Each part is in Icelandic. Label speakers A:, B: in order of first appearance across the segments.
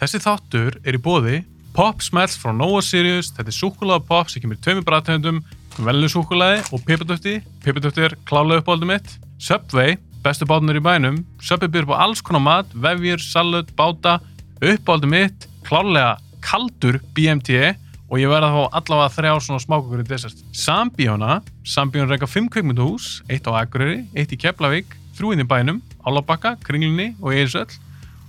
A: Þessi þáttur er í bóði Pop Smells frá Nova Sirius, þetta er súkulega pop sem kemur í tveimur bræðtöndum, velinu súkulaði og pipadöfti, pipadöfti er klálega uppáldum mitt, Subway, bestu bátunar í bænum, Subway byrður på alls konar mat, vefjur, salut, báta, uppáldum mitt, klálega kaldur BMT og ég verða að fá allavega þrjá svona smákukur í desert. Sambíóna, Sambíón reyka fimm kveikmynduhús, eitt á Akureyri, eitt í Keflavík, þrjúinn í bænum, Álabakka, Kringlunni og Eirsöll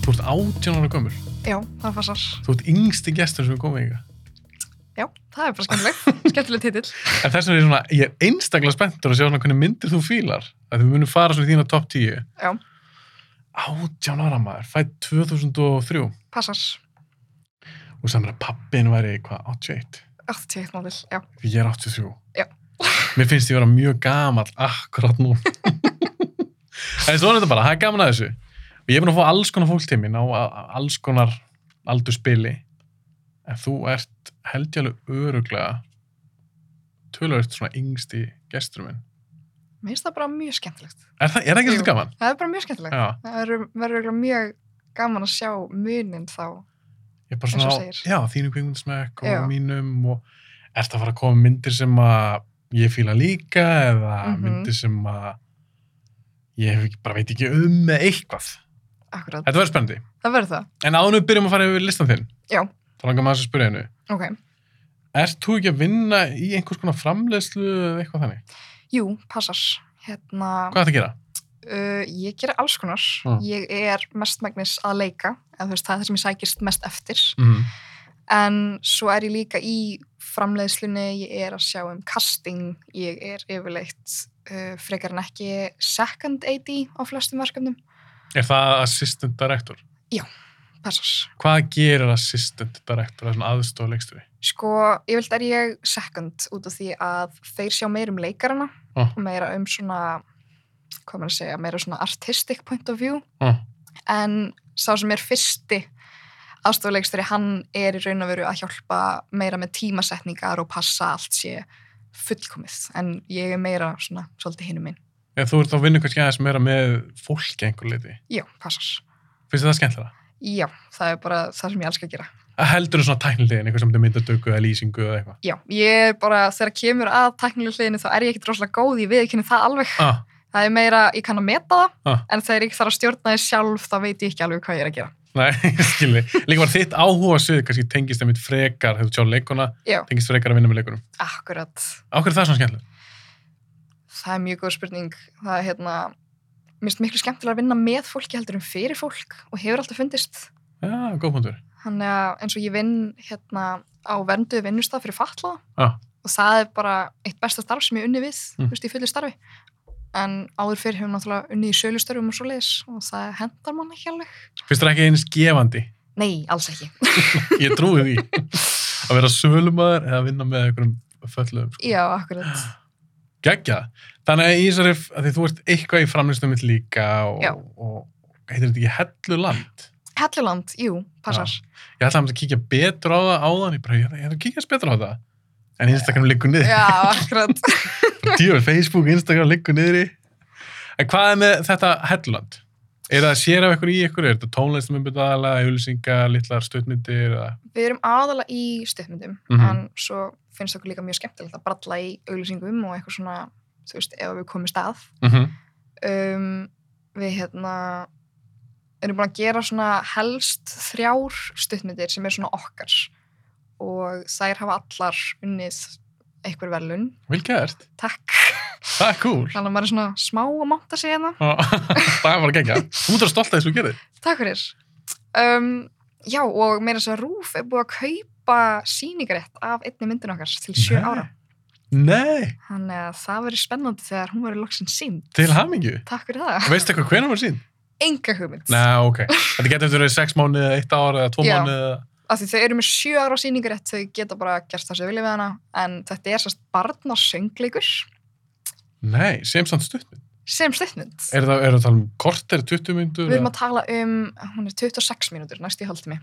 A: Þú ert 18 ára gömur.
B: Já, það passar.
A: Þú ert yngsti gestur sem er komið hingað.
B: Já, það er bara skemmtileg. Skemmtileg titill.
A: En þess vegna er ég svona, ég er einstaklega spenntur að sjá svona hvernig myndir þú fílar. Að við munum fara svona í þína top 10.
B: Já.
A: 18 ára maður, fætt 2003.
B: Passar.
A: Og samar að pappin væri, hvað, 81?
B: 81 mótil. Já.
A: Því ég er 83.
B: Já.
A: Mér finnst ég vera mjög gamall akkurat nú. en svona er þetta bara, það er gaman að þessu. Og ég er búin að fá alls konar fólk til mín á á- alls konar aldurspili. En þú ert heldjálega öruglega tölvöld svona yngsti gestur minn.
B: Mér finnst það bara mjög skemmtilegt.
A: Er það, er það ekki
B: Jú.
A: svolítið gaman?
B: Það er bara mjög skemmtilegt.
A: Já.
B: Það verður- verður örugglega mjög gaman að sjá munin þá.
A: Ég er bara
B: Eins og
A: svona, á-
B: segir.
A: já, þínu kvingundsmekk og
B: Já.
A: mínum og ert að fara að koma myndir sem að ég fíla líka eða
B: Mhm.
A: myndir sem að ég hef ekki, bara veit ekki um með eitthvað.
B: Akkurat.
A: Þetta verður spennandi.
B: Það verður það.
A: En áður en við byrjum að fara yfir listan þinn.
B: Já.
A: Þá langar maður að spyrja hennu.
B: Ok.
A: Ert þú ekki að vinna í einhvers konar framleiðslu eða eitthvað þannig?
B: Jú, passar. Hérna,
A: Hvað er það að gera?
B: uh, ég gera alls konar.
A: Mm.
B: Ég er mestmægnis að leika. En þú veist, það er það sem ég sækist mest eftir.
A: Mm
B: En svo er ég líka í framleiðslunni, ég er að sjá um casting, ég er yfirleitt uh, frekar en ekki second AD á flestum verkefnum.
A: Er það assistant director?
B: Passars.
A: Hvað gerir assistant director, það er svona aðstofa leikstöri?
B: Sko, yfirleitt er ég second út af því að þeir sjá meir um leikarana
A: Ah.
B: og meira um svona, hvað maður að segja, meira svona artistic point of view.
A: Ah.
B: En sá sem er fyrsti aðstofleikstöri, hann er í raun og veru að hjálpa meira með tímasetningar og passa allt sé fullkomið. En ég er meira svona, svolítið hinum minn.
A: Ef þú ert að vinna kannski aðeins meira með fólki einhver leiti,
B: Já, passar.
A: finnst þér það skemmtilega?
B: Já, það er bara það sem ég elska að gera.
A: að heldur þú svona tæknilegin, eitthvað sem þetta myndadöku eða lýsingu eða eitthvað.
B: Já, ég er bara, þegar kemur að tæknileg hliðinu þá er ég ekkit rosalega góð, ég viðkynni það alveg.
A: Ah,
B: Það er meira, ég kann að meta það,
A: Ah.
B: en þegar ég þarf að stjórna þið sjálf, þá veit ég ekki alveg hvað ég er að gera.
A: nei, skilji. Líka var þitt áhuga svið, kannski tengist það mitt frekar, hefur tjáð leikuna,
B: Já.
A: tengist frekar að vinna með leikunum.
B: Akkurat,
A: Á hverju er það svona skemmtileg?
B: það er mjög góð spurning. Það er hérna, mér finnst miklu skemmtilega að vinna með fólki heldur en fyrir fólk og hefur alltaf fundist.
A: Já, góð punktur.
B: Þannig að eins og ég vinn hérna á vernduðu vinnustaf fyrir fatlaða
A: Ah.
B: og það er bara eitt besta starf sem ég unni við,
A: Mm.
B: þú veist, í fullu starfi. En áður fyrir hefum náttúrulega unni í sölustörfum og svo leiðis og það hendar mann ekki alveg.
A: Finnst þér ekki eins gefandi?
B: Nei, alls ekki.
A: Ég trúi því. að vera sölumæður eða að vinna með einhverjum föllum. Sko.
B: Já, akkurat.
A: Gægja. Þannig að Ísari, að því þú ert eitthvað í framlýstum mitt líka
B: Já.
A: og, og heitir þetta ekki Helluland?
B: Helluland, jú, passar.
A: Ég ætla að kíkja betur á það áðan, ég bara, ég ætla að kíkja betur á það. En Instagram liggur niður.
B: Já, akkurat.
A: Djúvel, Facebook, Instagram liggur niðri. En hvað er með þetta Helluland? Er það sér af ykkur í ykkur? Er þetta tónlistamömbudala, auðlýsingar, litlar stuttmyndir? Eða...
B: Við erum aðala í stuttmyndum,
A: Mhm.
B: en svo finnst okkur líka mjög skemmtilegt að bralla í auglýsingum og eitthvað svona, þú veist, ef við komum í stað.
A: Mm -hmm.
B: um, við hérna erum búin að gera svona helst þrjár stuttmyndir sem er svona okkar og þær hafa allar unnið einhver velun,
A: Vel gert.
B: takk
A: Það er cool.
B: þannig að maður er svona smá að monta sig hérna
A: Og- það er bara gegja. Þú ert að stolta þess að þú gerir.
B: takk fyrir um, já og meira þess að Rúf er búið að kaupa sýningarétt af einni myndin okkar til sjö
A: Nei.
B: ára
A: Nei,
B: Þannig að það verið spennandi þegar hún verið loksinn sínd.
A: til hamingju.
B: Takk fyrir það.
A: Veistu eitthvað hvernig var sín?
B: Enga hugmynd.
A: Nei, ok. Þetta getur verið sex mánuð, eða eitt ár eða tvo
B: Já.
A: mánuð. eða-
B: Af því þau eru með sjö ára sýningarétt, þau geta bara gert það sem þau vilja við hana. En þetta er sérst barnarsöngleikur
A: Nei, sem samt stuttmynd.
B: sem stuttmynd.
A: Er það er það að tala um korter, 20 myndur?
B: Við erum að tala um, hún er 26 mínútur, næst í haldtími.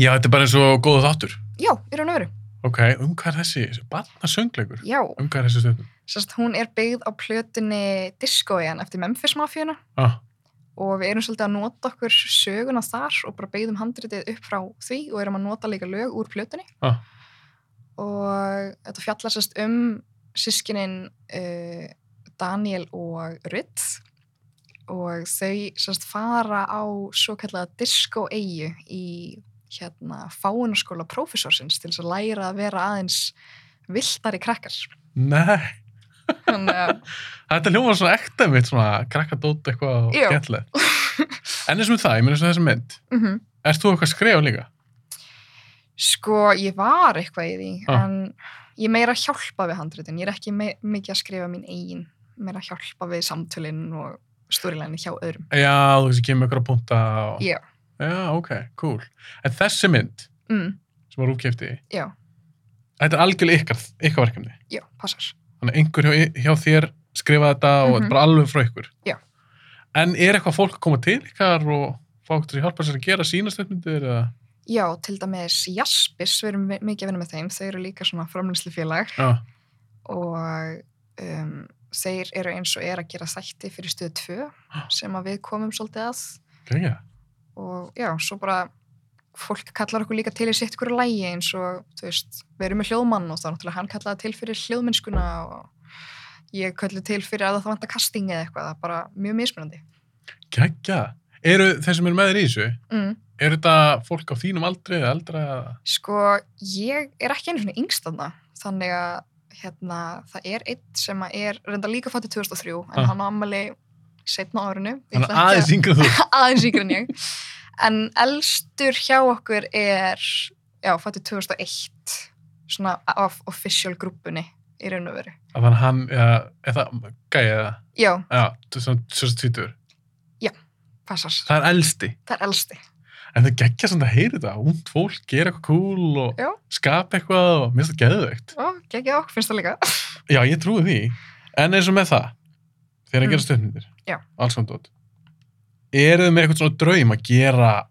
A: Já, þetta er bara eins og góða þáttur.
B: Já, í raun og veru.
A: Ok, um hvað er þessi? þessi Barnasöngleikur.
B: Já,
A: Um hvað er þessi stuttmynd?
B: sérst hún er byggð á plötunni Discoian eftir Memphis Mafíuna
A: Ah,
B: og við erum svolítið að nota okkur söguna þar og bara beigðum handritið upp frá því og erum að nota líka lög úr plötunni
A: Ah.
B: og þetta fjallar sérst um sískinin uh, Daniel og Rutt og þau sérst fara á svo kallega disco-eyju í hérna fáunarskóla prófessorsins til þess að læra að vera aðeins viltari krakkar
A: nei,
B: þannig að
A: þetta hljóma svona ekta mitt, svona krakkadót eitthvað
B: Já.
A: gætlega. En eins og með það, ég meina eins og þessi mynd.
B: mhm.
A: Erst þú eitthvað að skrifa líka?
B: Sko, ég var eitthvað í því,
A: Ah.
B: en ég er meira að hjálpa við handritin. Ég er ekki me mikið að skrifa mín eigin, meira að hjálpa við samtölinn og stórilæni hjá öðrum.
A: Já, þú veist, ég kemur ykkur að punta og...
B: Já.
A: Já, ok, cool. En þessi mynd
B: Mm,
A: sem var úrkefti,
B: já,
A: þetta er algjörlega ykkar, ykkar verkefni.
B: já, passar.
A: Þannig að einhver hjá, hjá þér skrifa þetta og þetta
B: Mhm.
A: er bara alveg frá ykkur.
B: Já.
A: En er eitthvað fólk að koma til ykkar og fá ykkur til að hjálpa sér að gera sína stöðmyndir eða?
B: Já, til dæmis Jaspis, við erum mi- mikið að vinna með þeim, þeir eru líka svona framlýslufélag
A: Já.
B: og um, þeir eru eins og er að gera þætti fyrir stöðu 2 sem að við komum svolítið að
A: Gæja.
B: og já, svo bara fólk kallar okkur líka til í sitt hverju lægi eins og, þú veist, við erum með hljóðmann og þá náttúrulega hann kallaði til fyrir hljóðmennskuna og ég kalli til fyrir að það vanta casting eða eitthvað, það er bara mjög mismunandi.
A: Gæja. Eru þeir sem eru með þér í þessu,
B: Mm.
A: eru þetta fólk á þínum aldri eða eldra? eða-
B: Sko, ég er ekki einu svona yngst þarna, þannig að hérna, það er einn sem að er reynda líka fættið 2003, en
A: Ah.
B: hann á ammali setna árinu. Ég
A: Þannig að
B: ætla ekki að-
A: aðeins yngra þú.
B: aðeins yngri en ég. En elstur hjá okkur er, já, fættu 2001, svona af official grúpunni í raun og veru.
A: Að Þannig að hann, eða, eða gæja eða,
B: Já,
A: já, svona svona tvítur.
B: passast.
A: Það er elsti.
B: Það er elsti.
A: En það geggja svona að heyra þetta, únd fólk gera eitthvað cool og
B: Já.
A: skapa eitthvað og minnst það geðveikt.
B: Ó, geggja okkur, finnst það líka.
A: Já, ég trúi því. En eins og með það, þegar að
B: Mm.
A: gera stöðmyndir,
B: Já.
A: alls konar dót, eru þið með eitthvað svona draum að gera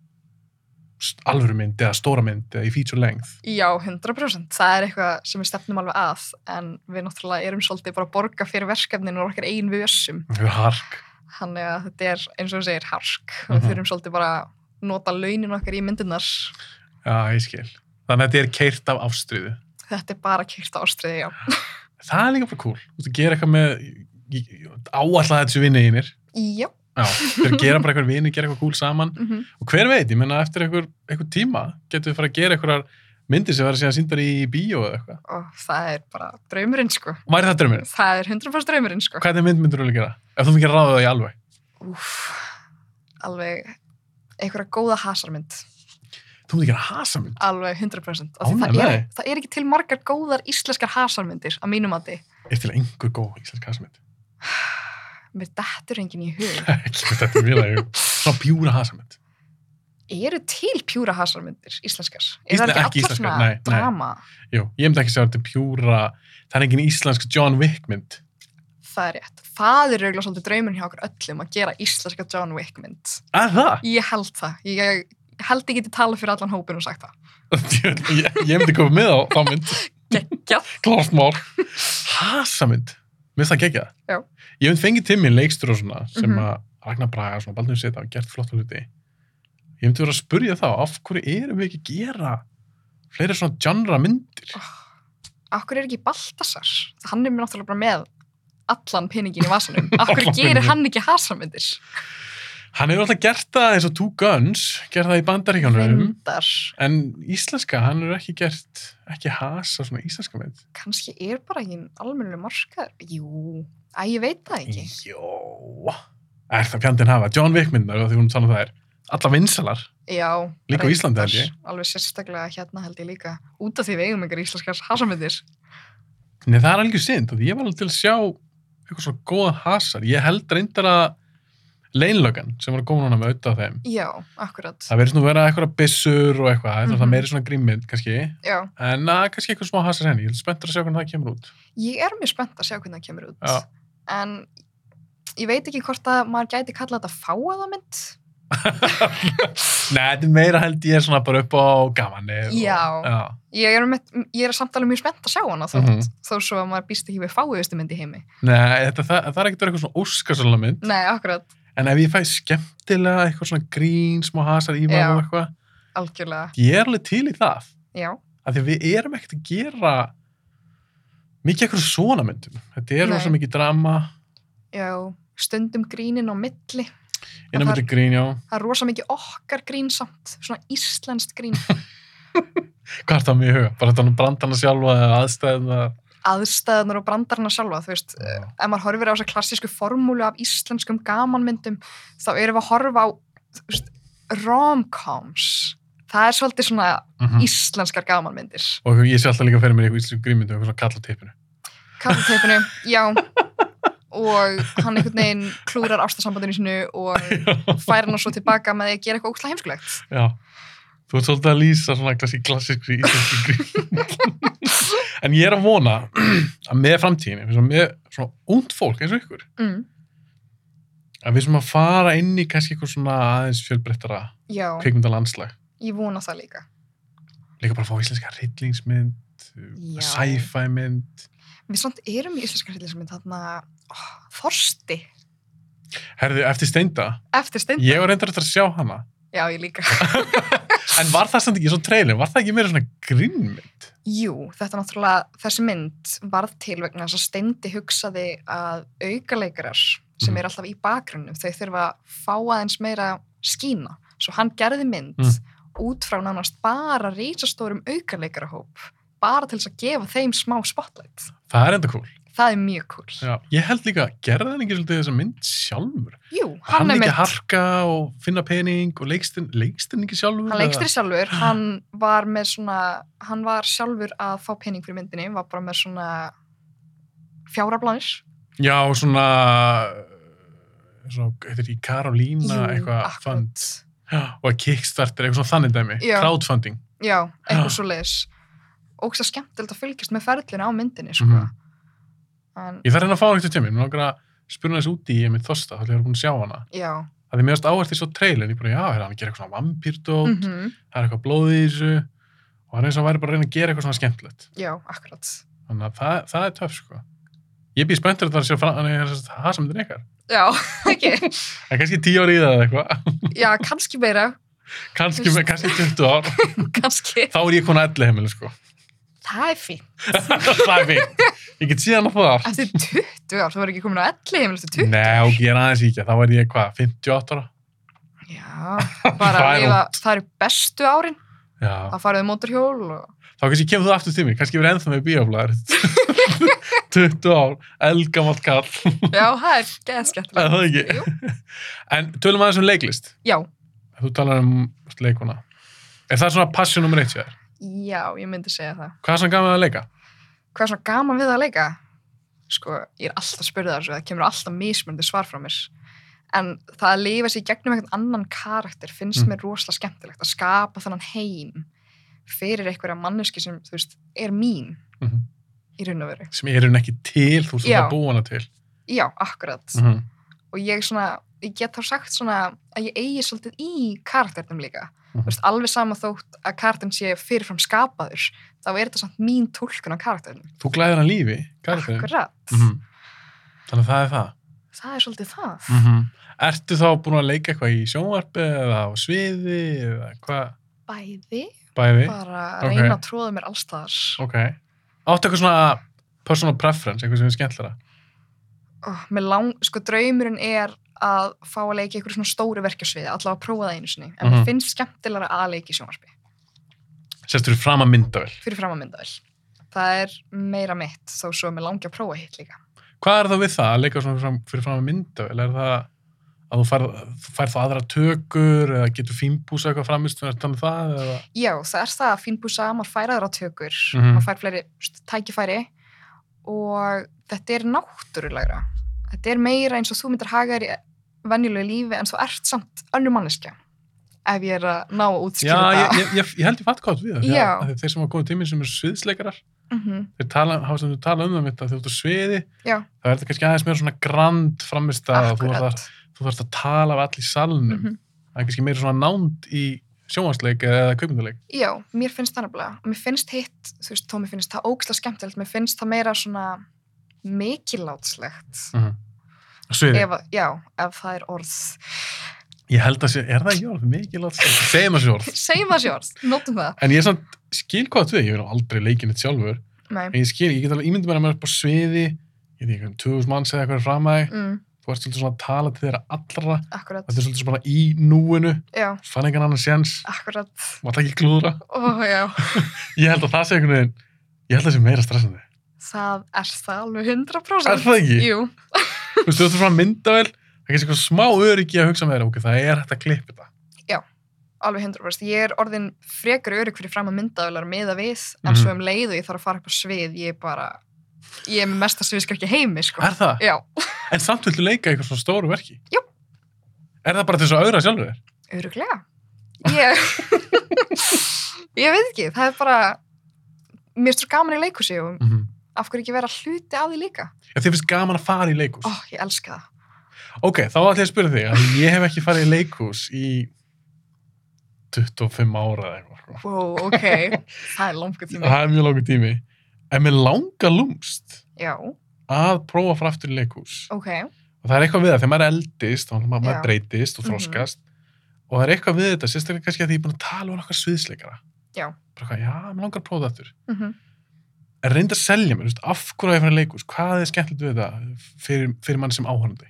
A: st- alvöru mynd eða stóra mynd eða í feature length?
B: Já, 100%. Það er eitthvað sem við stefnum alveg að, en við náttúrulega erum svolítið bara að borga fyrir verkefninu og okkar ein vössum.
A: Það er hark.
B: Þannig að þetta er, eins og þú segir, hark. og
A: Mhm.
B: Við þurfum svolítið bara að nota launin okkar í myndirnar.
A: Já, ég skil. Þannig að þetta er keirt af ástriðu.
B: Þetta er bara kýrt á ástriði, já.
A: Það er líka bara cool. Þú veist að gera eitthvað með, ég- ég- áallega þessu vinni einir.
B: Já,
A: Já, þeir gera bara eitthvað vinni, gera eitthvað cool saman.
B: mm
A: Og hver veit, ég menna eftir einhver, einhver tíma getur við fara að gera einhverjar myndir sem verður síðan síndar í bíó eða eitthvað.
B: og það er bara draumurinn sko.
A: Væri það draumurinn?
B: Það er 100% draumurinn sko.
A: Hvernig mynd myndur þú gera? Ef þú fengir að ráða það í alveg.
B: Úf, alveg einhverja góða hasarmynd,
A: Þú myndir gera hasamynd?
B: alveg 100%. Af því
A: Ánægð
B: það,
A: með
B: er,
A: þig.
B: það er ekki til margar góðar íslenskar hasarmyndir að mínum að þið.
A: Er til einhver góð íslensk hasamynd?
B: Mér dettur enginn í hug.
A: Ekki, þetta er mjög lægur. Svona pjúra hasamynd.
B: Eru til pjúra hasarmyndir íslenskar?
A: Ísle-
B: Er það
A: ekki
B: ekki allar
A: íslenskar,
B: svona
A: nei, nei.
B: drama?
A: Jú, ég myndi ekki segja að þetta er pjúra, það er engin íslensk John Wick mynd.
B: Það er rétt. Það er auðvitað svolítið draumurinn hjá okkur öllum að gera íslenska John Wick mynd.
A: Er það?
B: Ég held það. Ég ég held ég geti talað fyrir allan hópin og sagt það.
A: ég, ég- ég myndi koma með á þá mynd.
B: Geggjað.
A: Klart mál. Hasamynd. Mér finnst það gegja.
B: Já.
A: Ég myndi fengið til mér leikstur og svona sem
B: Mhm.
A: að Ragnar Braga og svona Baldur Seta hafa gert flotta hluti. Ég myndi vera að spurja þá, af hverju erum við ekki að gera fleiri svona genre myndir?
B: Akkur er ekki Baltasar? Hann er mér náttúrulega bara með allan peningin í vasanum. Akkur
A: Allan
B: gerir
A: peninginn.
B: hann ekki hasamöndir?
A: Hann hefur alltaf gert það eins og Two Guns, gert það í bandaríkjónum,
B: Reyndar.
A: en íslenska, hann hefur ekki gert, ekki hasa svona íslenska mynd.
B: Kanski er bara ekki almennileg markaður. Jú, æ, ég veit það ekki.
A: Jó. Er það fjandinn hafa? John Wick myndar, því hún um talaði það er. Alla vinsalar.
B: Já.
A: Líka á
B: reyndar.
A: Íslandi, held ég.
B: Alveg sérstaklega hérna held ég líka. Út af því við eigum ykkur íslenskars hasamöndir.
A: Nei, það er alveg synd, af því ég var alveg til að sjá eitthvað svona góða hasar. Ég held reyndar að leinlögan sem var að koma núna með auðvitað þeim.
B: Já, akkurat.
A: Það verður svona að vera eitthvað byssur og eitthvað, mm -hmm. það er
B: Mhm.
A: meiri svona grímynd kannski,
B: Já,
A: en að, kannski eitthvað smá hasar henni. Ég er spenntur að sjá hvernig það kemur út.
B: ég er mjög spennt að sjá hvernig það kemur út.
A: Já.
B: En ég veit ekki hvort að maður gæti kalla þetta fáaðamynd.
A: Nei, þetta er meira held ég svona bara upp á gamanni.
B: Já.
A: Og, já.
B: Ég er, með, ég er samt alveg mjög spennt að sjá hana þótt,
A: Mhm.
B: þó svo að maður býst ekki við fáiðustu mynd í heimi.
A: Nei, þetta, það, það er ekkert verið eitthvað svona óskarsala mynd,
B: Nei, akkurat,
A: en ef ég fæ skemmtilega eitthvað svona grín, smá hasar í
B: Já.
A: maður og eitthvað,
B: algjörlega.
A: ég er alveg til í það.
B: Já,
A: af því að við erum ekkert að gera mikið eitthvað svona myndum þetta er
B: Nei.
A: rosa mikið drama
B: já, stundum grínin á milli.
A: innan
B: Það-
A: myndi grín, já
B: Það er rosa mikið okkar grín samt, svona íslenskt grín.
A: hvað er það mjög huga, bara þetta er nú brandana sjálfa eða aðstæðina
B: Aðstæðunar og brandarna sjálfa, þú veist, ef maður horfir á þessa klassísku formúlu af íslenskum gamanmyndum, þá erum við að horfa á þú veist, rom-coms. Það er svolítið svona
A: Mhm.
B: íslenskar gamanmyndir.
A: og ég sé alltaf líka fyrir mér í eitthvað íslensku grínmyndu eitthvað svona kall á tippinu
B: Kaffeteipinu, já, og hann einhvern veginn klúrar ástasambandinu sinu og fær hann svo tilbaka með því að gera eitthvað ókslega heimskulegt.
A: já, þú ert svolítið að lýsa svona klassi klassísku íslensku grínmyndu en ég er að vona að með framtíðinni, eins og með svona únd fólk eins og ykkur
B: Mm,
A: að við sem að fara inn í kannski eitthvað svona aðeins fjölbreyttara
B: já,
A: kveikmyndalandslag
B: ég vona það líka.
A: líka bara að fá íslenska rillingsmynd
B: Já.
A: sci-fi mynd
B: Við samt erum í íslenska hryllingsmynd þarna oh, Þorsti,
A: Herðu, eftir steinda,
B: eftir stund.
A: ég var reyndar eftir að sjá hana
B: Já, ég líka.
A: en var það samt ekki svo trailer, var það ekki meira svona grinnmynd?
B: Jú, þetta náttúrulega, þessi mynd varð til vegna þess að Steindi hugsaði að aukaleikarar sem
A: Mhm.
B: er alltaf í bakgrunnum, þau þurfa að fá aðeins meira skína. Svo hann gerði mynd
A: Mm.
B: út frá nánast bara reysastórum aukaleikarahóp, bara til þess að gefa þeim smá spotlight.
A: Það er enda cool.
B: Það er mjög cool.
A: Já. Ég held líka, gerði hann ekki svolítið þessa mynd sjálfur?
B: Jú, hann,
A: Hann,
B: er
A: ekki
B: mynd,
A: harka og finna pening og leikstinn, leikstinn ekki sjálfur?
B: hann leikstri sjálfur,
A: Ah.
B: hann var með svona, hann var sjálfur að fá pening fyrir myndinni, var bara með svona fjárablanir.
A: sjálfur? Já, svona, svona, þetta er í Karolína eitthvað fund Já, og að Kickstarter, eitthvað svona þannig dæmi,
B: Já.
A: crowdfunding.
B: Já,
A: Já.
B: eitthvað svo leiðis. Og það skemmtilegt að fylgjast með ferlinu á myndinni, sko.
A: Mhm.
B: En,
A: Ég þarf hérna að fá hann eitthvað tjömi, mér langar að spurna þessu úti í einmitt þorsta, þá ætlum ég að búin að sjá hana.
B: já.
A: Það er mjögast áhært í svo trail, en ég bara, já, hérna, hann gerir eitthvað svona vampýrdót,
B: Mm
A: það er eitthvað blóð í þessu og það er eins og hann væri bara að reyna að gera eitthvað svona skemmtilegt
B: Já, akkurat.
A: þannig að það, það er töf sko ég býð spenntur að það sé að fara það sem þetta er ykkar
B: Já, ekki.
A: en kannski 10 ári í það eða eitthvað
B: Já, kannski meira,
A: kannski, með, kannski 20 ár
B: kannski.
A: þá er ég konar elli heimilu sko
B: Það er fínt.
A: það er fínt ég get síðan á það
B: Eftir 20 ár, þú verður ekki komin á 11 heimil eftir 20.
A: Nei, ok, ég er aðeins ekki, þá er ég hvað, 58 ára?
B: Já, bara
A: Það
B: að
A: er
B: lifa, það eru bestu árin.
A: Já,
B: Það farið mótorhjól og...
A: þá kannski kemur þú aftur til mér, kannski verið ennþá með bíoflaður. 20 ár, elgamalt kall,
B: Já, það er
A: eða
B: geðskemmtilegt.
A: það ekki.
B: Jú.
A: En tölum aðeins um leiklist.
B: Já,
A: Þú talar um veist, leikuna. Er það svona passion nummer eitt hjá þér?
B: já, ég myndi segja það.
A: Hvað er svona gaman við að leika?
B: hvað er svona gaman við að leika? Sko, ég er alltaf að spyrja það þessu, það kemur alltaf mismunandi svar frá mér. En það að lifa sér í gegnum einhvern annan karakter finnst
A: Mm.
B: mér rosalega skemmtilegt að skapa þannan heim fyrir einhverja manneski sem, þú veist, er mín
A: Mhm.
B: í raun og veru.
A: Sem er hún ekki til, þú veist
B: Já.
A: að búa hana til.
B: Já, akkurat.
A: -hmm.
B: Og ég svona, ég get þá sagt svona að ég eigi svolítið í karakternum líka.
A: Mhm.
B: Þú veist, alveg sama þótt að karakterin sé fyrirfram skapaður, þá er þetta samt mín tólkun á karakternum.
A: Þú glæðir hann lífi, karakterinn.
B: Akkurat.
A: Mhm. Þannig að það er það.
B: Það er svolítið það.
A: -hmm. Ertu þá búin að leika eitthvað í sjónvarpi eða á sviði eða hvað?
B: bæði,
A: Bæði?
B: bara
A: Ok.
B: reyna að tróða mér allstaðar.
A: Ok. Áttu eitthvað svona personal preference, eitthvað sem er skemmtilega?
B: Oh, mér lang, sko draumurinn er að fá að leika í einhverju svona stóru verkjásviði, allavega að prófa það einu sinni, en
A: Mhm.
B: mér finnst skemmtilega að leika í sjónvarpi,
A: Sestur þú fram að myndavel.
B: fyrir fram að mynda Það er meira mitt, þó svo mér langi að prófa hitt líka.
A: Hvað er það við það að leika svona fram, fyrir fram að myndavel? Er það að þú færð fær þá aðra tökur eða getur fínbúsa eitthvað framist þannig að það eða?
B: Já, það er það að fínbúsa, maður fær aðra tökur,
A: Mhm.
B: maður fær fleiri st- tækifæri og þetta er náttúrulegra þetta er meira eins og þú myndir haga þér í venjulegu lífi en svo ert samt önnur manneskja ef ég er að ná
A: Já,
B: að útskýra
A: ég,
B: það
A: ég, ég, ég held ég fatt hvað þú átt við það. því
B: Já.
A: að- af því að Þeir sem hafa komið tíminn sem eru sviðsleikarar,
B: Mhm,
A: þeir tala, hafa sem þú tala um það mitt að þú ert á sviði,
B: Já.
A: það er þetta kannski aðeins meira svona grand framist að þú ert að,
B: akkurat
A: þú þarfst að tala af allir í salnum.
B: Mhm.
A: Það er kannski meira svona nánd í sjónvarsleik eða kaupinduleik.
B: Já, mér finnst það nefnilega. Mér finnst hitt, þú veist, Tómi finnst það ógslag skemmtilegt, mér finnst það meira svona mikilátslegt.
A: Á sviði.
B: Mhm. Ef, að- já, ef það er orð.
A: Ég held að sé, er það ekki orð? Mikið látt sviði. Segjum að sé orð.
B: Segjum það sjórð, notum það.
A: En ég samt skil hvað átt við, ég vil aldrei leikin eitt sjálfur.
B: Nei,
A: En ég skil, ég get alveg ímyndið mér að maður er upp á sviði, ég veit ekki, um 2000 manns eða eitthvað er fram að þig,
B: mm,
A: þú ert svolítið svona að tala til þeirra allra,
B: akkurat.
A: þetta er svolítið svona bara í núinu,
B: Já,
A: fann engan annan séns,
B: akkurat.
A: maður ekki klúðra.
B: Ó, já,
A: Ég held að það sé einhvern veginn, ég held að það sé meira stressandi.
B: það er það alveg 100%.
A: Er það ekki?
B: Jú,
A: Þú veist, þú ert svona myndavel, það er kannski eitthvað smá öryggi að hugsa með þér, ok, það er hægt að klippa þetta.
B: alveg 100%. Ég er orðin frekar örygg fyrir fram að myndaðular meða við, en
A: Mhm.
B: svo um leiðu ég þarf að fara upp á svið, ég er bara, ég er með mesta sviðskrekki heimi, sko.
A: Er það?
B: Já,
A: En samt viltu leika í eitthvað svona stóru verki?
B: Jú.
A: Er það bara til þess að auðra sjálfur þér?
B: Öruglega. Ég, ég veit ekki, það er bara, mér er svo gaman í leikhúsi og
A: Mm -hmm.
B: af hverju ekki vera hluti af því líka.
A: Þið finnst gaman að fara í leikhús?
B: Ó, ég elska það.
A: Ok, þá ætla ég að spyrja þig að ég hef ekki farið í leikhús í 25 ára eða eitthvað. sko.
B: Wow, ok, það er langur tími.
A: Það er mjög langur tími. En mér langar lúmst
B: Já,
A: að prófa að fara aftur í leikhús.
B: ok,
A: Og það er eitthvað við það, þegar maður er eldist, þá er maður
B: Já.
A: maður breytist og
B: Mhm.
A: þroskast. Og það er eitthvað við þetta, sérstaklega kannski að því ég er búin að tala um okkar sviðsleikara.
B: Já.
A: Bara hvað, já, mér langar að prófa það aftur.
B: mm
A: En reynda að selja mér, þú veist, af hverju á ég að fara í leikhús, hvað er skemmtilegt við þetta fyrir, fyrir mann sem áhörandi?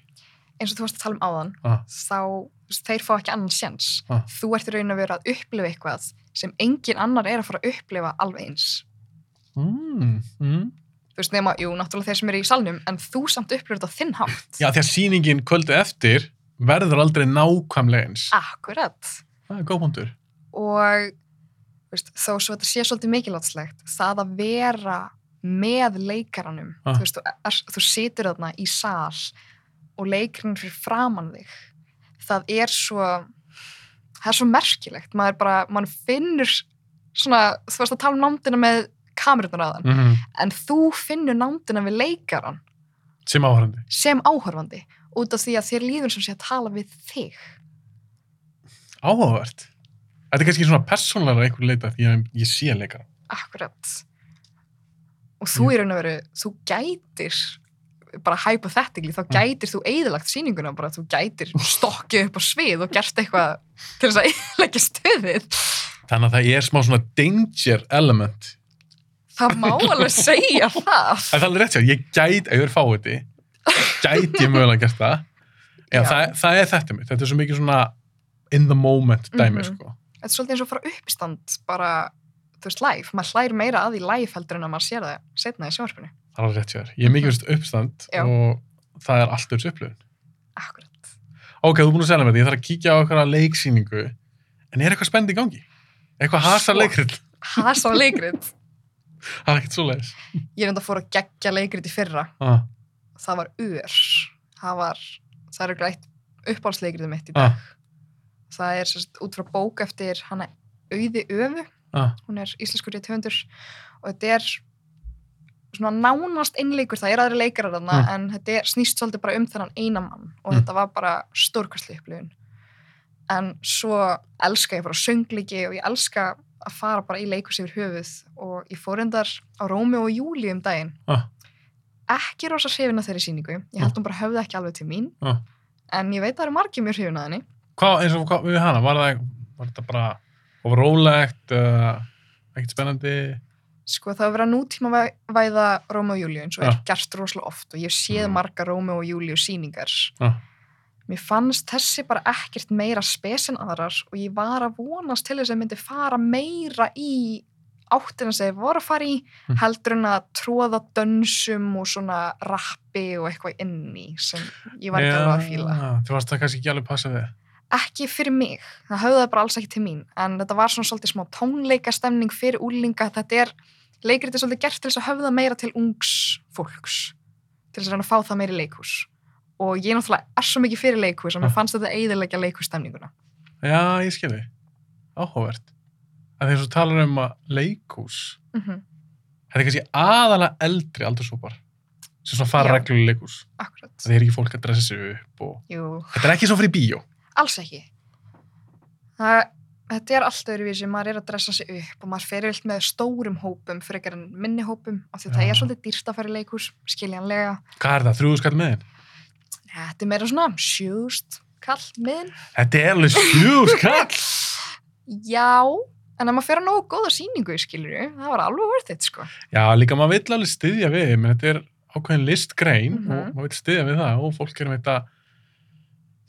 B: eins og þú varst að tala um áðan,
A: Ah.
B: þá þú veist, þeir fá ekki annan sjens.
A: Ah.
B: Þú ert í raun að vera að upplifa eitthvað sem engin annar er að fara að upplifa alveg eins.
A: Mm, mm.
B: Þú veist, nema, jú, náttúrulega þeir sem eru í salnum, en þú samt upplifir þetta á þinn hátt.
A: Já, því að sýningin kvöldu eftir verður aldrei nákvæmlega eins.
B: Ah. Akkurat.
A: Það er góð punktur.
B: og þú veist, þó svo þetta sé svolítið mikilvægslegt það að vera með leikaranum
A: Ah.
B: þú, veist, þú, er, þú situr þarna í sal og leikarinn fyrir framann þig það er svo það er svo merkilegt maður bara, maður finnur svona, þú varst að tala um námdina með kamerunar aðan,
A: Mm -hmm.
B: en þú finnur námdina við leikaran
A: Sem áhörandi.
B: sem áhorfandi út af því að þér líður sem sé að tala við þig
A: Áhugavert. Þetta er kannski svona persónlega einhver leita því að ég sé leikara.
B: Akkurat. Og þú í raun og veru, þú gætir, bara hypothetically,
A: Mm.
B: þá gætir þú eðilagt sýninguna bara, þú gætir stokkið upp á svið og gert eitthvað til þess að eðilegja stöðið.
A: Þannig að það er smá svona danger element.
B: Það má alveg segja það.
A: En það er alveg rétt sér, ég gæt, ef ég er fáiði, gæt ég mögulega gert það. Já,
B: Já.
A: það, það er þetta mitt. Þetta er svo mikið svona in the moment dæmi,
B: Mhm.
A: sko.
B: Þetta er svolítið eins og að fara upp í stand bara, þú veist, live. Maður hlæri meira að því live heldur en að maður sér það setna í sjónvarpinu.
A: Það er alveg rétt sér. Ég er mikið verið uppstand
B: Já.
A: og það er allt öll upplöfun.
B: Akkurat.
A: ok, þú er búin að selja mér þetta, ég þarf að kíkja á eitthvað leiksýningu, en er eitthvað spennt í gangi? Eitthvað hasa
B: Sko.
A: leikrit?
B: Það er svo leikrit.
A: Það er ekkert svo leiðis.
B: Ég er enda að fóra að gegja leikrit í fyrra.
A: Ah,
B: það var ur það var, það er greitt uppáhaldsleikrið mitt í dag
A: ah,
B: það er sérst út frá bók eftir hana Auði Öfu,
A: ah.
B: hún er íslenskur rétthöndur og þetta er svona nánast innleikur, það er aðri leikarar þarna
A: Mm.
B: en þetta er, snýst svolítið bara um þennan eina mann og
A: Mm.
B: þetta var bara stórkastli upplifun en svo elska ég bara söngleiki og ég elska að fara bara í leikus yfir höfuð og ég fór endar á Rómi og Júli um daginn
A: Ah.
B: ekki rosa hrifin af þeirri síningu ég
A: Ah.
B: held hún bara höfði ekki alveg til mín
A: Ah.
B: en ég veit að það eru margir mjög hrifin af henni
A: Hvað, eins og hvað við hana, var það, var þetta bara of rólegt, uh, ekkert spennandi?
B: sko það að vera nútíma væ- væða Róma og Júliu eins og
A: Já.
B: er gert rosalega oft og ég hef séð
A: Mhm.
B: marga Róma og Júliu síningar
A: Já.
B: mér fannst þessi bara ekkert meira spes en aðrar og ég var að vonast til þess að myndi fara meira í áttina sem ég voru að fara í
A: Mhm.
B: heldur en að tróða dönsum og svona rappi og eitthvað inn í sem ég var ekki alveg að fíla
A: Þú varst það kannski ekki alveg passa við.
B: ekki fyrir mig, það höfðaði bara alls ekki til mín en þetta var svona svolítið smá tónleikastemning fyrir úlinga, þetta er leikrit er svolítið gert til þess að höfða meira til ungs fólks til þess að reyna að fá það meira í leikhús og ég náttúrulega er svo mikið fyrir leikhús að mér
A: Ah.
B: fannst þetta eiðilegja leikhússtemninguna
A: Já, ég skilði. Áhugavert. Að þegar þú talar um að leikhús,
B: mm
A: þetta er kannski aðalega eldri aldursópar sem svona fara
B: Já.
A: reglulega í leikhús.
B: akkurat,
A: Það er ekki fólk að dressa sig upp og...
B: jú,
A: Þetta er ekki svo fyrir bíó.
B: alls ekki það, þetta er allt öðruvísi maður er að dressa sig upp og maður fer vilt með stórum hópum frekar en minni hópum af því að það
A: Já.
B: er svolítið dýrt að fara í leikhús skiljanlega,
A: Hvað er það? Þrjúðu skall með þinn?
B: þetta er meira svona sjúst kall minn
A: Þetta er alveg þrjúðu skall!
B: Já, en ef maður fer að nógu góða sýningu, skilur við, það var alveg worth it, sko.
A: Já, líka maður vill alveg styðja við, menn þetta er ákveðin listgrein
B: Mhm.
A: og maður vill styðja við það og fólk er með þetta,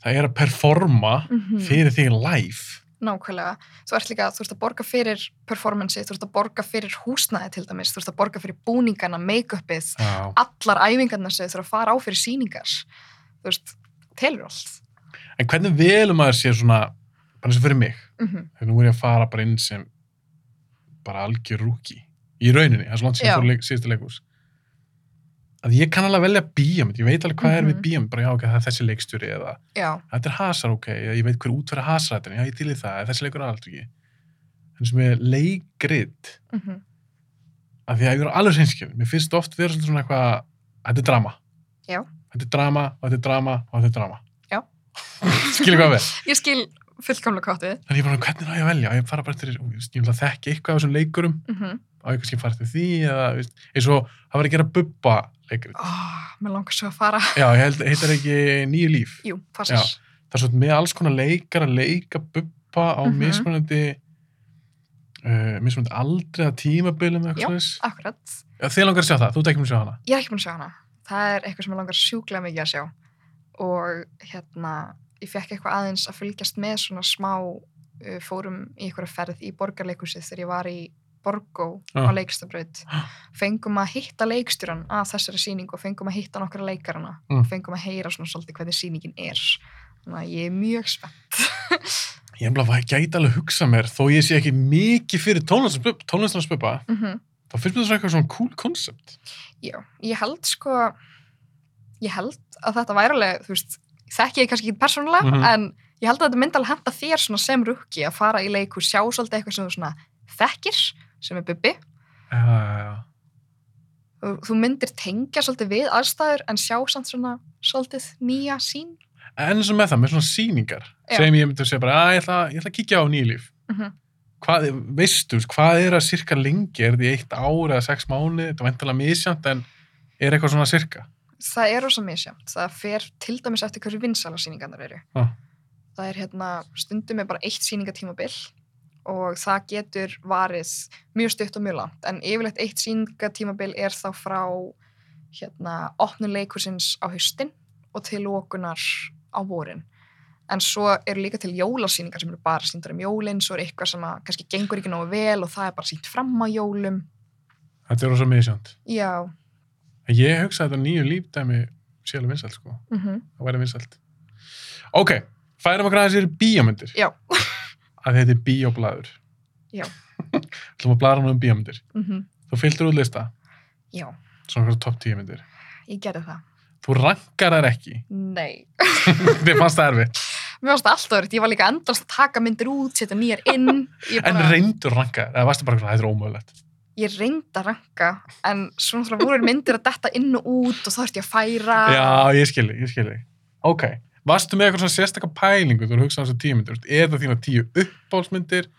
A: það er að performa
B: Mhm.
A: fyrir þig live.
B: Nákvæmlega. Þú ert líka, þú ert að borga fyrir performanceið, þú ert að borga fyrir húsnæði til dæmis, þú ert að borga fyrir búningana, make-upið,
A: Já.
B: allar æfingarnar sem þú ert að fara á fyrir sýningar. Þú veist, telur allt.
A: En hvernig velum maður sér svona, bara eins og fyrir mig,
B: Mm
A: þegar nú er ég að fara bara inn sem bara algjör rúki í rauninni, það er svo langt
B: Já.
A: síðan leik, síðustu leikus. Að ég kann alveg velja bíjamönd, ég veit alveg hvað er við
B: Mhm.
A: bíjamönd, bara já, ok, það er þessi leikstjóri eða
B: Já,
A: þetta er hasar, ok, eða ég veit hver útfæra hasarættin, já, ég til í það, eða þessi leikur er aldrei ekki. En sem er leikrit,
B: mm
A: af því að ég er alveg reynskjöfn, mér finnst oft vera svolítið svona eitthvað, þetta er drama.
B: Já.
A: Þetta er drama, og þetta er drama, og þetta er drama.
B: Já.
A: Skilur hvað við?
B: ég skil fullkomlega kvátt við.
A: Þannig ég bara, hvernig á ég að velja? Á Ég fara bara eftir, ég vil að þekki eitthvað af þessum leikurum,
B: Mm
A: á ég kannski að fara eftir því, eða, veist, eins og það var að gera bubba leikrit.
B: mér langar svo að fara.
A: Já, ég held, heitar ekki nýju líf.
B: Jú, passast.
A: það er svona með alls konar leikar að leika buppa á
B: Mhm.
A: mismunandi uh, mismunandi aldrei að tímabilum eða
B: Já.
A: eitthvað slags.
B: Akkurat.
A: Já, þið langar að sjá það, þú tekjum að sjá hana
B: ég er ekki búin að sjá hana það er eitthvað sem ég langar sjúklega mikið að sjá og hérna ég fekk eitthvað aðeins að fylgjast með svona smá uh, fórum í eitthvað ferð í borgarleikusið þegar ég var í Borgó
A: Já.
B: á leikstabraut fengum að hitta leikstjóran að þessari sýningu og fengum að hitta nokkra leikarana
A: Mm.
B: og fengum að heyra svona svolítið hvernig sýningin er þannig að ég er mjög spennt
A: ég er bara að gæti alveg að hugsa mér þó ég sé ekki mikið fyrir tónlistansbubba
B: mm -hmm.
A: þá finnst mér það svona eitthvað svona cool concept
B: Já, ég held sko ég held að þetta væri alveg þú veist, þekki ég kannski ekki persónulega
A: Mhm.
B: en ég held að þetta myndi alveg henda þér svona sem rukki að fara í leik og sjá svolítið eitthvað sem þú svona þekkir sem er bubbi
A: já, já, já.
B: og þú myndir tengja svolítið við aðstæður en sjá samt svona svolítið nýja sín
A: en eins og með það, með svona sýningar
B: Já.
A: sem ég myndi að segja bara, að ég ætla, ég ætla að kíkja á nýlíf
B: mm
A: hvað, veistu, hvað er að sirka lengi er því eitt ár eða sex mánu þetta er vantilega misjönd en er eitthvað svona sirka
B: það er rosa misjæmt það fer til dæmis eftir hversu vinsala sýningarnar eru
A: Ah.
B: það er hérna stundum er bara eitt sýningatímabil og það getur varið mjög stutt og mjög langt en yfirleitt eitt sýningatímabil er þá frá hérna opnun leikursins á haustin og til lókunar á vorin en svo eru líka til jólasýningar sem eru bara sýndar um jólin, svo er eitthvað sem að kannski gengur ekki nógu vel og það er bara sýnt fram á jólum
A: þetta er rosa misjönd
B: já,
A: En Ég hugsa að þetta nýju lífdæmi sé alveg vinsælt, sko.
B: mm
A: Það væri vinsælt. Ok, færum að græða sér bíómyndir.
B: Já.
A: að þetta er bíóblæður.
B: Já.
A: Þú maður blæður hann um bíómyndir.
B: Mm
A: Þú fylgdur út lista,
B: já,
A: svona hverju topp tíu myndir.
B: ég gerði það
A: Þú rankar þær ekki.
B: nei
A: Þið fannst það erfitt.
B: Mér fannst það alltaf verið, ég var líka endast að taka myndir út, setja nýjar inn. Ég,
A: En
B: bara,
A: reyndur ranka þær. Eða varstu bara svona, þetta er ómögulegt.
B: ég reyndi að ranka, en svona þrjá voru myndir að detta inn og út og þá þurfti ég að færa.
A: Já, ég skilji, ég skilji. Ok. Varstu með eitthvað svona sérstaka pælingu þú hugsaði þessar tíu myndir? Þú veist, Er það þína tíu uppbólsmyndir?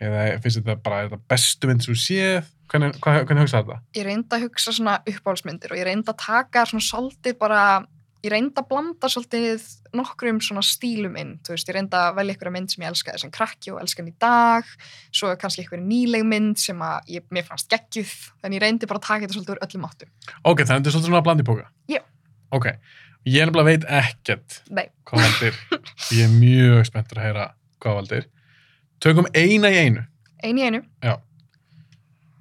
A: Eða finnst þetta bara, er þetta bestu mynd sem þú séð? Hvernig, hvað, hvernig hugsaði þetta?
B: Ég reyndi að hugsa svona uppáhaldsmyndir og ég reyndi að taka svona svolítið bara, ég reyndi að blanda svolítið nokkrum svona stílum inn. Þú veist, ég reyndi að velja einhverja mynd sem ég elskaði sem krakki og elska hann í dag, svo kannski einhverja nýleg mynd sem að ég, mér fannst geggjuð, þannig ég reyndi bara að taka þetta svolítið úr öllum áttum.
A: Ok, þannig að þetta er svolítið svona blandi póka?
B: Já.
A: Ok, ég nefnilega veit ekkert
B: Nei,
A: hvað valdir. ég er mjög spenntur að heyra hvað valdir. Tökum eina í einu
B: einu í einu.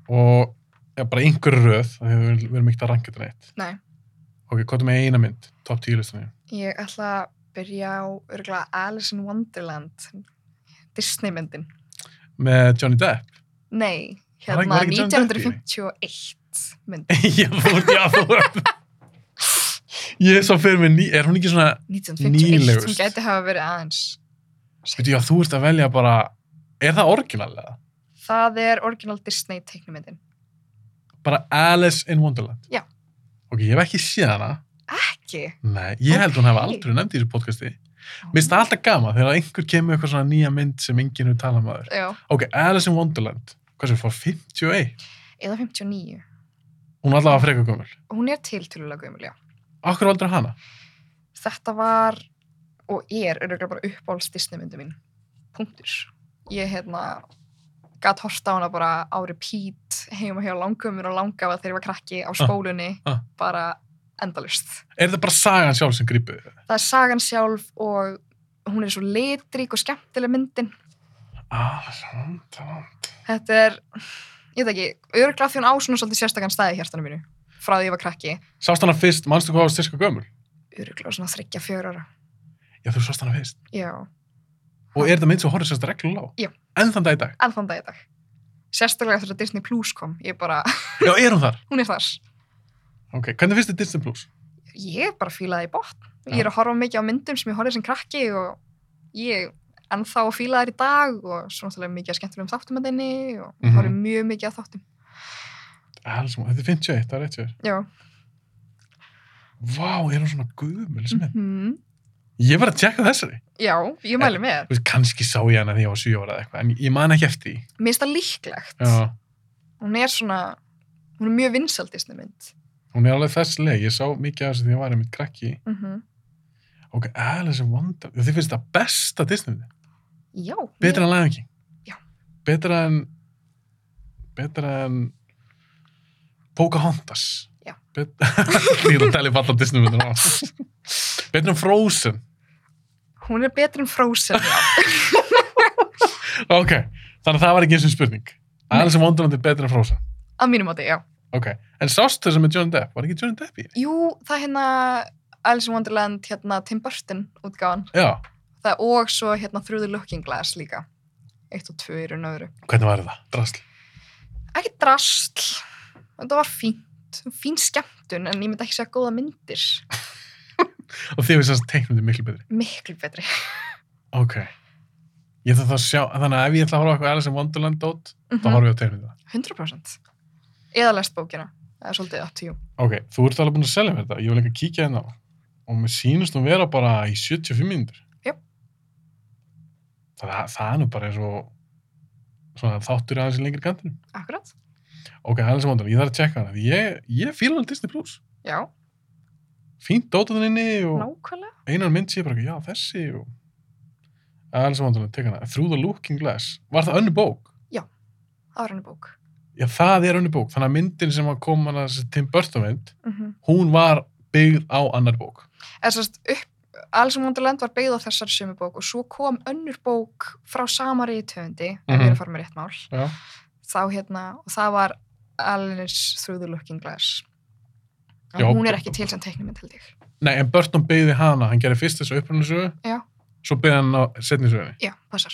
A: og ja, bara einhver röð, af því að við við erum ekkert að ranka þetta neitt.
B: Nei.
A: Ok, hvað er með eina mynd? Top 10 listanum.
B: Ég ætla að byrja á örgulega Alice in Wonderland Disneymyndin.
A: Með Johnny Depp.
B: Nei,
A: Var ekki-
B: hérna
A: var ekki John Dutty í henni?
B: 1951 mynd,
A: já, fór, já, fór. ég er svo fyrir mig, ný, er hún ekki svona,
B: 1951 hún
A: Nýlegust.
B: gæti hafa verið aðeins
A: veitu, já, þú ert að velja bara, er það orginalega?
B: það er original Disney teiknumyndin
A: Bara Alice in Wonderland?
B: Já.
A: Ok, ég hef ekki séð hana.
B: ekki
A: Nei, ég held hún hefði
B: Ok.
A: aldrei nefnd í þessu podcasti. Mér finnst það alltaf gama þegar einhver kemur eitthvað svona nýja mynd sem enginn hefur talað um aður.
B: já,
A: Ok, Alice in Wonderland, hvað sem fór 51?
B: eða 59
A: Hún er allavega frekar gömul.
B: hún er til tölulega gömul, já
A: Akkur aldrei hana?
B: þetta var og er öruglega bara uppáhalds Disneymyndu mín punktur ég hérna gæt horft á hana bara á repeat heima hjá langumur og langafa þegar ég var krakki á spólunni
A: ah.
B: bara endalust
A: Er það bara sagan sjálf sem grípið?
B: það er sagan sjálf og hún er svo litrík og skemmtileg myndin
A: Ah, sant, sant.
B: þetta er, ég veit ekki öruglega því hún á svona svolítið sérstakann staði í hjartanum mínu frá því ég var krakki
A: Sást hana fyrst, manstu hvað var styrka gömul?
B: öruglega svona þryggja fjör ára
A: Já, þú sást hana fyrst.
B: já,
A: Og er þetta mynd sem horfður sérst reglulega á?
B: Já.
A: Enn þann dag í dag?
B: enn þann dag í dag sérstaklega eftir að Disney Plus kom ég bara,
A: Já, er hún þar?
B: hún er þar
A: Ok, hvernig finnst þið Disney Plus?
B: ég bara fílaði í botn.
A: Já.
B: Ég er að horfa mikið á myndum sem ég horfði sem krakki og ég ennþá fíla þær í dag og svo náttúrulega mikið að skemmtilegum þáttum að þinni og mm
A: Mhm.
B: horfði mjög mikið að þáttum.
A: Alls, þetta er 51, það er rétt sér.
B: Já.
A: Vá, er hún svona gömul sem mynd?
B: Mhm.
A: Ég var að tjekka þessari.
B: Já, ég mæli með.
A: Þú veist, kannski sá ég hana því ég var 7 ára eða eitthvað, en ég man ekki eftir því.
B: Mér finnst það líklegt.
A: Já,
B: Hún er svona, hún er mjög vinsaldisni mynd.
A: hún er alveg þess leg. Ég sá mikið af þessu því ég var einmitt krakki.
B: Mm
A: Ok, Alice in Wonderland. Þið finnst það besta Disney mynd?
B: Já.
A: Betra en Lion King?
B: Já.
A: Betra en... Betra en... Pocahontas?
B: Já.
A: Bet... Því að tala upp allar Disney myndir á. Betra en Frozen?
B: Hún er betri en Frozen, já.
A: Ok, þannig að það var ekki eins og spurning. Alice in Wonderland er betra en Frozen.
B: að mínum átti, já.
A: Ok, en sástu þess með Johnny Depp? Var ekki Johnny Depp í? henni?
B: Jú, það er hérna Alice in Wonderland, hérna Tim Burton útgáðan.
A: Já,
B: það og svo hérna Through the Looking Glass líka eitt og tvö eru nöðru
A: hvernig var það? Drasl.
B: ekki drastl, þetta var fínt fín skemmtun en ég myndi ekki segja góða myndir
A: Og þið veist þess að teiknum þetta miklu betri.
B: miklu betri
A: Ok. Ég ætla þá að sjá, þannig að ef ég ætla að horfa á eitthvað Alice in Wonderland dót, þá horfa ég á teiknum þetta.
B: 100% Mhm. eða lest bókina það er svolítið up to you
A: Ok, þú ert alveg búin að selja mér þetta. Ég vil ekki kíkja hérna á. Og mér sýnust hún vera bara í 75 mínútur.
B: Jöp.
A: Það, það er nú bara eins og svona þáttur aðeins í lengri kantinum.
B: akkurat,
A: Ok, Alice in Wonderland, ég þarf að tjekka hana. því Ég, ég fíla hann Disney Plus.
B: já,
A: Fínt dótaðan inni og...
B: nákvæmlega
A: einan mynd sé bara, eitthvað, já, þessi og... Alice in Wonderland, tek hana Through the Looking Glass, var það önnu bók?
B: það var henni bók
A: Já, það er önnu bók, þannig að myndin sem að kom hana þessi Tim Burton mynd,
B: mm -hmm.
A: hún var byggð á annar bók
B: eða sérst upp Alice in Wonderland var beigð á þessari sömu bók og svo kom önnur bók frá sama reytöfundi, mm ef ég er
A: Mhm.
B: að fara með rétt mál
A: Já,
B: þá hérna, og það var Alice Through the Looking Glass en
A: Já,
B: hún er
A: b-
B: ekki til sem teiknumynd held ég
A: nei, en Burton byggði hana hann gerði fyrst þessu upprunnisögu
B: Já.
A: svo byggði hann á setnisögunni
B: já, passar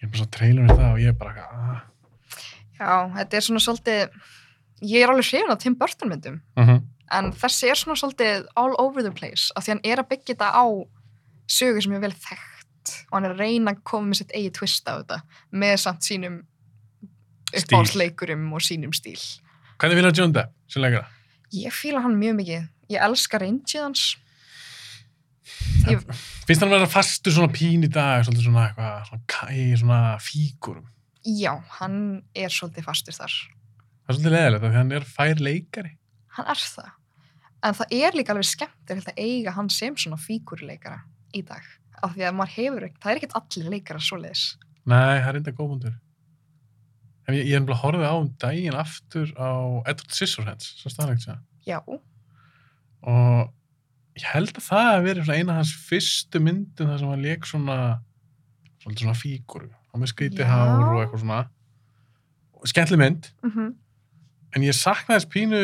A: Ég er bara svo trailer við það og ég er bara ah.
B: já, þetta er svona svolítið ég er alveg hrifin á Tim Burton myndum
A: uh
B: en þessi er svona svolítið all over the place af því hann er að byggja þetta á sögu sem er vel þekkt og hann er að reyna að koma með sitt eigi twist á þetta með samt sínum
A: Stíl.
B: uppáhaldsleikurum og sínum stíl
A: Hvernig vilja John Depp, sem leikara?
B: ég fíla hann mjög mikið ég elska reyndið hans
A: Ég...
B: Ég-
A: Finnst hann að vera fastur svona pín í dag, svolítið svona eitthvað, svona kæ, svona fígurum
B: já, hann er svolítið fastur þar
A: Það er svolítið leðilegt, því hann er fær leikari
B: hann er það en það er líka alveg skemmtilegt að eiga hann sem svona fíkurleikara í dag af því að maður hefur, það er ekkert allir leikara svoleiðis
A: Nei, það er enda góðbundur. Ég, ég er nefnilega horfið á um daginn aftur á Edward Scissorhands, svo staðlegt sér.
B: já,
A: Og ég held að það hef verið svona eina af hans fyrstu myndum þar sem hann leik svona, svona, svona fígur. Hann með
B: Já.
A: skrítið hár og eitthvað svona. Og Skemmtileg mynd,
B: mm
A: en ég saknaði þess pínu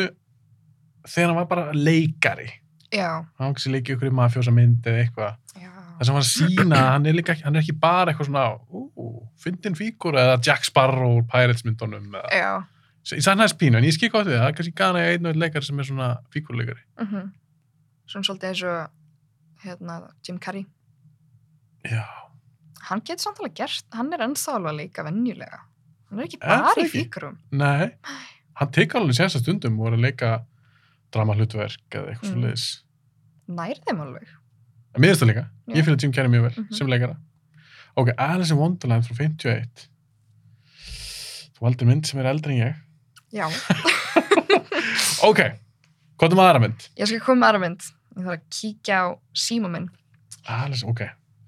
A: þegar hann var bara leikari.
B: já,
A: Hann var ekki sem leikið ykkur í mafjósa mynd eða eitthvað.
B: já
A: Það sem hann sína, hann er, líka, ekki- hann er ekki bara eitthvað svona, ú, fyndin fígur eða Jack Sparrow úr Pirates myndunum eða.
B: já,
A: Ég sann hans pínu, en ég skil gott við það. Það er kannski gana einn og einn leikari sem er svona fígurleikari.
B: mhm svona svolítið eins og hérna, Jim Carrey
A: Já.
B: hann getur samt alveg gert, hann er ennþá alveg að leika venjulega, hann er ekki
A: Er
B: bara
A: það
B: í
A: ekki?
B: fíkurum
A: Nei. Hann tekur alveg sérsta stundum og er að leika dramahlutverk eða eitthvað mm.
B: Mm.
A: svo leiðis.
B: nær þeim alveg
A: En mér finnst það líka.
B: Já.
A: Ég finn að Jim Carrey mjög vel
B: Mhm.
A: sem leikara. Ok, Alice in Wonderland frá 51. Þú valdir mynd sem er eldri en ég.
B: já,
A: Ok, hvað er maður aðra mynd?
B: ég skal koma með aðra mynd ég þarf að kíkja á síma minn
A: Alice, ok.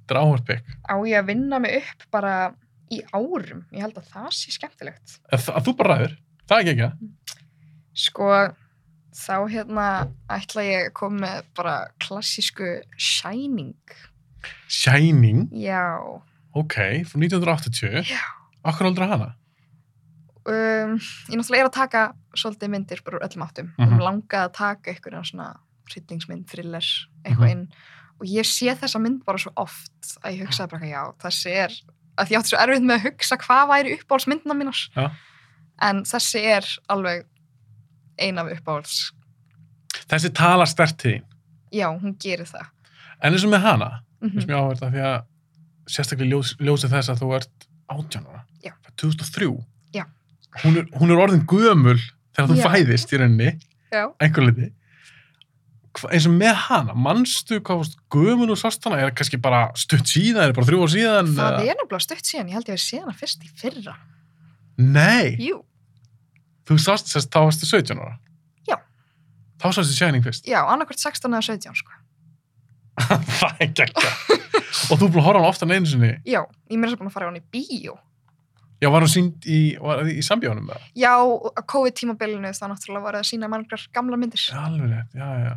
A: Þetta er áhört pikk.
B: á ég að vinna mig upp bara í árum, ég held að það sé skemmtilegt
A: Að, að þú bara ræður. Það er ekki ekki það.
B: Mm. sko, þá hérna ætla ég að koma með bara klassísku Shining
A: Shining,
B: já,
A: ok, frá 1980.
B: já
A: Akkur aldrei hana?
B: um, ég náttúrulega er að taka svolítið myndir bara úr öllum áttum mm
A: Mhm.
B: langaði að taka einhverja svona hryllingsmynd, thriller, eitthvað
A: Mhm.
B: inn og ég sé þessa mynd bara svo oft að ég hugsaði bara eitthvað, já, þessi er að því ég átti svo erfitt með að hugsa hvað væri uppáhaldsmyndina mínars
A: Já.
B: en þessi er alveg ein af uppáhalds
A: Þessi talar stert til þín.
B: já, hún gerir það
A: En eins og með hana,
B: mm
A: finnst mér áhört að því að sérstaklega ljós, ljósið þess að þú ert 18 ára.
B: Já.
A: Frá 2003.
B: Já.
A: Hún er, hún er orðin gömul þegar þú
B: Já.
A: fæðist í rauninni,
B: já,
A: einhver liti. Hva, eins og með hana, manstu hvað varst gömul og sást hana? Er það kannski bara stutt síðan, er bara þrjú ár síðan?
B: það
A: eða-
B: er nefnilega stutt síðan ég held ég að sé hana fyrst í fyrra
A: Nei.
B: jú,
A: Þú sást þess að þá varstu 17 ára?
B: Já.
A: Þá sástu Shining fyrst?
B: já, annarkvært 16 eða 17 sko
A: það er geggja. og þú er búin að horfa á hann ofta en einu sinni.
B: já, ég mér er svo búin að fara á hann í bíó
A: Já, var hann sínd í, var í sambjónum með það?
B: Já, á COVID-tímabilinu þá náttúrulega voru að sína margar gamla myndir.
A: Já, alveg rétt, já, já.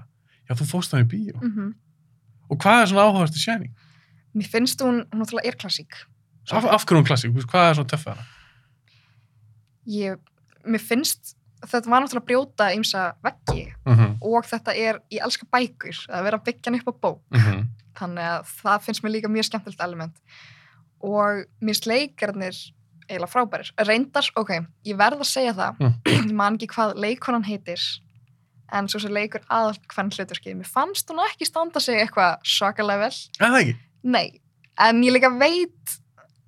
A: Já, þú fórst hann í bíó.
B: Mm
A: Og hvað er svona áhugast í Shining?
B: Mér finnst hún, hún náttúrulega er klassík.
A: Af, af hverju hún klassík? Þú veist, Hvað er svona töffið hana?
B: Ég, mér finnst, þetta var náttúrulega að brjóta ymsa veggi
A: Mm -hmm.
B: og þetta er, ég elska bækur, að vera að byggja hann upp á bók. Þannig að það finnst mér líka mjög skemmtilegt element. Og mér sleikarnir eiginlega frábærir. Reyndar, ok, ég verð að segja það,
A: Mm.
B: ég man ekki hvað leikonan heitir, en svo sem leikur aðall hvern hluturskið. Mér fannst hún ekki standa sig eitthvað svakalega vel.
A: En það ekki?
B: Nei, en ég líka veit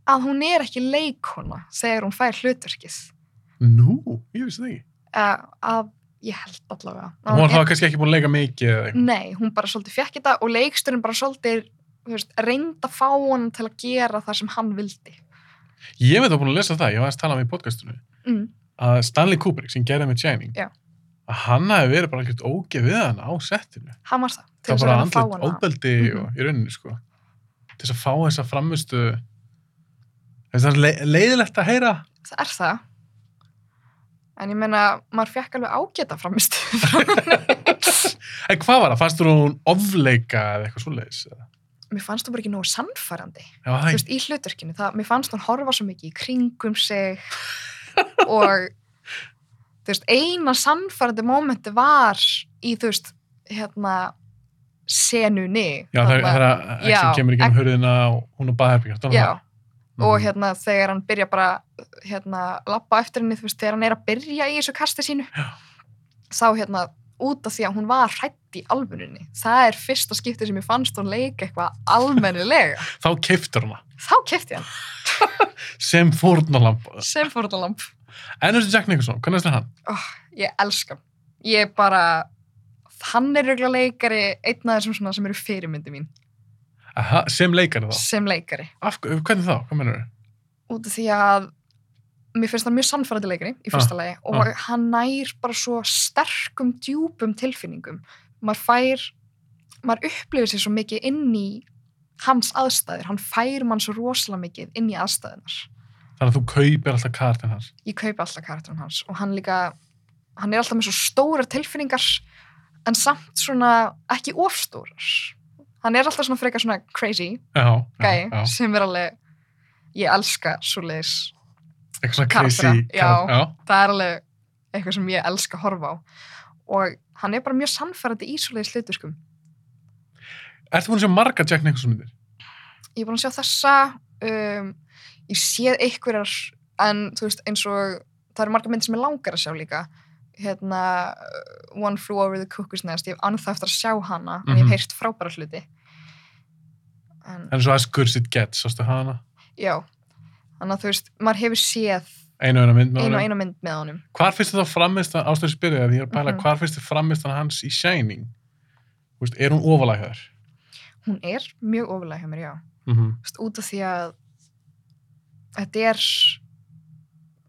B: að hún er ekki leikona þegar hún fær hlutverkið.
A: Nú, ég vissi það ekki.
B: Uh, að ég Mm. held allavega. Að
A: Hún var
B: er-
A: þá kannski ekki búin að leika mikið eða eitthvað.
B: Nei, hún bara svolítið fekk þetta og leiksturinn bara svolítið þú veist, reynd að fá hann til að gera það sem hann vildi.
A: Ég veit að búin að lesa það, ég var aðeins að tala um í podcastunni.
B: Mm.
A: Að Stanley Kubrick sem gerði með Shining,
B: Já.
A: að hann hafi verið bara ekkert ógefið hana á settinu.
B: Hann var það. til
A: það
B: þess
A: var bara
B: reyna fá
A: andlut
B: hana.
A: óbeldi
B: Mhm.
A: og, í rauninni sko til þess að fá þessa framistu það er le leiðilegt að heyra
B: Það er það. En ég meina, maður fekk alveg ágæta framist.
A: en hvað var það, fannst þú hún ofleika eða eitthvað svoleiðis eða?
B: mér fannst þú bara ekki nógu sannfærandi.
A: Já, það
B: þú
A: ekki.
B: veist, í hluturkinu, það, mér fannst hún horfa svo mikið í kringum sig og þú veist, eina sannfærandi mómenti var í, þú veist, hérna senunni
A: já það, er- það er að
B: Já,
A: Exxon kemur í
B: Ex-
A: gegnum hurðina og hún og baðherbyggja
B: já,
A: Mhm.
B: og hérna þegar hann byrja bara hérna, lappa eftir henni, þú veist, þegar hann er að byrja í þessu kasti sínu
A: Já.
B: þá hérna, út af því að hún var hrætt í alvörinni, það er fyrsta skipti sem ég fannst hún leika eitthvað almennilega
A: þá keiftur hana
B: þá kefti hann,
A: sem fórnalamb
B: sem fórnalamb
A: Ennurstu Jack Nicholson, hvernig er hann?
B: ég elska hann. ég bara hann er regla leikari einn af þessum svona sem eru fyrirmyndi mín
A: Aha, sem leikari þá,
B: sem leikari
A: Af, hver- hvernig þá, hvað mennur þau?
B: út af því að mér finnst það mjög sannfærandi leikari
A: Ah,
B: í fyrsta lagi og hann nær bara svo sterkum djúpum tilfinningum maður fær maður upplifir sér svo mikið inn í hans aðstæður, hann fær mann svo rosalega mikið inn í aðstæðunar
A: þannig að þú kaupir alltaf kartin hans
B: ég kaupa alltaf karakterin hans og hann líka, hann er alltaf með svo stórar tilfinningar en samt svona ekki ofstórar hann er alltaf svona frekar svona crazy
A: já,
B: gæi
A: já, já.
B: sem er alveg ég elska svo leiðis
A: eitthvað svona
B: Karaktera,
A: crazy
B: já.
A: karakter- já.
B: það er alveg eitthvað sem ég elska að horfa á og hann er bara mjög sannfærandi í svo leiðis hluturkum
A: Ertu búin að sjá marga Jack Nicholson myndir?
B: ég er búin að sjá þessa um, ég séð einhverjar en þú veist eins og það eru margar myndir sem ég langar að sjá líka hérna uh, One Flew Over the Cuckoo's Nest ég hef annað eftir að sjá hana en ég
A: Mhm.
B: hef heyrt frábæra hluti en
A: En svo as good as it gets, sástu hana?
B: já þannig að þú veist, maður hefur séð
A: Einu og eina mynd með
B: einu og
A: honum.
B: eina mynd með honum
A: Hvar finnst þetta framist að, ástöðu spyrja því ég er að pæla,
B: Mhm.
A: hvar finnst þetta framist hans í Shining? Þú veist, er hún ofalega þar?
B: hún er mjög ofalega hjá mér, já
A: Mm
B: Þú veist, út af því að þetta er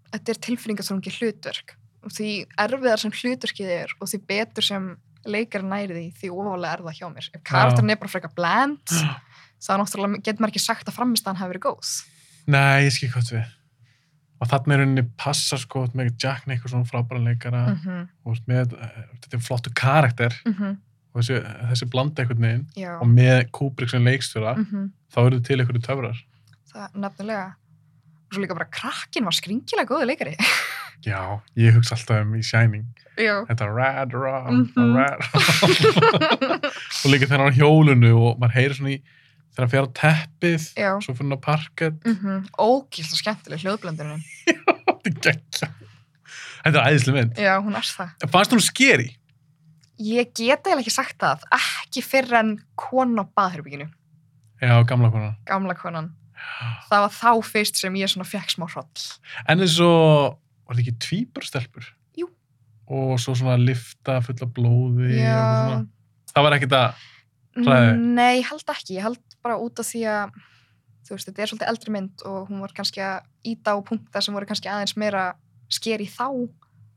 B: þetta er tilfinningatónungi hlutverk og því erfiðar sem hlutverkið er og því betur sem leikar næri því því ofalega er það hjá mér ef karakterin er bara frekar bland þá náttúrulega getur maður ekki sagt að framistæðan hafi verið góð
A: Nei, ég skil hvað við. Og þarna er henni passa sko með Jack Nicholson frábæra leikara
B: mm -hmm,
A: og þú veist, með, eh, þetta er flottu karakter og þessi, þessi blanda einhvern veginn
B: mhm, já
A: og með Kubrick sem leikstjóra
B: mm
A: þá eru til einhverju töfrar.
B: það er nefnilega og svo líka bara krakkin var skringilega góði leikari
A: Já, ég hugsa alltaf um í Shining.
B: já
A: Þetta rad rom,
B: Mhm.
A: rad rom. og líka þegar hann er á hjólunu og maður heyrir svona í, þegar hann fer á teppið,
B: já
A: svo fyrir hann á parkett,
B: mm ógilt og skemmtileg hljóðblöndurinn
A: þetta er geggja. Þetta er æðislega mynd.
B: já, hún er það
A: Fannst hún skeri?
B: Ég get eiginlega ekki sagt það, ekki fyrr en kona á baðherbygginu,
A: Já, gamla konan.
B: gamla konan. Það var þá fyrst sem ég svona fekk smá hroll.
A: En eins og, var þetta ekki tvíburstelpur?
B: Jú.
A: Og svo svona lifta fulla blóði. og eitthvað
B: Já.
A: Svona. Það var ekkert að, hræði.
B: Mm, Nei, ég held ekki. Ég held bara út af því að, þú veist, þetta er svolítið eldri mynd og hún var kannski að íta á punkta sem voru kannski aðeins meira sker í þá.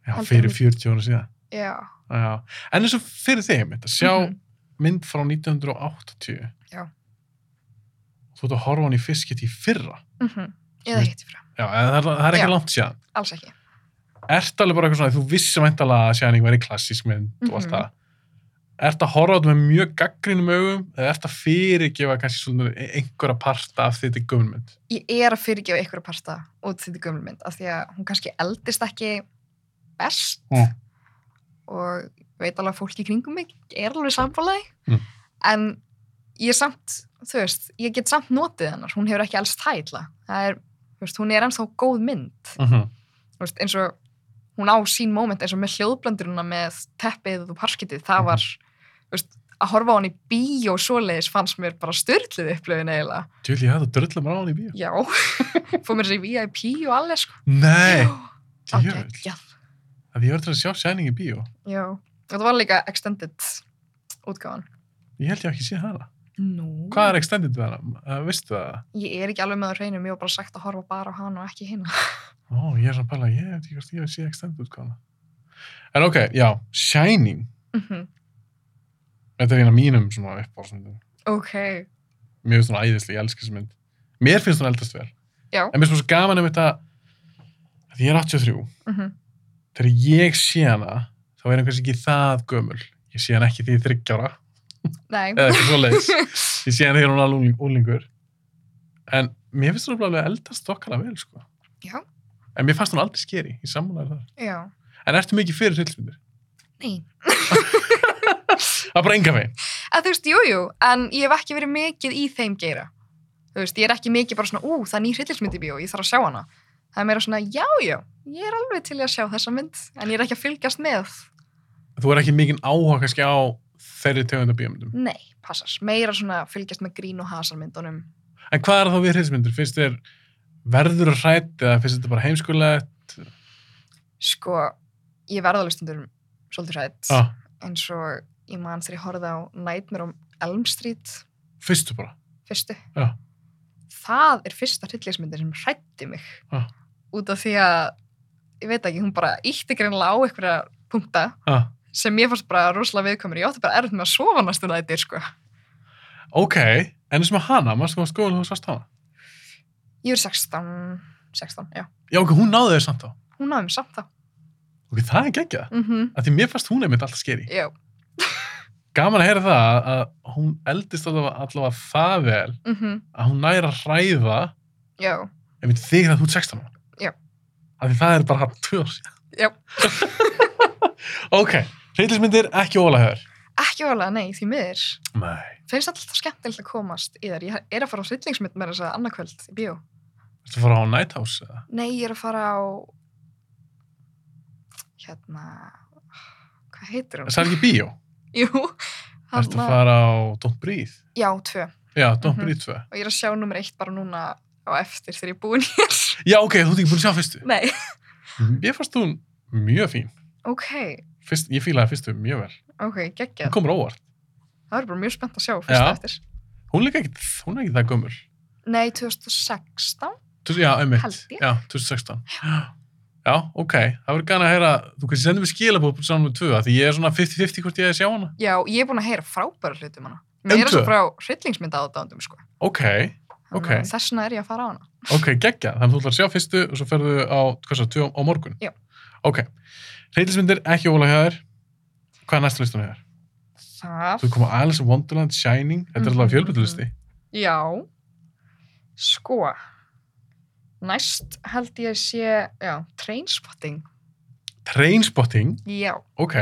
A: já,
B: Heldur
A: fyrir
B: hún.
A: 40 ára síðan.
B: Já.
A: Já. En eins og fyrir þig, mynd, að sjá
B: Mhm.
A: mynd frá 1980.
B: Já.
A: Þú ert að horfa á hann í fiskit í fyrra.
B: Mhm. Eða hitt í frá.
A: Já, en það, er- það er ekki
B: Já.
A: langt síðan.
B: Alls ekki.
A: Ertu alveg bara eitthvað svona, þú vissi væntalega að Shining væri klassísk mynd og allt
B: Mhm.
A: það. Ertu að horfa á þetta með mjög gaggrinum augum eða ertu að fyrirgefa kannski svona einhverja parta af þetta gömulmynd?
B: Ég er að fyrirgefa ykkur parta út því þetta gömlu mynd af því að hún kannski eldist ekki best
A: Mm.
B: og ég veit alveg að fólki í kringum mig er alveg samfélagi
A: Mm.
B: en ég samt, þú veist ég get samt notið hennar, hún hefur ekki alls það illa, það er, þú veist, hún er ennþá góð mynd,
A: Uh -huh.
B: þú veist, eins og hún á sín moment eins og með hljóðblönduruna með teppið og parskitið,
A: Mm.
B: það var þú veist, að horfa á hann í bíó svoleiðis fannst mér bara störluð upplöfin eiginlega,
A: Tjúli, ég hefði að drölla mér á hann í bíó.
B: já fór mér þessi VIP og allir sko
A: Nei,
B: okay,
A: djöfull.
B: já,
A: Að ég var til að sjá Shining í bíó.
B: já, þetta var líka extended útgáfan
A: Ég held ég hafi ekki séð hana.
B: Nú.
A: Hvað er extended við hana? Uh, Vistu það?
B: Ég er ekki alveg með á hreinu, mér var bara sagt að horfa bara á hana og ekki hina.
A: Ó, ég er svona bara, ég veit ekki hvort ég hef séð extended hvað hana. En ok, já, Shining.
B: Mhm.
A: Þetta er eina mínum svona uppbálsmyndum.
B: ok,
A: Mér finnst hún æðislega, ég elska þessi mynd. Mér finnst hún eldast vel.
B: Já.
A: En mér finnst hún svo gaman um þetta, því ég er 83.
B: mm
A: Þegar ég sé hana, þá er hann kannski ekki það gömul. Ég sé hann ekki því þryggjára,
B: nei.
A: eða eitthvað svo ég sé hann þegar hún er alveg úlingur en mér finnst hún alveg eldast okkar vel sko.
B: Já.
A: en mér fannst hún aldrei skeri í sammálaður þar
B: Já,
A: en ertu mikið fyrir hryllmyndir?
B: nei.
A: það er bara enga veginn
B: Að þú veist, jújú, jú, en ég hef ekki verið mikið í þeim geira. Þú veist, ég er ekki mikið bara svona, ú, það er ný hryllingsmynd í bíó, ég þarf að sjá hana. Það er meira svona, já, já, ég er alveg til í að sjá þessa mynd, en ég er ekki að fylgjast með.
A: þú er ekki mikið áhuga kannski á þeirri tegunda bíómyndum
B: Nei, passas, meira svona fylgjast með grín og hasarmyndunum.
A: en hvað er þá við hryllmyndir? finnst þér verður að hrætt eða finnst þetta bara heimskulegt?
B: Sko, ég verða alveg stundum svolítið hrætt.
A: Ah,
B: eins og ég man þegar ég horfði á Nightmare on Elm Street
A: fyrstu bara
B: fyrstu.
A: Já.
B: Það er fyrsta hryllingsmyndin sem hrætti mig.
A: Já.
B: Út af því að, ég veit ekki, hún bara ítti greinlega á einhverja punkta
A: ah,
B: sem ég fannst bara rosalega viðkomur. Ég átti bara erfitt með að sofa næstu nættir, sko.
A: ok, en eins og með hana maður sko að skoða þú sást hana
B: Ég er 16, 16, já.
A: já ok, hún náði þér samt þá
B: Hún náði mér samt þá.
A: ok, það er geggja
B: Mm
A: að því mér fannst hún einmitt alltaf skeri
B: Já.
A: gaman að heyra það að hún eldist allavega, allavega það vel
B: Mm
A: að hún næra að hræða
B: Já.
A: ef við þig að þú ert 16 ára.
B: Já.
A: Af því það er bara hann tvö ár síðan.
B: Já.
A: ok, hryllismyndir ekki ólega höfur.
B: Ekki ofalega, nei, því miður.
A: Nei.
B: Finnst alltaf skemmtilegt að komast í þær. Ég er að fara á hryllingsmynd með þess að annarkvöld í bíó.
A: Ertu að fara á Nighthouse eða?
B: Nei, ég er að fara á hérna hvað heitir hún?
A: Það er ekki bíó.
B: Jú,
A: Ertu
B: hana-
A: að fara á Don't Breathe?
B: já, tvö.
A: Já, Don't
B: Mhm.
A: Breathe 2.
B: Og ég er að sjá nummer eitt bara núna á eftir þegar ég er búin hér.
A: Já, ok, þú ert ekki búin að sjá fyrstu.
B: Nei. Mhm.
A: Ég fannst hún mjög fín.
B: Ok,
A: Fyrst, ég fílaði fyrstu mjög vel.
B: ok, geggjað.
A: Hún komur óvart.
B: Það verður bara mjög spennt að sjá fyrst
A: Já.
B: eftir.
A: Hún, er líka ekkit, hún er ekki það gömul.
B: Nei, 2016?
A: Þú- Já, einmitt.
B: Held ég.
A: Já, 2016. Já, ok. Það verður gana að heyra, þú kannski sendir mér skilabóð saman með tvö, af því ég er svona 50-50 hvort ég eigi að sjá hana.
B: Já, ég er búin að heyra frábæra hlutum hana.
A: Um
B: Mér er að
A: tvö?
B: svo frá hryllingsmynda aðdándum, sko.
A: Ok,
B: Þannig
A: Ok.
B: að Þess vegna er ég að fara á hana.
A: ok, geggja. Þannig að þú ætlar að sjá fyrstu og svo ferðu á, hvað svo, tvö á morgun?
B: Já.
A: Ok. Reytilsmyndir, ekki ólega hjá þér. Hvað er næsta listan hjá þér?
B: Það,
A: Þú kom á Alice in Wonderland, Shining, þetta er
B: Mhm,
A: alveg fjölbyrðlisti.
B: já, sko, næst held ég að sé, já, trainspotting,
A: Trainspotting,
B: já.
A: ok.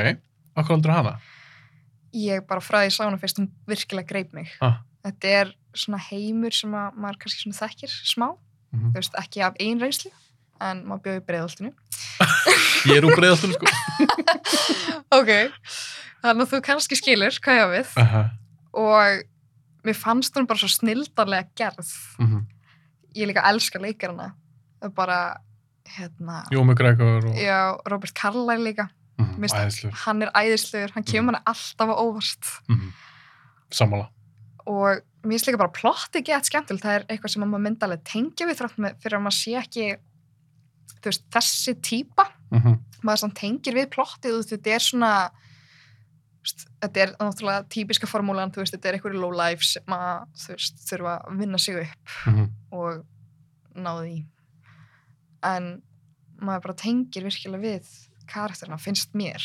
A: Akkur aldrei hana?
B: Ég bara frá því ég sá hana fyrst, hún virkilega greip mig.
A: Ah.
B: Þetta er svona heimur sem að maður kannski svona þekkir smá,
A: Mhm.
B: þú veist, ekki af einn reynslu, en maður bjóði breiðoltinu.
A: Ég er úr breiðastunum sko.
B: Ok, þannig að þú kannski skilur hvað ég á við.
A: Aha,
B: og mér fannst hún bara svo snildarlega gerð
A: mhm.
B: ég líka elska leikarana það er bara hérna
A: Jó, mjög greikur og...
B: já, Robert Carlyle líka
A: Mhm,
B: Mist-
A: Æðislegur.
B: hann er æðislegur, hann kemur hann alltaf á óvart
A: Mhm. Sammála.
B: og mér finnst líka bara plotti gett skemmtilegt, það er eitthvað sem maður myndi alveg tengja við þrátt með fyrir að maður sé ekki þú veist, þessi típa
A: Mhm.
B: maður samt tengir við plottið þú veist, þetta er svona þú veist, þetta er náttúrulega típiska formúlan þú veist, þetta er einhverju low life sem að þú veist, þurfa að vinna sig upp
A: mhm.
B: og náði í en maður bara tengir virkilega við karakterina, finnst mér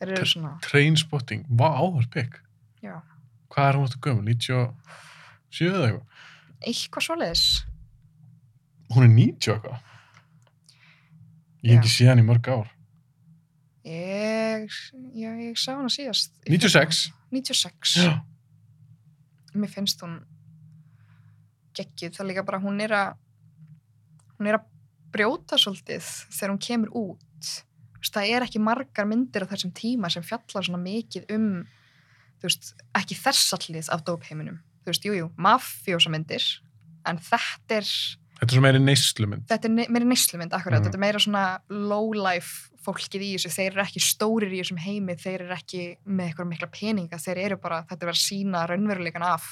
B: þeir eru svona
A: Trainspotting, vá áhverð pikk
B: Já.
A: Hvað er hún aftur gömul? 97 eða eitthvað?
B: eitthvað svoleiðis
A: Hún er 90 eitthvað Ég hef
B: Já.
A: ekki séð hann í mörg ár
B: ég, já, ég sá hana síðast í
A: 96
B: fyrra. 96,
A: Já,
B: mér finnst hún geggjuð, það er líka bara hún er að hún er að brjóta svolítið þegar hún kemur út Þú veist, það er ekki margar myndir á þessum tíma sem fjallar svona mikið um þú veist, ekki þessallið af dópheiminum, þú veist, jújú, mafjósa myndir en þetta er
A: Þetta er svo meiri neyslumynd
B: þetta er ne meira neyslumynd akkurat,
A: Mhm.
B: þetta er meira svona lowlife fólkið í þessu, þeir eru ekki stórir í þessum heimi, þeir eru ekki með eitthvað mikla peninga, þeir eru bara, þetta er verið að sína raunveruleikan af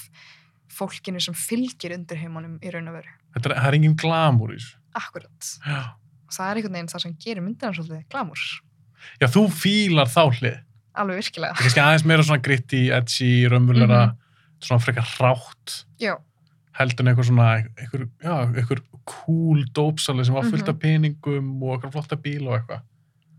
B: fólkinu sem fylgir undir heimunum í raun og veru,
A: Þetta er, það er engin glamour í þessu
B: akkurat
A: Já,
B: og það er einhvern veginn það sem gerir myndina svolítið glamur,
A: Já þú fílar þá hlið Þetta
B: alveg virkilega
A: er kannski aðeins meira svona gritty, edgy, raunvöldara Svona frekar hrátt
B: já,
A: heldur en eitthvað svona eitthvað, já, eitthvað cool dópsali sem var fullt af peningum og eitthvað flotta bíl og eitthvað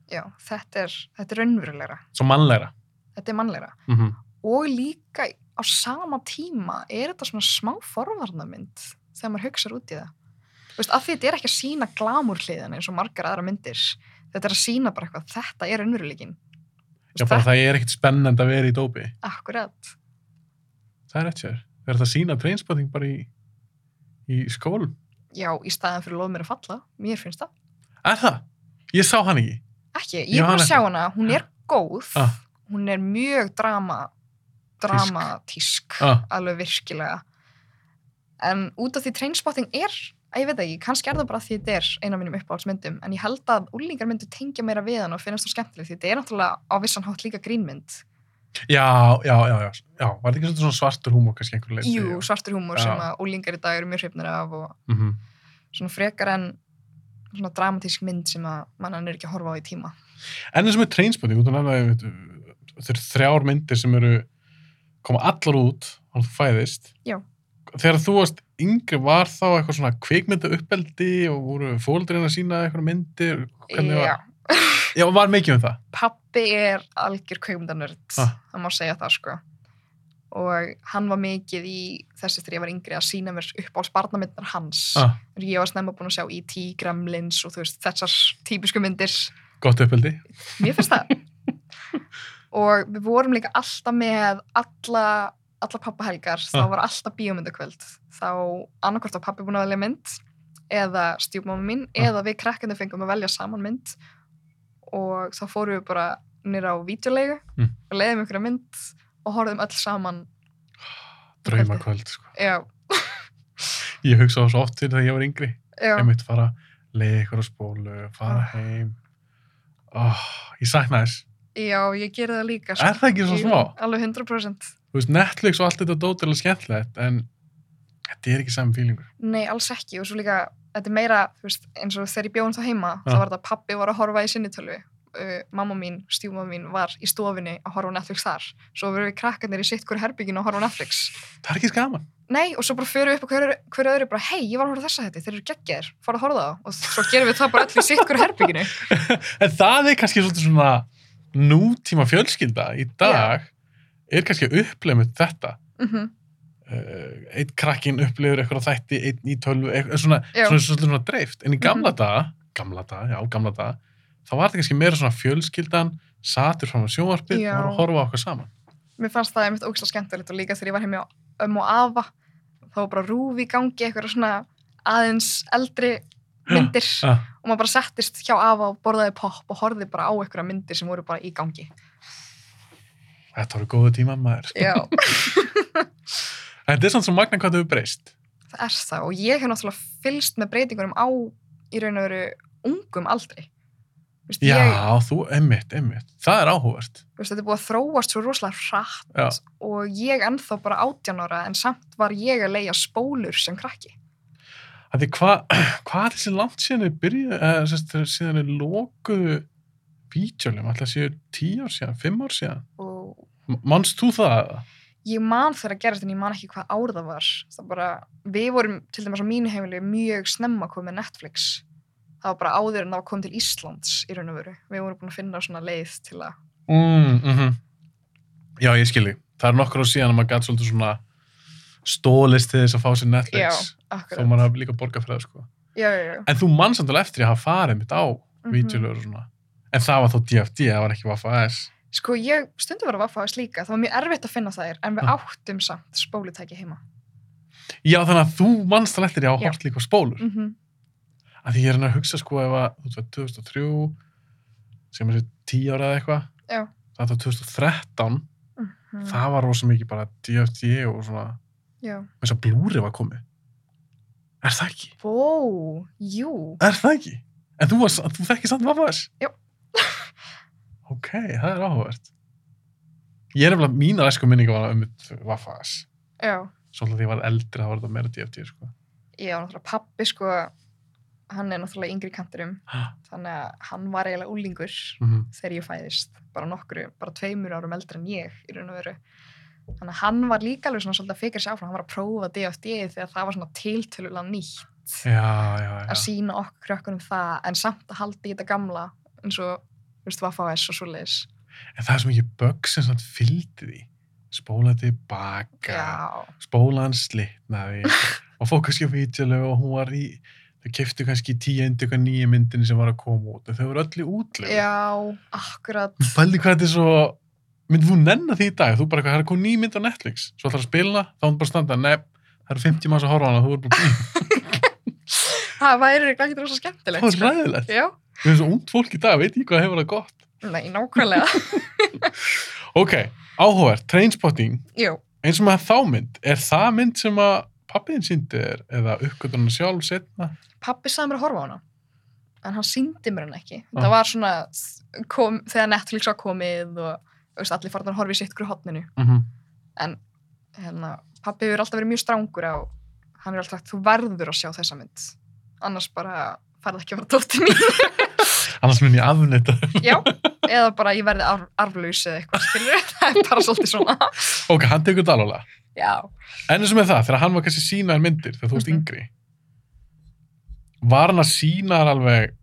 B: já, þetta er þetta er raunverulegra,
A: Svo mannlegra
B: þetta er mannlegra
A: mm
B: og líka á sama tíma er þetta svona smá forvarnamynd þegar maður hugsar út í það Þú veist, af því þetta er ekki að sína glamur hliðan eins og margar aðra myndir þetta er að sína bara eitthvað, þetta er unnurleikin
A: Já, bara það er ekkit spennend að vera í dópi.
B: akkurat,
A: Það er rétt sér. Það er þetta að sína trainspotting bara í, í skólum.
B: já, í staðan fyrir lof mér að falla mér finnst það,
A: Er það? Ég sá hann ekki.
B: ekki,
A: Já,
B: ég er búin
A: hana
B: að sjá
A: ekki.
B: hana hún er góð,
A: Ah.
B: hún er mjög drama dramatísk
A: Ah,
B: alveg virkilega en út af því trainspotting er að ég veit það ekki, kannski er það bara því þetta er eina af mínum uppáhaldsmyndum, en ég held að úlingar myndu tengja meira við hann og finnast það skemmtileg því þetta er náttúrulega á vissan hátt líka grínmynd
A: já, já, já, já. Já, var þetta ekki svolítið svona svartur húmor kannski einhver leiti?
B: jú, svartur húmor sem
A: Já.
B: að úlingar í dag eru mjög hrifnir af og
A: Mm
B: svona frekar en svona dramatísk mynd sem að mannan er ekki að horfa á í tíma
A: En eins og með trainspotting, út af nefnaði, þetta eru þrjár myndir sem eru, koma allar út, hann þú fæðist.
B: Já.
A: Þegar þú varst yngri, var þá eitthvað svona kvikmynda uppeldi og voru fóldurinn að sína eitthvað myndir? Hvernig
B: já,
A: Var? Já, var mikið um það?
B: pappi er algjör kveimdanörd,
A: Ah.
B: það má segja það sko og hann var mikið í þessi þegar ég var yngri að sína mér upp á sparnamyndar hans
A: Ah,
B: ég var snemma búin að sjá E E.T. Gremlins og þú veist, þessar típisku myndir
A: gott uppeldi.
B: mér finnst það og við vorum líka alltaf með alla, alla pappahelgar þá
A: Ah.
B: var alltaf bíómyndakvöld þá annarkvort var pappi búin að velja mynd eða stjúpmáma mín
A: Ah.
B: eða við krakkandi fengum að velja saman mynd og þá fórum við bara nýra á vídeolegu
A: Mm.
B: og leiðum ykkur mynd og horfðum öll saman
A: draumakvöld, sko.
B: já,
A: Ég hugsa á svo oft til þegar ég var yngri.
B: já,
A: Einmitt fara, leiði ykkur á spólu, fara
B: Ah.
A: heim. Oh, ég sakna þess.
B: já, ég gerði það líka
A: Er það ekki svo
B: Jú,
A: smá?
B: alveg 100%
A: Þú veist, Netflix og allt þetta dót er alveg skemmtilegt, en þetta er ekki saman fílingur.
B: Nei, alls ekki og svo líka, þetta er meira þú veist, eins og þegar ég bjóðum þá heima þá
A: Já.
B: var þetta pappi var að horfa í sinni tölvi uh, mamma mín, stjúma mín var í stofinni að horfa á Netflix þar svo verðum við krakkarnir í sitt hverju herbygginu að horfa á Netflix
A: Það er ekki skaman.
B: Nei, og svo bara förum við upp á hverju, hverju öðru bara, hei, ég var að horfa á þessa þetta, þeir eru geggjaðir, fara að horfa á það og svo gerum við það bara öll í sitt hverju herbygginu
A: En það er kannski svolítið svona nútíma fjölskylda í dag er kannski að upplifa með þetta.
B: mm
A: Uh, einn krakkin upplifur eitthvað á þætti, einn í tölvu, eitthvað eh, svona,
B: Já. Mhm.
A: svona, svona, svona dreift. En í gamla daga, gamla daga, já, gamla daga, þá var þetta kannski meira svona fjölskyldan, satur fram á sjónvarpið
B: Já.
A: og voru að horfa á okkur saman.
B: Mér fannst það einmitt ógst að skemmtilegt og líka þegar ég var heimi á ömmu og afa þá var bara rúfi í gangi, eitthvað svona aðeins eldri myndir
A: Ah,
B: og maður bara settist hjá afa og borðaði popp og horfði bara á einhverja myndir sem voru bara í gangi.
A: þetta voru góðu tíma maður.
B: Já.
A: En þetta er svona svo magna hvað þau breyst.
B: það er það og ég hef náttúrulega fylst með breytingunum á í raun og veru ungum aldrei. Vist,
A: Já,
B: Ég,
A: þú, emmitt, emmitt. Það er áhugavert.
B: vist, þetta er búið að þróast svo rosalega hratt
A: Já.
B: og ég ennþá bara 18 ára en samt var ég að leia spólur sem krakki.
A: Af Því hvað hva er þessi langt síðan þið byrjuðu, eh, eða sérst, síðan þið lokuðu bíjölum, alltaf séu tíu ár síðan, fimm ár síðan.
B: Og
A: M- Manst þú það?
B: ég man þegar að gera þetta en ég man ekki hvað ár það var það bara, við vorum til dæmis á mínu heimili mjög snemma komið með Netflix það var bara áður en það var komið til Íslands í raun og veru, við vorum búin að finna svona leið til að,
A: Mm, mm Já, ég skilji. Það er nokkur á síðan að maður gæti svolítið svona stólist til þess að fá sér Netflix.
B: já,
A: Þó
B: akkurat
A: maður hafa líka borgað fyrir það, sko.
B: já, já, já,
A: En þú mann samt alveg eftir ég hafa farið mitt á mm
B: Mhm.
A: og svona. En það var þá DFD, það var ekki Vafa.s.
B: sko ég stundum var að vaffa þess líka, það var mjög erfitt að finna þær en við
A: Ah.
B: áttum samt spólutæki heima
A: Já, þannig að þú mannst alveg eftir ég hafa
B: Já.
A: hort líka á spólur.
B: mm -hmm.
A: að því ég er hann að hugsa sko ef að þú veist, 2003 sem er 10 ára eða eitthvað
B: Já. Mm.
A: það var 2013
B: mhm.
A: það var rosa mikið bara DFD og svona
B: já,
A: eins og blúri var komið er það ekki?
B: vó, jú
A: er það ekki? en þú, var, þú þekkir samt Vafas?
B: Jú.
A: ok, það er áhugavert ég er nefnilega mínar æsku minninga var um Vafas
B: já,
A: svolítið að því ég var eldri þá var þetta meira DFD sko.
B: já, náttúrulega pappi sko hann er náttúrulega yngri í kantinum
A: Ha.
B: þannig að hann var eiginlega úlingur
A: mm
B: þegar ég fæðist, bara nokkru, bara tveimur árum eldri en ég í raun og veru. Þannig að hann var líka alveg svona svolítið að fikra sér áfram, hann var að prófa DFD þegar það var svona tiltölulega nýtt
A: já, já, já
B: að sína okkur krökkunum það, en samt að halda í þetta gamla eins og, þú veist, Vaffa-S og svoleiðis.
A: en það er svo mikið bögg sem svona fylgdi því spólaði tilbaka
B: Já,
A: spólan slitnaði og fór kannski á vítjuleg og hún var í þau keftu kannski tíundu eitthvað nýja myndin sem var að koma út en þau voru öll í útlegu
B: já, akkurat,
A: Fældi hvað þetta er svo myndir þú nenna því í dag, þú bara eitthvað, það er komið ný mynd á Netflix svo ætlar að spila, þá hún bara að standa nefn, það eru 50 manns að horfa á hana, þú voru bara bíð
B: það væri ekki rosa skemmtilegt.
A: það var
B: sko.
A: ræðilegt,
B: Já,
A: við erum svo ungt fólk í dag veit ég hvað hefur það gott
B: nei, nákvæmlega,
A: ok, áhugavert, trainspotting,
B: jú.
A: eins og með þá mynd er það mynd sem að pappiðin síndi þér eða uppgötunum sjálf setna
B: pappi sagði mér að horfa á hana en hann síndi mér hann ekki
A: Ah.
B: það var svona kom, þegar Netflix var komið og þú veist, allir farnar horfið sitt hverju hotninu en hérna, pappi hefur alltaf verið mjög strángur á hann er alltaf sagt, þú verður að sjá þessa mynd annars bara farð ekki að vera dóttir mín
A: annars mun ég afnita
B: já, eða bara ég verði arf, arflaus eða eitthvað skilur það er bara svolítið svona
A: Ok, hann tekur þetta alveg.
B: já,
A: En eins og með það, þegar hann var kannski sínaðar myndir, þegar þú varst
B: Mhm.
A: yngri, var hann að sínaðar alveg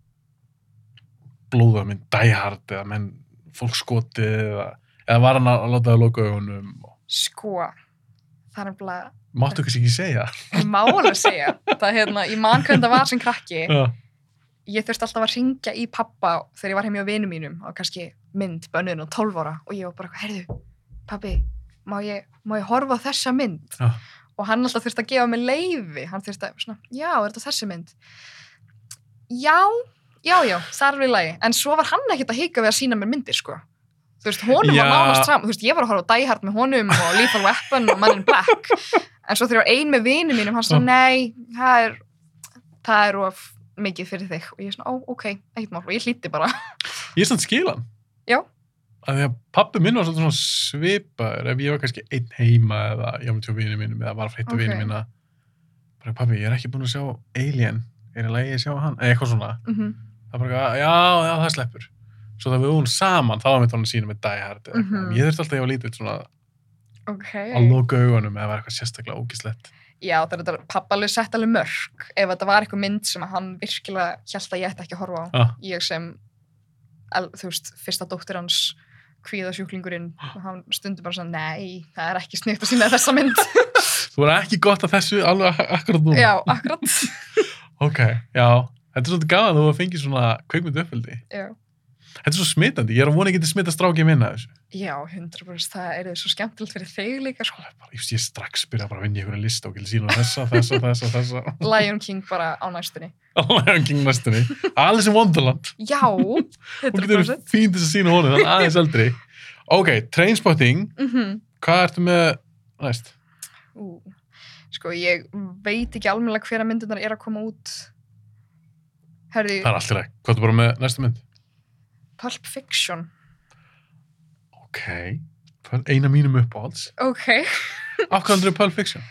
A: blóðarmynd, Die Hard eða menn fólkskotið eða, eða var hann að láta það loka augunum? og-
B: sko það er nefnilega,
A: Máttu kannski ekki segja?
B: ég má alveg segja það er hérna, ég man hvernig það var sem krakki
A: Já.
B: ég þurfti alltaf að ringja í pappa þegar ég var heim hjá vinum mínum og kannski mynd bönnuðin á 12 ára og ég var bara, heyrðu, pabbi, má ég, má ég horfa á þessa mynd?
A: Já.
B: Og hann alltaf þurfti að gefa mig leiði, hann þurfti að, svona, já, er þetta þessi mynd? Já, já, já, það er við lagi. En svo var hann ekkert að hika við að sína mér myndir, sko. Þú veist, honum
A: Já.
B: var nánast saman, þú veist, ég var að horfa á Die Hard með honum og Lethal Weapon og Man in Black. En svo þegar ég var ein með vinum mínum, hann svona, nei, það er, það er of mikið fyrir þig. Og ég svona, ó, ok, ekkert mál, og ég hlýtti bara.
A: Ég er samt skila.
B: Já.
A: Að því að pappi minn var svolítið svona svipaður ef ég var kannski einn heima eða ég var tjó vinið mínum eða var að flytta
B: Ok.
A: okay. vinið mína. Bara pappi, ég er ekki búin að sjá Alien. Er í lagi að sjá hann? Eða eitthvað svona.
B: Mm
A: Það er bara, eitthvað, já, já, það sleppur. Svo það við vorum saman, þá var mitt honum sínum með Die Hard. eða eitthvað.
B: Mhm.
A: En Ég þurfti alltaf að ég var lítill svona
B: Ok.
A: að loka augunum eða var eitthvað sérstaklega ógislegt.
B: Já, það er þetta pappalið sett alveg mörg ef þetta var eitthvað mynd sem að hann virkilega held að ég ætti ekki að horfa á.
A: Ah,
B: Ég sem, el, þú veist, fyrsta dóttir hans kvíðasjúklingurinn og hann stundi bara svona, nei, það er ekki sniðt að sína þessa mynd.
A: þú er ekki gott að þessu alveg ak- akkurat nú.
B: Já, akkurat.
A: Ok, já. Þetta er svolítið gaman að þú að fengi svona kveikmynd uppfyldi.
B: Já.
A: Þetta er svo smitandi. Ég er að vona ekki að smita strákið minna þessu.
B: Já, 100% það er svo skemmtilegt fyrir þig líka sko.
A: Bara, Ég, veist, ég strax byrja bara að vinja einhverja list og gildi sína þessa, þessa, þessa, þessa.
B: Lion King bara á næstunni.
A: Lion King næstunni. Alice in Wonderland.
B: Já,
A: Hún getur
B: 100%.
A: fínt þess að sína honum, þannig aðeins eldri. Ok, Trainspotting.
B: Mm
A: Hvað ertu með næst?
B: Ú, sko ég veit ekki alveg hverja myndunar er að koma út Herði,
A: Það er allt í ræk. Hvað ertu bara með næsta mynd?
B: Pulp Fiction
A: Ok. Pul- Eina mínum uppáhalds.
B: ok,
A: Af hvað heldur Pulp Fiction?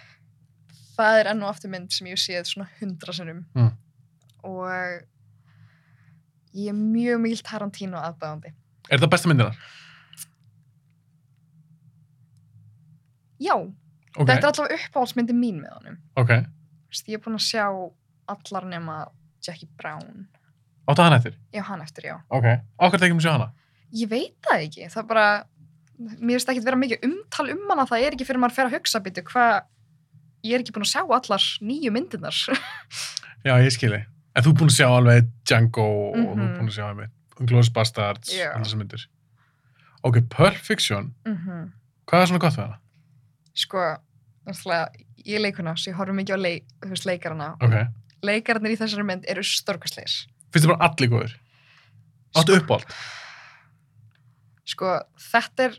B: það er enn og aftur mynd sem ég hef séð svona hundra sinnum
A: Mm.
B: og ég er mjög mjög Tarantino aðbæðandi
A: Er það besta myndina?
B: já,
A: Ok,
B: þetta er allavega uppáhaldsmyndi mín með honum
A: ok.
B: Vist, ég er búin að sjá allar nema Jackie Brown
A: Áttu hana eftir?
B: já, hann eftir, já
A: Ok. Af hvað tekjum við sjá hana?
B: ég veit það ekki, það er bara mér finnst ekki vera mikið umtal um hana það er ekki fyrir maður fer að hugsa býtu hvað ég er ekki búin að sjá allar nýju myndinar
A: Já, ég skilji. En þú er búin að sjá alveg Django og þú er
B: Mhm.
A: búin að sjá alveg Inglourious Bastards
B: Já.
A: og þessar myndir. Ok, Pulp Fiction,
B: mm
A: Mhm.
B: -hmm.
A: hvað er svona gott við hana?
B: sko, náttúrulega ég er leikuna, svo ég horfum mikið á leik, þú veist, leikarana
A: Ok.
B: leikararnir í þessari mynd eru storkasleir
A: Finnst þið bara allir góður? Áttu uppáld?
B: sko, þetta er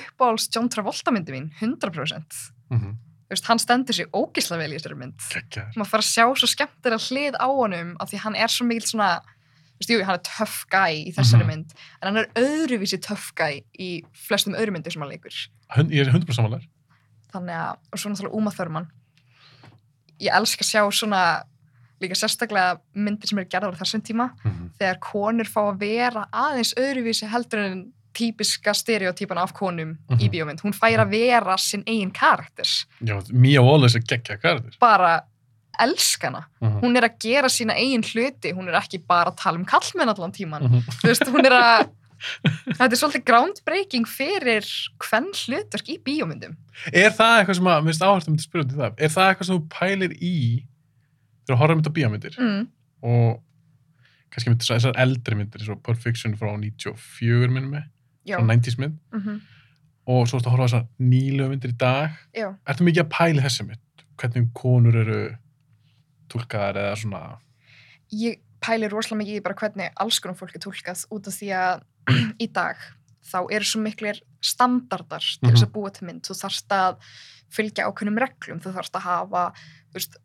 B: uppáhalds John Travolta myndi mín, 100%
A: Mm -hmm.
B: þú veist, hann stendur sér ógislega vel í þessari mynd
A: Gekkjaður.
B: maður fara að sjá svo skemmtir að hlið á honum af því hann er svo mikil svona þú veist, jú, hann er tough guy í þessari
A: Mhm.
B: mynd en hann er öðruvísi tough guy í flestum öðru myndir sem hann leikur
A: Hund- Ég er 100% samanlegar.
B: þannig að, og svo náttúrulega Uma Thurman ég elska að sjá svona líka sérstaklega myndir sem eru gerðar á þessum tíma
A: Mm -hmm.
B: þegar konur fá að vera aðeins öðruvísi heldur en típiska stereotypan af konum í
A: Mhm.
B: bíómynd hún fær að vera sinn eigin karakter
A: Já, Mia Wallace er geggjað karakter.
B: bara elskana
A: Mm -hmm.
B: hún er að gera sína eigin hluti, hún er ekki bara að tala um kallmenn allan tíman.
A: Mm
B: Þú veist, hún er að, þetta er svolítið groundbreaking fyrir hvern hlutverk í bíómyndum.
A: Er það eitthvað sem að, minnst áhært að myndi spyrja út í það, er það eitthvað sem þú pælir í þegar þú horfum þetta bíómyndir
B: Mm.
A: og kannski myndir svo- þessar eldri myndir, svo Pulp Fiction frá 94 minnum mig,
B: Já.
A: frá 90s mynd
B: Mm
A: og svo ertu að horfa á þessar nýlu myndir í dag
B: Já.
A: ertu mikið að pæla í þessi mynd hvernig konur eru tólkaðar eða svona
B: Ég pæli rosalega mikið í bara hvernig alls konum fólk er tólkað út af því að í dag þá eru svo miklir standardar til
A: Mhm.
B: þess að búa til mynd. Þú þarft að fylgja ákveðnum reglum, þú þarft að hafa, þú veist,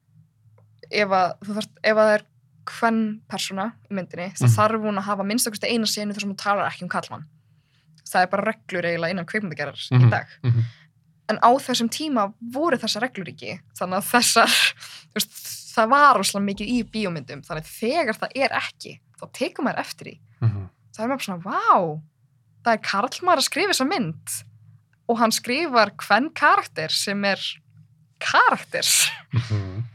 B: ef að, þú þarft, ef að það er hvern persóna í myndinni, þá
A: Mhm.
B: þarf hún að hafa minnstakosti eina senu þar sem hún talar ekki um kallmann. Það er bara reglur eiginlega innan kveikmyndagerðar í
A: Mhm.
B: dag.
A: Mhm.
B: En á þessum tíma voru þessar reglur ekki, þannig að þessar, þú veist, það var rosalega mikið í bíómyndum, þannig að þegar það er ekki, þá tekur maður eftir því
A: mhm,
B: það er maður svona, vá, það er Karlmar að skrifa þessa mynd og hann skrifar hvern karakter sem er karakter.
A: Þa,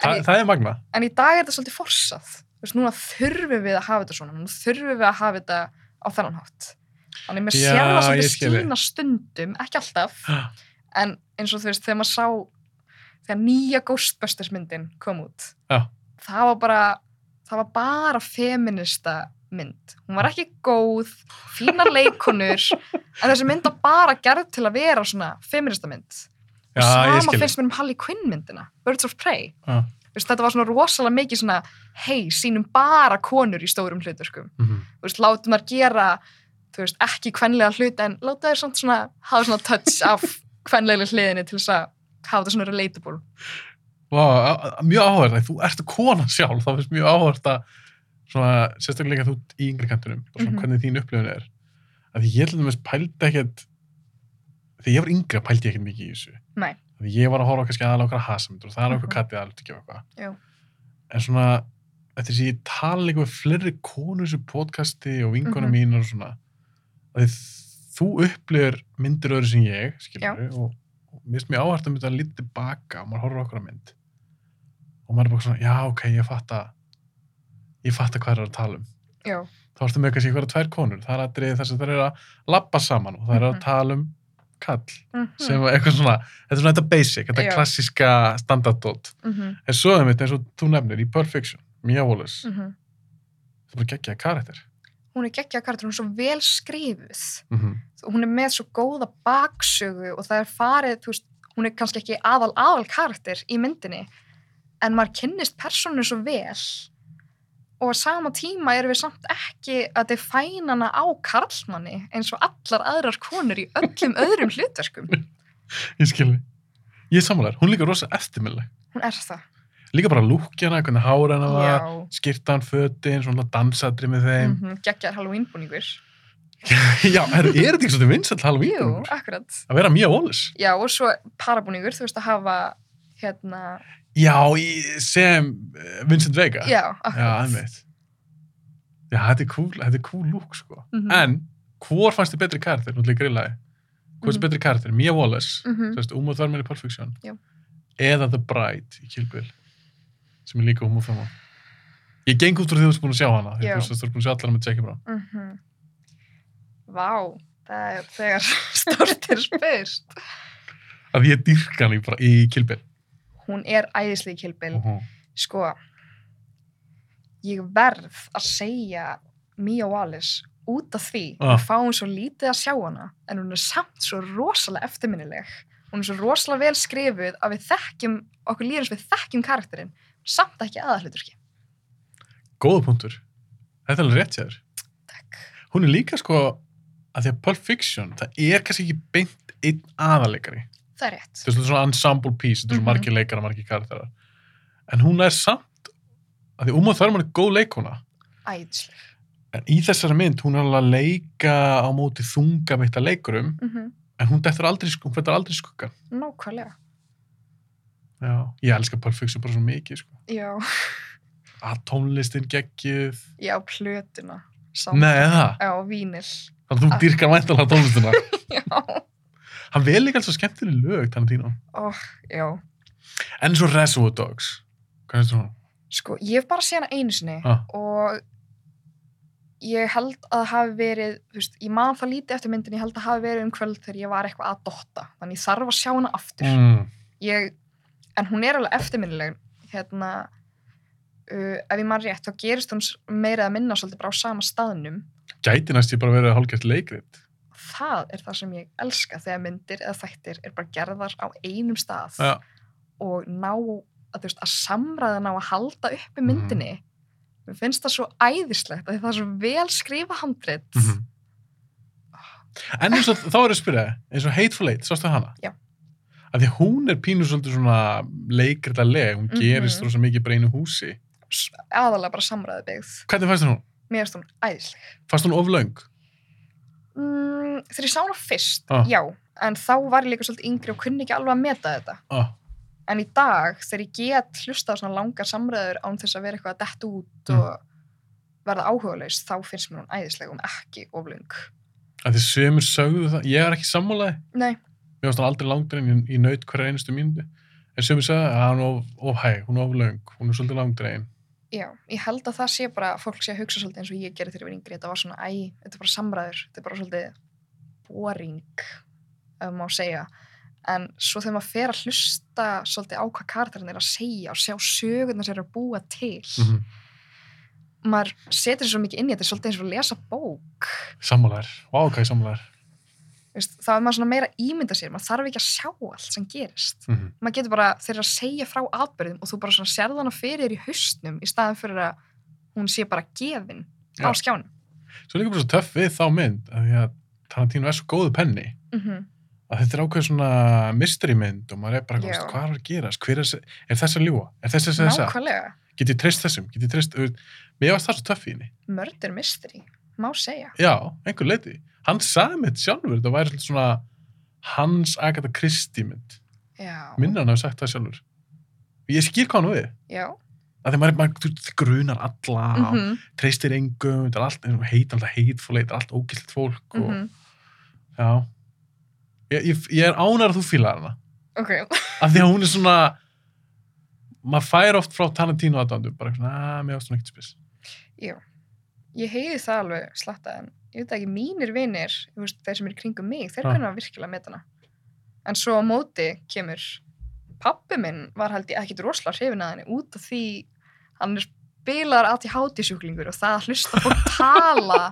B: En, í-
A: mhm. það er magna
B: en í dag er þetta svolítið forsað. Þú veist, núna þurfum við að hafa þetta svona, núna þurfum við að hafa þetta á þennan hátt. Þannig mér
A: Já,
B: sér það
A: ég
B: svolítið
A: skil þig.
B: skína stundum, ekki alltaf,
A: Ha.
B: en eins og þú veist, þegar maður sá þegar nýja Ghostbusters myndin kom út,
A: Já.
B: það var bara það var bara feminista mynd. Hún var ekki góð, fínar leikonur, en þessi mynd var bara gerð til að vera svona feminista mynd.
A: Já, ég
B: og sama
A: skil.
B: finnst mér um Harley Quinn myndina, Birds of Prey.
A: Já.
B: Þú Veist, þetta var svona rosalega mikið svona, hei, sínum bara konur í stórum sko. hluturkum.
A: Mhm.
B: Þú veist, látum þær gera, þú veist, ekki kvenlega hluti, en láta þær samt svona, hafa svona touch af kvenlega hliðinni til þess að hafa þetta svona relatable.
A: Vá, á- á- mjög áhverð, þú ert kona sjálf, þá finnst mjög áhverð að svona, sérstaklega þú í yngri kantunum, bara svona
B: Mhm.
A: hvernig þín upplifun er. Að því ég til dæmis pældi ekkert, þegar ég var yngra pældi ég ekkert mikið í þessu.
B: Nei.
A: Að því ég var að horfa kannski aðalega okkar hasamindur og það er okkur
B: Mhm.
A: kattið alveg ekki og eitthvað.
B: Jú.
A: En svona, eftir því ég tala líka við fleiri konur sem podcasti og vinkona
B: Mhm.
A: mínar og svona, að því þú upplifir myndir öðru sem ég,
B: Já.
A: skilur, og og mér finnst mjög áhært að mynda að lítið tilbaka og maður horfir okkur á mynd og maður er bara svona, já, ok, ég fatta ég fatta hvað það er að tala um
B: Já,
A: þá ertu með kannski eitthvað tvær konur það er aðrið þess að það eru að labba saman og það eru að
B: Mhm.
A: tala um kall
B: mm -hmm.
A: sem er eitthvað svona, þetta er svona þetta basic þetta
B: Já.
A: klassíska standardót
B: Mm -hmm.
A: en svo það mitt eins og þú nefnir í Perfection Mia Wallace, það er bara geggjaða karakter
B: mhm. Hún er geggja karakter, hún er svo vel skrifuð.
A: mm -hmm.
B: og hún er með svo góða baksögu og það er farið, þú veist, hún er kannski ekki aðal aðal karakter í myndinni en maður kynnist persónu svo vel og á sama tíma erum við samt ekki að defæna hana á karlmanni eins og allar aðrar konur í öllum öðrum hlutverkum.
A: ég skilji ég er sammálar, hún er líka rosa eftirmilleg
B: Hún er það.
A: líka bara lúkjana, hvernig hára hana var
B: Já.
A: skirtan, fötin, svona dansadri með þeim.
B: Mm -hmm. Gekkjar Halloween búningur.
A: Já, er, er þetta ekki svolítið vinsall Halloween?
B: Mm. Jú,
A: búningur?
B: akkurat.
A: Að vera Mia Wallace?
B: Já, og svo parabúningur, þú veist að hafa hérna,
A: Já, í- sem eh, Vincent Vega.
B: já,
A: Já,
B: akkurat.
A: einmitt. Já, þetta er cool, þetta er cool look, sko.
B: Mhm.
A: En, hvor fannst þið betri karakter, náttúrulega í grillaði? Hvor fannst þið
B: Mhm.
A: betri karakter? Mia Wallace,
B: Mhm.
A: þú veist, Uma Thurman í Pulp Fiction.
B: Já.
A: Eða The Bride í Kill Bill, sem er líka Uma Thurman. Ég geng út úr því að þú ert búin að sjá hana. því Þú
B: Já.
A: veist, þú ert búin að sjá allar með Jackie Brown.
B: Mhm. Vá, það er þegar stórt er spyrst.
A: Að ég dyrka hann í, bara- í Kill Bill.
B: Hún er æðislega kilpil.
A: Mhm.
B: Sko, ég verð að segja Mia Wallace út af því
A: Ah.
B: að við fáum svo lítið að sjá hana en hún er samt svo rosalega eftirminnileg. Hún er svo rosalega vel skrifuð að við þekkjum, okkur líður eins og við þekkjum karakterinn, samt ekki aðalhuturki.
A: Góða punktur. Þetta er alveg rétt hjá þér.
B: Takk.
A: Hún er líka sko að því að Pulp Fiction, það er kannski ekki beint einn aðarleikari.
B: Það er rétt.
A: Þetta er svolítið svona ensemble piece, þetta er
B: Mhm.
A: svona margir leikara, margir karakterar. En hún er samt, að því Uma Thurman er góð leikona,
B: Æðislega.
A: en í þessari mynd hún er alveg að leika á móti þunga mitt að leikurum,
B: Mm
A: en hún dettur aldrei, í skugg- hún fættar aldrei í skuggann.
B: Nákvæmlega.
A: Já. Ég elska Pulp Fiction bara svo mikið, sko.
B: Já,
A: Að tónlistin geggjuð.
B: já, plötuna. Samt.
A: Nei, eða?
B: Já, vínil.
A: Þannig að þú
B: Ah.
A: dyrkar væntalega tónlistina.
B: Já.
A: Hann vel líka alveg skemmtileg lög, Tarantino.
B: Ó, Oh, já.
A: En svo Reservoir Dogs. Hvað finnst þú hún?
B: Sko, ég hef bara séð hana einu sinni
A: Ah.
B: og ég held að það hafi verið, þú veist, ég man það lítið eftir myndin, ég held að það hafi verið um kvöld þegar ég var eitthvað að dotta. Þannig ég þarf að sjá hana aftur.
A: Mm.
B: Ég, en hún er alveg eftirminnileg, hérna, uh, ef ég man rétt, þá gerist hún s- meira að minna svolítið bara á sama staðnum.
A: Gæti næst ég bara verið hálfgjart leikrit.
B: Það er það sem ég elska þegar myndir eða þættir er bara gerðar á einum stað.
A: Já.
B: og ná að, þú veist, að samræða ná að halda uppi myndinni mér finnst það svo æðislegt að það er svo vel skrifa handrit
A: Mhm. En eins og þá er ég að spyrja, þig, eins og Hateful Eight, sástu hana?
B: Já.
A: Af því hún er pínu svolítið svona leikrita leg, hún
B: Mhm.
A: gerist rosa mikið bara í einu húsi.
B: S- aðalega bara samræði byggð
A: Hvernig fannst þér hún?
B: mér finnst hún æðisleg
A: Fannst hún of löng?
B: mm, þegar ég sá hana fyrst,
A: Ah.
B: já en þá var ég líka svolítið yngri og kunni ekki alveg að meta þetta
A: Ah.
B: en í dag þegar ég get hlustað á svona langar samræður án þess að vera eitthvað að detta út
A: Mm.
B: og verða áhugalaus þá finnst mér hún æðisleg um ekki oflung
A: Af því sömur sögðu það, ég er ekki sammálaði.
B: nei,
A: Mér fannst hann aldrei langdur en ég, ég naut hverja einustu mínu. En sömur sagði að hann er of, of hæg, hún er of löng, hún er svolítið langdur einn.
B: Já, ég held að það sé bara að fólk sé að hugsa svolítið eins og ég gerði þegar ég var yngri. Þetta var svona, æ, þetta er bara samræður, þetta er bara svolítið boring, ef má segja. En svo þegar maður fer að
A: Mhm.
B: hlusta svolítið á hvað karakterin er að segja og sjá sögurnar sem eru að búa til, maður setur sér svo mikið inn í þetta, þetta er svolítið eins og að lesa bók
A: Sammálaðar. Vá, wow, hvað er sammálaðar?
B: Veist, þá er maður svona meira að ímynda sér maður þarf ekki að sjá allt sem gerist
A: Mm -hmm.
B: maður getur bara þeir eru að segja frá atbyrðum og þú bara svona sérð hana fyrir þér í haustnum í staðan fyrir að hún sé bara gefin á
A: Já.
B: skjánum
A: Svo er líka bara svo töff við þá mynd af því að Tarantino er svo góðu penni
B: mm
A: að þetta er ákveð svona mystery mynd og maður er bara,
B: Já.
A: yeah. hvað er að gerast? Hver er, þessi- er þess að ljúa? Er þess að segja þess að?
B: nákvæmlega,
A: Get ég treyst þessum? Get ég treyst... þú veist, Mér varst það svo töff í henni.
B: mördur mystery má segja,
A: Já, einhver leiti. Hann sagði mitt sjálfur, þetta væri svolítið svona hans Agatha Christie mynd.
B: já
A: Minna hann hafi sagt það sjálfur. Ég skýr hvað hann á við.
B: já,
A: Að því maður, maður þú veist, grunar alla
B: mm
A: og treystir engum, þetta er allt heit, alltaf heitfól, þetta er allt ógæslegt fólk og
B: Mhm.
A: Já. Ég, ég, ég er ánar að þú fílar hana.
B: ok
A: Af því að hún er svona, maður fær oft frá Tarantino aðdándu, bara svona, að mér ást hún ekkert spes.
B: Jú, ég heiði það alveg slatta en ég veit ekki, mínir vinir, þú veist, þeir sem eru í kringum mig, þeir
A: Ha.
B: kunna virkilega með hana. En svo á móti kemur, pappi minn var held ég ekkit rosalega hrifin að henni út af því hann er bilar að til hátísjúklingur og það að hlusta fólk tala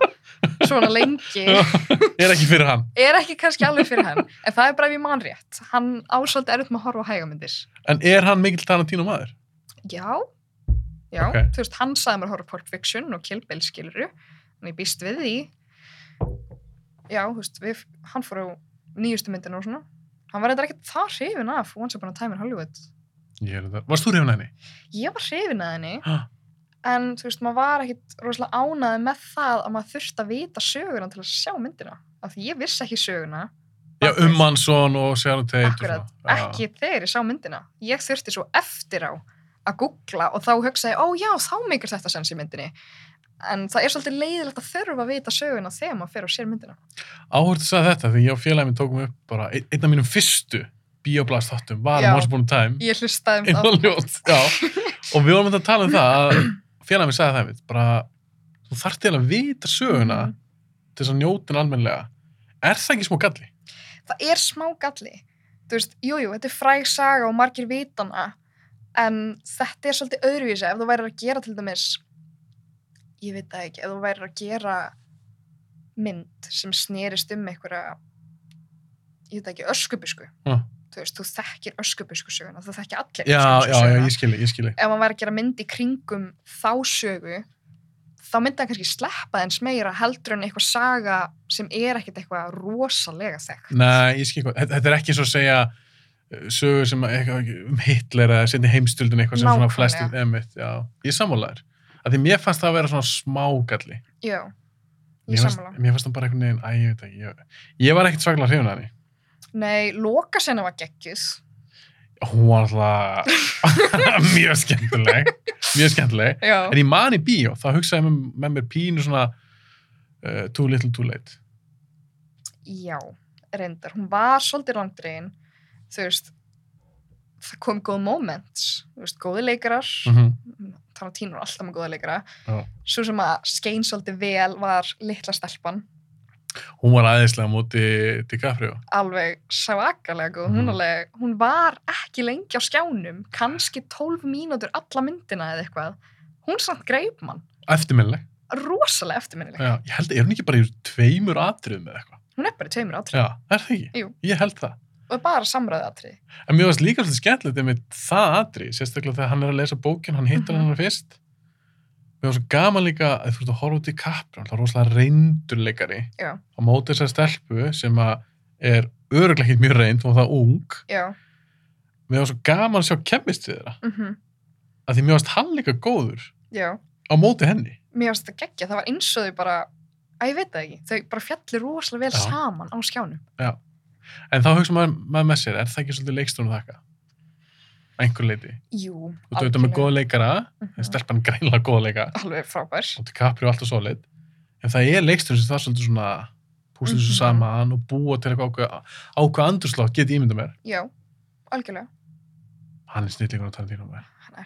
B: svona lengi
A: ég er ekki fyrir hann.
B: er ekki kannski alveg fyrir hann, en það er bara ef ég man rétt. Hann ásvöldi erut með að horfa á hægamindir.
A: En er hann mikill Tarantino maður?
B: Já, já,
A: Ok.
B: þú veist, hann sagði mér að horfa á Pulp Fiction og Kill Bill skiluru, en ég býst við því. Já, þú veist, við, hann fór á nýjustu myndinu og svona. Hann var eitthvað ekki það hrifin af Once Upon a Time in Hollywood.
A: Ég er það. Varst þú reyfna henni?
B: Ég var hrifin að henni,
A: Ha?
B: en þú veist, maður var ekkit rosalega ánaði með það að maður þurfti að vita söguna til að sjá myndina. Af því ég vissi ekki söguna.
A: Já, um Mansson og Sharon Tate
B: Akkurat, ekki þegar ég sá myndina. Ég þurfti svo eftir á að googla og þá hugsaði, ó já, þá mikil þetta sens í myndinni. En það er svolítið leiðilegt að þurfa að vita söguna þegar maður fer og sér myndina.
A: Áhört að segja þetta, því ég og félagin minn tókum upp bara ein- einn af mínum fyrstu bioblast þáttum, var
B: Já.
A: um Once Upon a Time.
B: Ég hlustaði um
A: Einn
B: það.
A: og ljótt, já. Og við vorum að tala um það að félagin minn sagði það við, bara, þú þarft eiginlega að vita söguna
B: Mhm.
A: til þess að njóta hann almenlega er það ekki smá galli?
B: Það er smá galli. Þú veist, jújú, jú, þetta er fræg saga og margir vitana, en þetta er svolítið öðruvísi ef þú værir að gera til dæmis, ég veit það ekki, ef þú værir að gera mynd sem snerist um einhverja, ég veit það ekki, öskubusku.
A: Ha.
B: Þú veist, þú þekkir öskubusku söguna, það þekkir allir
A: Já, já,
B: öskubuskusöguna.
A: já, ég skilji, ég skilji.
B: Ef maður væri að gera mynd í kringum þá sögu, þá myndi hann kannski sleppa eins meira heldur en eitthvað saga sem er ekkit eitthvað rosalega þekkt.
A: Nei, ég skilji hvað. Þetta- Þetta er ekki svo að segja uh, sögur sem að- eitthvað um Hitler eða setni heimstöldin eitthvað sem svona
B: Nákvæmlega.
A: flestir emitt, já. Ég er sammálaður. Af því mér fannst það að vera svona smá galli.
B: Já,
A: Mér
B: ég
A: fannst-
B: sammála.
A: Mér fannst það bara einhvern veginn, æ, ég veit ekki, ég, ég var ekkert svaklega hrifun að henni.
B: Nei, loka senna var geggjuð.
A: Hún var alltaf mjög skemmtileg, mjög skemmtileg.
B: Já.
A: En ég man í bíó, þá hugsaði ég með, með mér pínu svona uh, too little too late.
B: Já, reyndar. Hún var svolítið langdregin. Þú veist, það kom góð moments. Þú veist, góði leikarar.
A: Mm -hmm.
B: Tarantino er alltaf með góða leikara.
A: Já.
B: Svo sem að skein svolítið vel var litla stelpan.
A: Hún var aðeinslega á móti DiCaprio.
B: Alveg svakalega góð.
A: Mhm.
B: Hún, alveg, hún var ekki lengi á skjánum. kannski 12 mínútur alla myndina eða eitthvað. Hún samt greip mann.
A: Eftirminnileg.
B: Rosalega eftirminnileg.
A: Já, ég held, er hún ekki bara í tveimur atriðum eða eitthvað?
B: Hún er bara í tveimur átrið.
A: Já, er það ekki?
B: Jú.
A: Ég held það.
B: Og bara samræði átrið.
A: En mér varst líka svolítið skemmtilegt einmitt það atrið, sérstaklega þegar hann er að lesa bókin, hann hittar
B: Mhm.
A: hann fyrst. Mér var svo gaman líka að þú ert að horfa út í kapri, hann er rosalega reyndurleikari.
B: Já.
A: Á móti þessar stelpu sem að er öruglega ekki mjög reynd, hún var það ung.
B: Já.
A: Mér var svo gaman að sjá kemist við þeirra.
B: Mm
A: Af því mér varst hann líka góður
B: Já.
A: á móti henni.
B: mér finnst þetta geggja, það var eins og þau bara að ég veit það ekki, þau bara fjallir rosalega vel
A: Já.
B: saman á skjánum
A: En þá hugsa maður, maður með sér, er það ekki svolítið leikstunum þakka? Að einhver leiti.
B: Jú,
A: Þú ert auðvitað með góða leikara, en
B: algjörlega.
A: stelpan greinlega góða leikara,
B: Mhm. alveg frábær
A: og DiCaprio alltaf solid, en það er leikstunum sem það svolítið svona púsla þessu
B: Mhm.
A: saman og búa til eitthvað ákveð, ákveð andurslótt, get ég ímynda mér.
B: Já, algjörlega,
A: Hann er snillingur á Tarantino maður.
B: hann er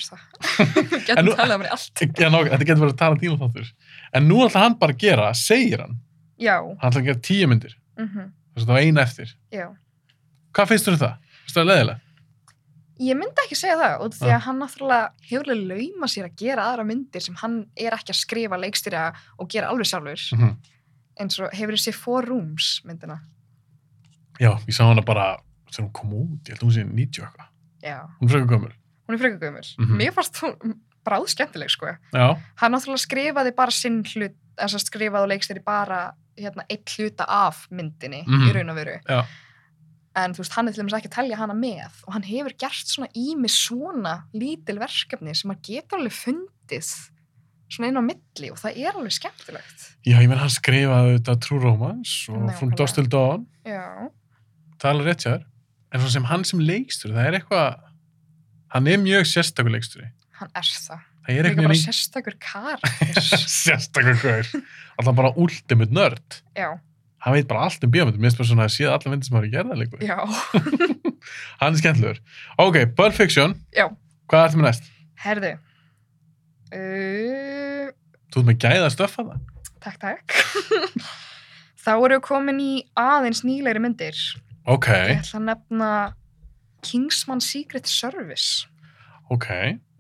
B: það getum
A: En nú-
B: talað um hann allt
A: Já, nóg, um þetta getur verið Tarantino þáttur. En nú ætla hann bara að gera, segir hann,
B: Já,
A: hann ætla að gera tíu myndir,
B: mhm,
A: þess að það var eina eftir.
B: já
A: Hvað finnst þú um það? Finnst þú það leiðilega?
B: Ég myndi ekki segja það, út af því
A: Ah.
B: að hann náttúrulega hefur alveg lauma sér að gera aðra myndir sem hann er ekki að skrifa, leikstýra og gera alveg sjálfur,
A: Mhm.
B: eins og hefur þessi Four Rooms myndina.
A: Já, ég sá hana bara þegar hún kom út, ég held að hún sé 90 og eitthvað.
B: Já,
A: Hún er frekar gömul.
B: hún er frekar gömur.
A: Mhm.
B: Mér fannst hún bráð skemmtileg, sko.
A: Já,
B: Hann náttúrulega skrifaði bara sinn hlut, þess að skrifaði og leikstýri bara hérna, eitt hluta af myndinni í
A: Mhm.
B: raun og veru.
A: já,
B: en þú veist, hann er til dæmis ekki að telja hana með og hann hefur gert svona ími svona lítil verkefni sem hann getur alveg fundið svona inn á milli og það er alveg skemmtilegt
A: já, ég menn hann skrifaði þetta True Romance og
B: Nákvæmlega.
A: From Dust Till Dawn,
B: Já,
A: það er alveg rétt hjá þér. En svona sem hann sem leikstur, það er eitthvað, hann er mjög sérstakur leiksturi.
B: hann er það
A: Það er
B: Líka
A: eitthvað
B: bara
A: mjög
B: sérstakur karakter
A: sérstakur hver. Alltaf bara ultimate nerd.
B: Já,
A: Hann veit bara allt um bíómyndir, minnst bara svona að séð alla myndir sem hann er gerðað líka.
B: já
A: Hann er skemmtilegur. Ok, Pulp Fiction.
B: Já.
A: Hvað ertu með næst?
B: Herðu uh,
A: Þú ert með gæða stöffa það?
B: Takk, takk Þá erum við komin í aðeins nýlegri myndir
A: Ok,
B: Ég ætla að nefna Kingsman Secret Service
A: ok.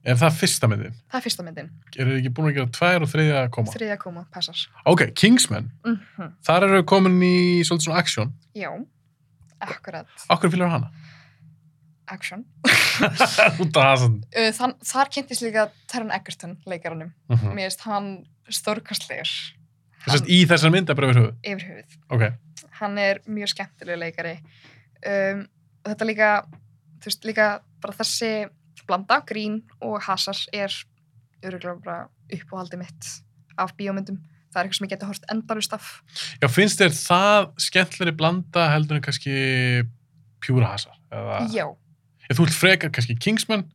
A: Er það fyrsta myndin?
B: Það er fyrsta myndin,
A: Eru þið ekki búin að gera tvær og þriðja að koma?
B: þriðja koma, passar
A: Ok, Kingsman.
B: mm
A: Þar eru við komin í svolítið svona action.
B: Já, akkurat,
A: Akkur fylgur hana?
B: action.
A: Út af það sann.
B: Uh, Þann, þar kynntist líka Taron Egerton leikaranum.
A: Mm
B: Mér finnst hann stórkastlegur
A: -hmm. Í þessar mynda bara yfir höfuð.
B: yfir höfuð.
A: Ok,
B: Hann er mjög skemmtileg leikari. Um, og þetta líka, þú veist, líka bara þessi blanda, grín og hasar er öruglega bara uppáhaldi mitt af bíómyndum. Það er eitthvað sem ég geti hort endarust af.
A: já finnst þér það skemmtilegri blanda heldur en kannski pjúra hasar? Eða...
B: Já,
A: Ég, þú ert frekar kannski Kingsman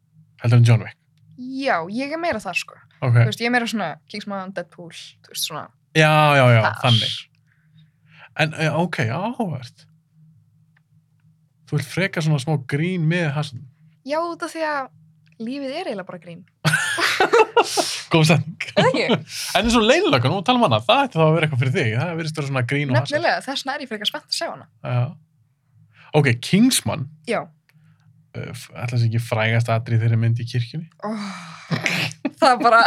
A: heldur en John Wick.
B: já, ég er meira þar sko. Þú
A: Ok,
B: veist, ég er meira svona Kingsman, Deadpool, þú veist, svona
A: já, já, já,
B: þar.
A: þannig. En já, ok, áhugavert. Þú ert frekar svona smá grín með hasan.
B: Já, út af því að lífið er eiginlega bara grín.
A: Góð stending.
B: Eða ekki?
A: En eins og leilökan, nú talum hana, það ætti þá að vera eitthvað fyrir þig. Það verðist vera svona grín og hasar.
B: Nefnilega, þess vegna er ég fyrir ekki spennt að sjá hana.
A: Já. Ok, Kingsman.
B: Já.
A: uh, ætla þess ekki frægast atrið þeirra mynd í kirkjunni
B: það er bara,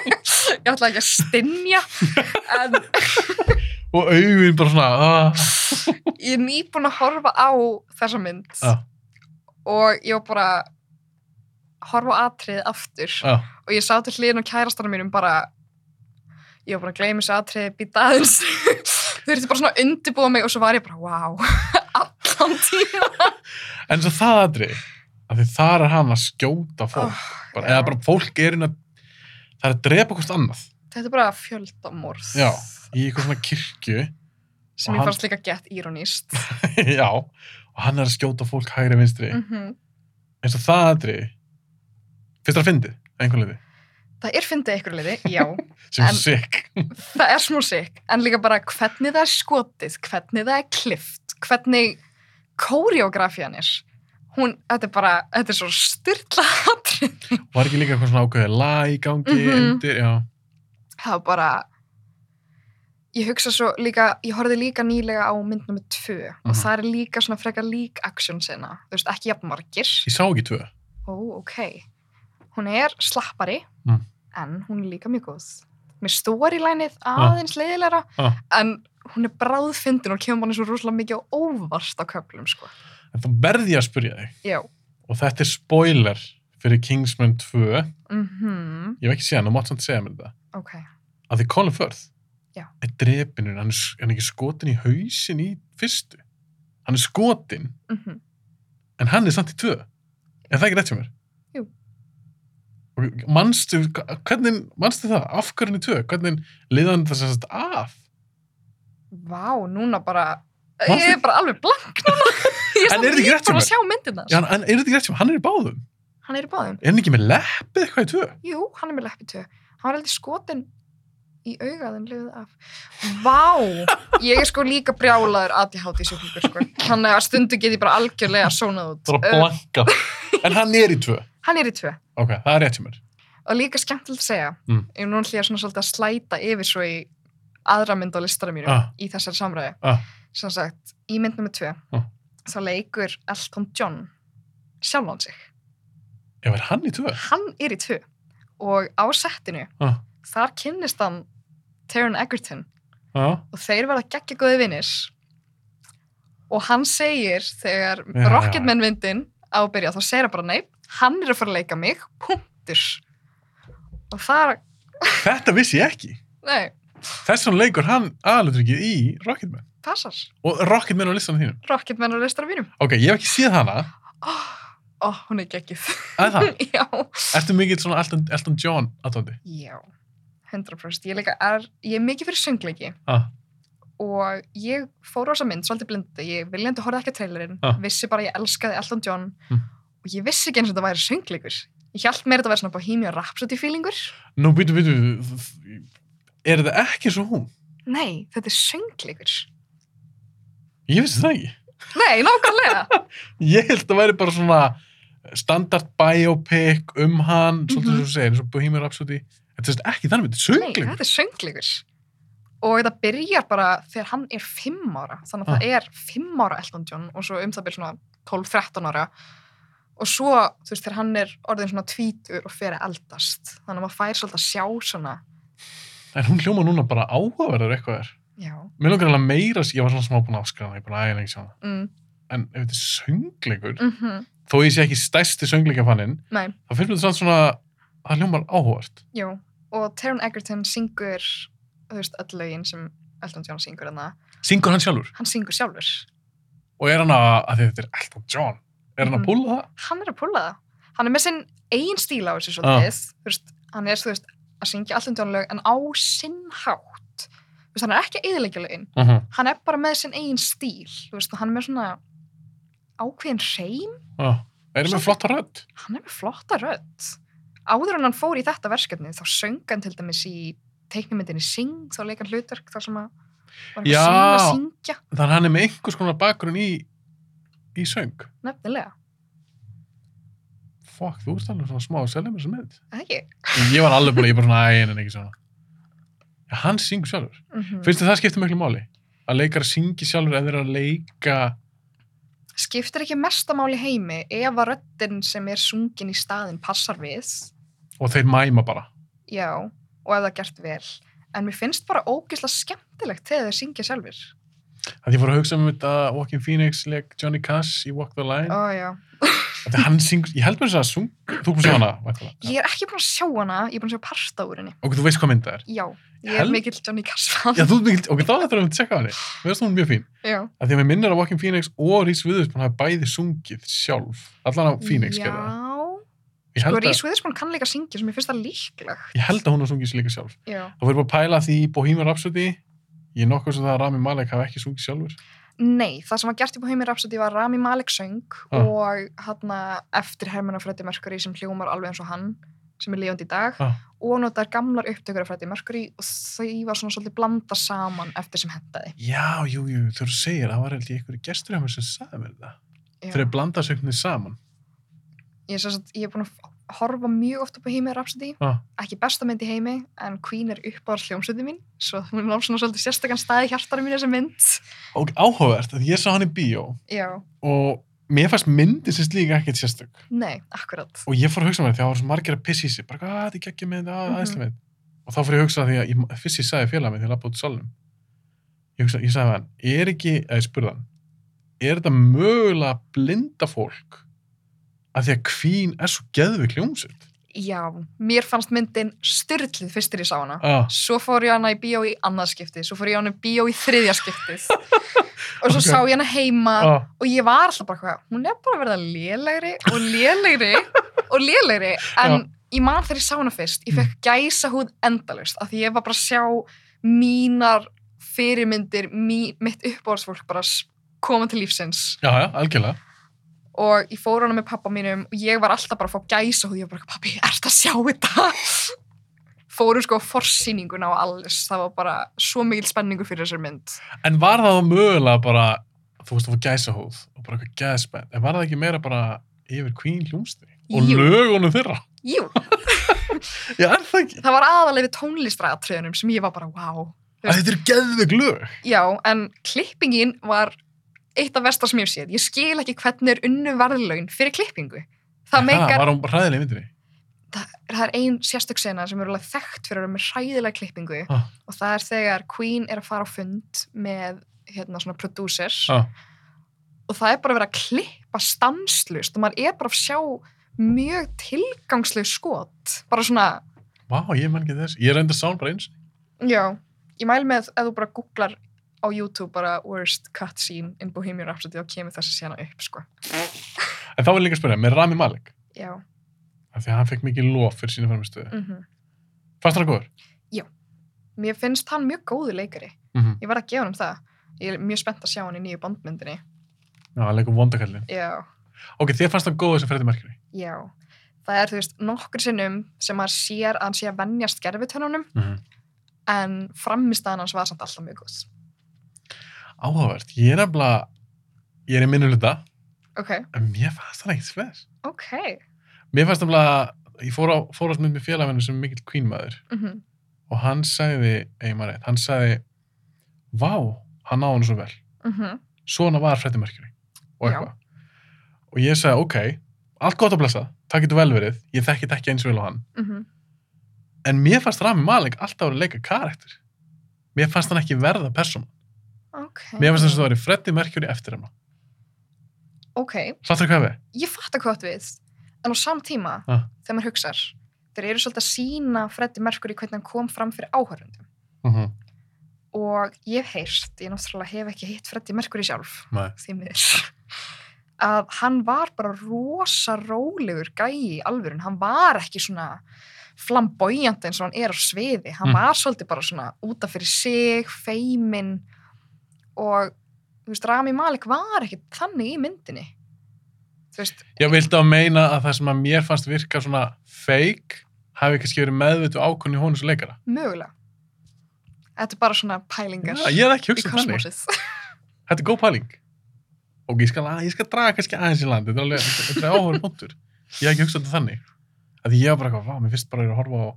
B: ég ætla ekki að stinja, en
A: og augun bara svona uh,
B: ég er nýbúin að horfa á þessa mynd
A: Já.
B: og ég var bara að horfa á atrið aftur
A: uh,
B: og ég sá til hliðin og kærastanum mínum bara, ég var bara að gleyma þessu atrið, býta aðeins. Þau eru bara svona að undirbúa mig og svo var ég bara, wow, allan tíma.
A: en svo það atrið af því þar er hann að skjóta fólk bara,
B: Ah, já.
A: eða bara fólk er inn að það er að drepa hvort annað
B: Þetta er bara fjöldamorð
A: Já. í eitthvað svona kirkju
B: sem
A: Og
B: ég
A: hann-
B: fannst líka gett íroníst.
A: já, og hann er að skjóta fólk hægri vinstri
B: mm
A: eins og það atrið finnst það að fyndið, einhvern veginn
B: Það er fyndið ykkur liði, já.
A: sem
B: En-
A: er sick
B: það er smá sikk, en líka bara hvernig það er skotið, hvernig það er klift, hvernig kóriografían er. Hún, þetta er bara, þetta er svo styrla hatrið.
A: var ekki líka eitthvað svona ákveðið lag í gangi
B: Mhm.
A: undir, já,
B: Það var bara, ég hugsa svo líka, ég horfði líka nýlega á mynd nummer tvö og
A: Mhm.
B: það er líka svona frekar lík action sena, þú veist, ekki jafn margir.
A: ég sá ekki tvö
B: Ó, ok. Hún er slappari,
A: Mm.
B: en hún er líka mjög góð. Með storylænið aðeins leiðilegra,
A: Ah.
B: en hún er bráðfyndin og kemur manni svo rosalega mikið á óvart á köflum, sko.
A: en þá verði ég að spyrja þig
B: Já.
A: og þetta er spoiler fyrir Kingsman 2
B: Mm
A: ég hef ekki séð hann, þú mátt samt segja mér þetta
B: Ok.
A: að því Colin Firth
B: Já.
A: er drepinur, hann er, hann er ekki skotin í hausin í fyrstu hann er skotin,
B: Mm
A: en hann er samt í tvö er það ekki rétt hjá mér?
B: Jú.
A: og manstu, hvernig manstu það, af hverju hann í tvö hvernig liða hann það sem sagt af
B: Vá, núna bara,
A: Manstu-
B: ég er bara alveg blank núna. Ég
A: En er þetta ekki rétt hjá
B: bara að
A: mér?
B: sjá myndin þess.
A: Já, hann, er þetta ekki rétt hjá mér, hann er í báðum
B: Hann er í báðum.
A: er hann ekki með leppið eitthvað í tvö
B: Jú, hann er með leppi tvö. Hann var heldur skotin í augaðin liðið af. Vá! Ég er sko líka brjálaður ADHD sjúklingur, sko. Þannig að stundu get ég bara algjörlega sónað út.
A: bara
B: Ö,
A: blanka, en hann er í tvö
B: hann er í tvö.
A: ok, það er rétt hjá mér
B: Og líka skemmtilegt að segja,
A: Mm.
B: ég nú hlýja svona svolítið að slæta yfir svo í aðra mynd á listara mínu
A: Ah.
B: í þessari samræði.
A: Ah.
B: Sem sagt, í mynd nummer tvö,
A: Ah.
B: þá leikur Elton John sjálfan sig.
A: Já, er hann í tvö?
B: Hann er í tvö og á settinu
A: Ah,
B: þar kynnist hann Taron Egerton
A: ah,
B: og þeir verða geggja góði vinnir og hann segir þegar
A: já, já.
B: Rocketman myndin á að byrja þá segir hann bara nei, hann er að fara að leika mig punktur og þar,
A: þetta vissi ég ekki.
B: nei,
A: Þess vegna leikur hann aðalutryggið í Rocketman.
B: passar
A: Og Rocketman á listanum þínum.
B: Rocketman og listar af mínum
A: Ok, ég hef ekki séð hana.
B: ó, ó, hún er geggjuð
A: Að það,
B: já,
A: ertu mikill svona Elton, Elton John aðtóndi?
B: já 100% ég, leika, er, ég er mikið fyrir söngleiki
A: Ah,
B: og ég fór á þessa mynd svolítið blindi, ég viljandi horfði ekki að trailerinn
A: Ah.
B: vissi bara að ég elskaði Elton John
A: Mm.
B: og ég vissi ekki eins og þetta væri söngleikur ég held meira að þetta væri svona Bohemian Rhapsody feelingur
A: nú býtu, býtu, er það ekki svo hún?
B: nei, þetta er söngleikur
A: Ég vissi það ekki.
B: nei, nákvæmlega
A: Ég held að það væri bara svona standard biopic um hann, svolítið
B: Mhm.
A: mm -hmm. svo segir, eins og Bohemian Rhapsody. Þetta er sem sagt ekki þannig, þetta er
B: nei,
A: söngling.
B: þetta er söngleikur og þetta byrjar bara þegar hann er fimm ára þannig að
A: Ah.
B: það er fimm ára Elton John og svo um það byrja svona 12-13 ára og svo, þú veist, þegar hann er orðin svona tvítur og fer að eldast þannig að maður fær svolítið að sjá svona
A: En hún hljóma núna bara áhugaverður eitthvað er.
B: já,
A: Mér langar alveg meira, ég var svona smá búin að afskræða hana, ég er búin að ægja lengi sjá hana.
B: mm,
A: En ef þetta er söngleikur,
B: mhm
A: þó ég sé ekki stærsti söngleikafannin,
B: Nei,
A: þá finnst mér þetta samt svona, það hljómar áhugavert.
B: jú. Og Taron Egerton syngur, þú veist, öll lögin sem Elton John syngur en það.
A: Syngur hann sjálfur?
B: Hann syngur sjálfur.
A: Og er hann að, að því þetta er Elton John, er hann
B: Mhm.
A: að púla það?
B: Hann er að púla það. Hann er með sinn eigin stíl á þessu
A: Ah.
B: svolítið. Þú veist, hann er, þú veist, að syngja Elton John lög en á sinn hátt. Þú veist, hann er ekki að eðilegja lögin.
A: Uh -huh.
B: Hann er bara með sinn eigin stíl. Þú veist, og hann er með svona ákveðin hreim.
A: Er hann með
B: Samt-
A: flotta rödd?
B: Hann er með flotta rödd. Áður en hann fór í þetta verkefni þá söng hann til dæmis í teiknumyndinni Sing, þá leik hann hlutverk þar sem að var eitthvað
A: Já.
B: Sing að syngja.
A: Þannig að hann er með einhvers konar bakgrunn í, í söng.
B: Nefnilega,
A: Fuck, þú ert alveg svona smá að selja mér sem mynd.
B: eða ekki?
A: Ég var alveg búin, ég bara svona, æ, en ekki svona. Já, hann syngur sjálfur.
B: Mm
A: Finnst þið það skipta miklu máli? Að leikar syngi sjálfur eða þeir eru að leika...
B: Skiptir ekki mestamáli heimi ef að röddin sem er sungin í staðin passar við,
A: Og þeir mæma bara.
B: já, og ef það er gert vel. En mér finnst bara ógislega skemmtilegt þegar þeir syngja sjálfur.
A: Það ég fór að hugsa um þetta Walking Phoenix leik Johnny Cash í Walk the Line.
B: Ó, já.
A: Þetta hann syngur, ég held mér þess að sung... Þú komst sjá hana, væntanlega.
B: Ég er ekki búin að sjá hana, ég er búin að sjá parta úr henni.
A: Ok, þú veist hvað mynd það er.
B: Já, ég
A: Hel-
B: er mikill Johnny Cash-fan.
A: Já, þú ert mikil... Ok, þá þetta er að tjekka á henni. Mér finnst hún mjög fín.
B: já.
A: Að því að mér minnir að Walking Phoenix og Reese Witherspoon hafa bæði sungið sjálf. Allan á Phoenix
B: já.
A: gerði það. Ég
B: Sko,
A: held að-
B: Rís Viðismann kann líka syngja sem ég finnst það líklegt.
A: Ég held að hún hafa sungið sér líka sjálf.
B: Já.
A: Það verður bara að pæla því í Bohemian Rhapsody. Ég er nokkuð sem það að Rami Malek hafi ekki sungið sjálfur.
B: Nei, það sem var gert í Bohemian Rhapsody var Rami Malek söng
A: Ah.
B: og hana, eftir Hermann og Freddie Mercury sem hljómar alveg eins og hann sem er lifandi í dag
A: Ah.
B: og notar gamlar upptökur af Freddie Mercury og þau var svona svolítið blanda saman eftir sem hendaði.
A: Já, jú, jú, þú segir, það var held ég einhverju gestur hjá mér sem sagði mér það.
B: Já.
A: Þeir eru blanda sögnir saman.
B: Ég, sem sagt, ég er búin að f- horfa mjög oft á Bohemian Rhapsody,
A: Ah.
B: ekki besta mynd í heimi en Queen er uppáðar hljómsveitin mín svo hún er svona svolítið sérstakann staði hjartari mín þessi mynd.
A: Og áhugavert, að ég sá hann í bíó
B: Já,
A: og mér fannst myndin sem slíka ekkert sérstök.
B: nei, akkurat.
A: Og ég fór að hugsa mér því að það var svo margir að pissi í sig, bara hvað, þetta er geggja með þetta,
B: Mhm.
A: aðeinslega með Og þá fór ég að hugsa að því að ég, fyrst ég sagði félag minn þegar ég lappa út í salnum. Ég, hugsa, ég sagði við hann, er ekki, eða ég spurði hann, er þetta mögulega blinda fólk að því að kvín er svo geðvig hljómsveit?
B: Já, mér fannst myndin styrlið fyrstir ég sá hana.
A: Ah,
B: svo fór ég hana í bíó í annað skiptið, svo fór ég hana í bíó í þriðja skiptið og svo
A: Ok.
B: sá ég hana heima
A: ah,
B: og ég var alltaf bara hvað, hún er bara að verða lélegri og lélegri og lélegri en ég man þegar ég sá hana fyrst
A: Mm.
B: ég fekk gæsa húð endalust af því ég var bara að sjá mínar fyrirmyndir, mí, mitt uppáhaldsfólk bara s- koma til lífsins
A: já, já, algjörlega.
B: og ég fór hana með pappa mínum og ég var alltaf bara að fá gæsa húð, ég var bara, pappi, ert að sjá þetta? Fórum sko á forsýninguna og alles, það var bara svo mikil spenningu fyrir þessar mynd.
A: En var það þá mögulega bara, þú veist, það var gæsahóð og bara eitthvað gæðspenn, en var það ekki meira bara yfir kvín hljómsveit? Og
B: Jú.
A: lögunum þeirra?
B: Jú,
A: Já, er það ekki?
B: það var aðalega við tónlistratriðunum sem ég var bara, wow.
A: Að þetta eru geðvig lög.
B: Já, en klippingin var eitt af vestar sem ég hef séð. Ég skil ekki hvernig er unnu verðlaun fyrir klippingu. það meikar
A: var hún hræðileg í myndinni.
B: það, það er ein sérstök sena sem er alveg þekkt fyrir að vera með hræðilega klippingu
A: Ah.
B: og það er þegar Queen er að fara á fund með hérna svona producers
A: Ah.
B: og það er bara verið að klippa stanslust og maður er bara að sjá mjög tilgangsleg skot bara svona,
A: Vá, ég menn ekki þess. Ég er enda sán bara eins.
B: já ég mæl með ef þú bara googlar á YouTube bara worst cut scene in Bohemian Rhapsody þá kemur þessi sena upp sko
A: En þá vil ég líka spyrja, með Rami Malek,
B: já,
A: af því að hann fekk mikið lof fyrir sína framstöðu.
B: mhm
A: Fannst hann góður?
B: mér finnst hann mjög góðu leikari
A: Mm
B: ég var að gefa hann það ég er mjög spennt að sjá hann í nýju bandmyndinni
A: Já, hann leikur vondakallin.
B: já,
A: Ok, þér fannst hann góður sem Freddie Mercury.
B: já það er þú veist nokkur sinnum sem maður sér að hann sé að venjast gerfutönunum
A: Mm -hmm.
B: en frammistaðan hans var samt alltaf mjög góð
A: Áhugavert. Ég er nefnilega, ég er í minnu hluta,
B: ok,
A: en mér fannst hann ekkert sver.
B: ok
A: Mér fannst nefnilega, ég fór á, fór á smið með félaginu sem er mikill kvínmaður
B: mm
A: og hann sagði, eigin maður rétt, hann sagði, vá, hann á hann svo vel.
B: -hmm.
A: svona var Freddie Mercury og
B: Já.
A: eitthvað og ég sagði ok, allt gott að blessa það getur vel verið, ég þekki þetta ekki eins vel á hann
B: Mm -hmm.
A: en mér fannst Rami Malek alltaf að leika karakter mér fannst hann ekki verða persóna
B: ok
A: mér fannst þess að það væri Freddie Mercury eftir hann
B: ok,
A: sattur hvað við?
B: ég fatt að hvað þú átt við en á sam tíma
A: Ah.
B: þegar maður hugsar þeir eru svolítið að sína Freddy Mercury hvernig hann kom fram fyrir áhörundum
A: Uh -huh.
B: og ég hef heyrt, ég náttúrulega hef ekki hitt Freddy Mercury sjálf
A: Nei,
B: því miður að hann var bara rosa rólegur gæi í alvörun, hann var ekki svona flamboyant eins og hann er á sviði hann
A: Mm.
B: var svolítið bara svona útaf fyrir sig, feimin og þú veist, Rami Malek var ekki þannig í myndinni þú veist,
A: ég vildi að meina að það sem að mér fannst virka svona fake hafi kannski verið meðvitu ákunni hónu svo leikara
B: mögulega þetta er bara svona pælingar
A: Já, ég er ekki
B: í
A: hugsað um þannig
B: kosmosið
A: þetta er góð pæling og ég skal, ég skal draga kannski aðeins í land þetta er alveg þetta er áhverjum punktur ég hef ekki hugsað þetta þannig að því ég var bara eitthvað, vá, mér finnst bara að ég er að horfa á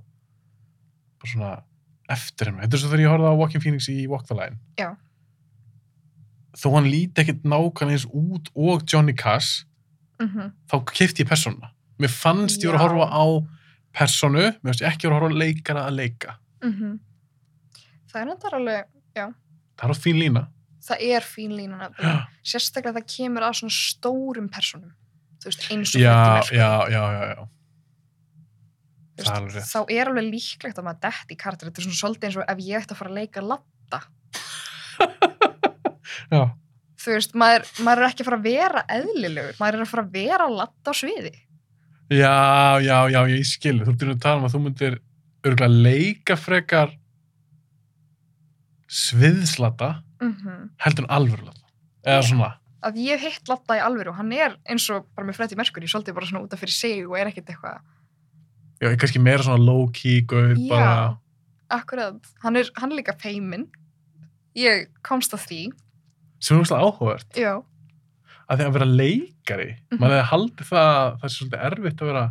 A: bara svona eftir henni þetta er svo þegar ég horfði á Walking Phoenix í Walk the Line
B: Já.
A: þó hann líti ekkert nákvæmlega eins út og Johnny Cash
B: mm
A: þá keipti ég persónuna mér fannst ég voru að
B: Já.
A: horfa á persónu mér fannst ég ekki voru að horfa á leikara að leika
B: mhm. það er þetta alveg
A: það er á fín lína
B: það er fín línan að
A: já,
B: sérstaklega það kemur að svona stórum personum þú veist, eins og
A: já,
B: Freddie Mercury,
A: já, já, já.
B: þú
A: það er alveg rétt.
B: þá er alveg líklegt að maður detti í karakter þetta er svona svolítið eins og ef ég ætti að fara að leika lapp
A: já.
B: þú veist, maður, maður er ekki að fara að vera eðlilegur maður er að fara að vera lapp á sviði
A: Já, já, já, ég skil. Þú ert að tala um að þú myndir örgulega leika frekar sviðslata
B: mm
A: heldur en alvörulata. Eða svona.
B: að ég hef hitt latta í alvöru og hann er eins og bara með Freddie Mercury svolítið bara svona út af fyrir sig og er ekkert eitthvað
A: Já, ég er kannski meira svona low-key, gauð,
B: Já.
A: bara...
B: akkurat, hann er, hann er líka feimin ég komst að því
A: Sem er úrslega áhugavert.
B: já,
A: Að því að vera leikari, mm
B: Mhm.
A: -hmm. maður hefði haldið það að það er svolítið erfitt að vera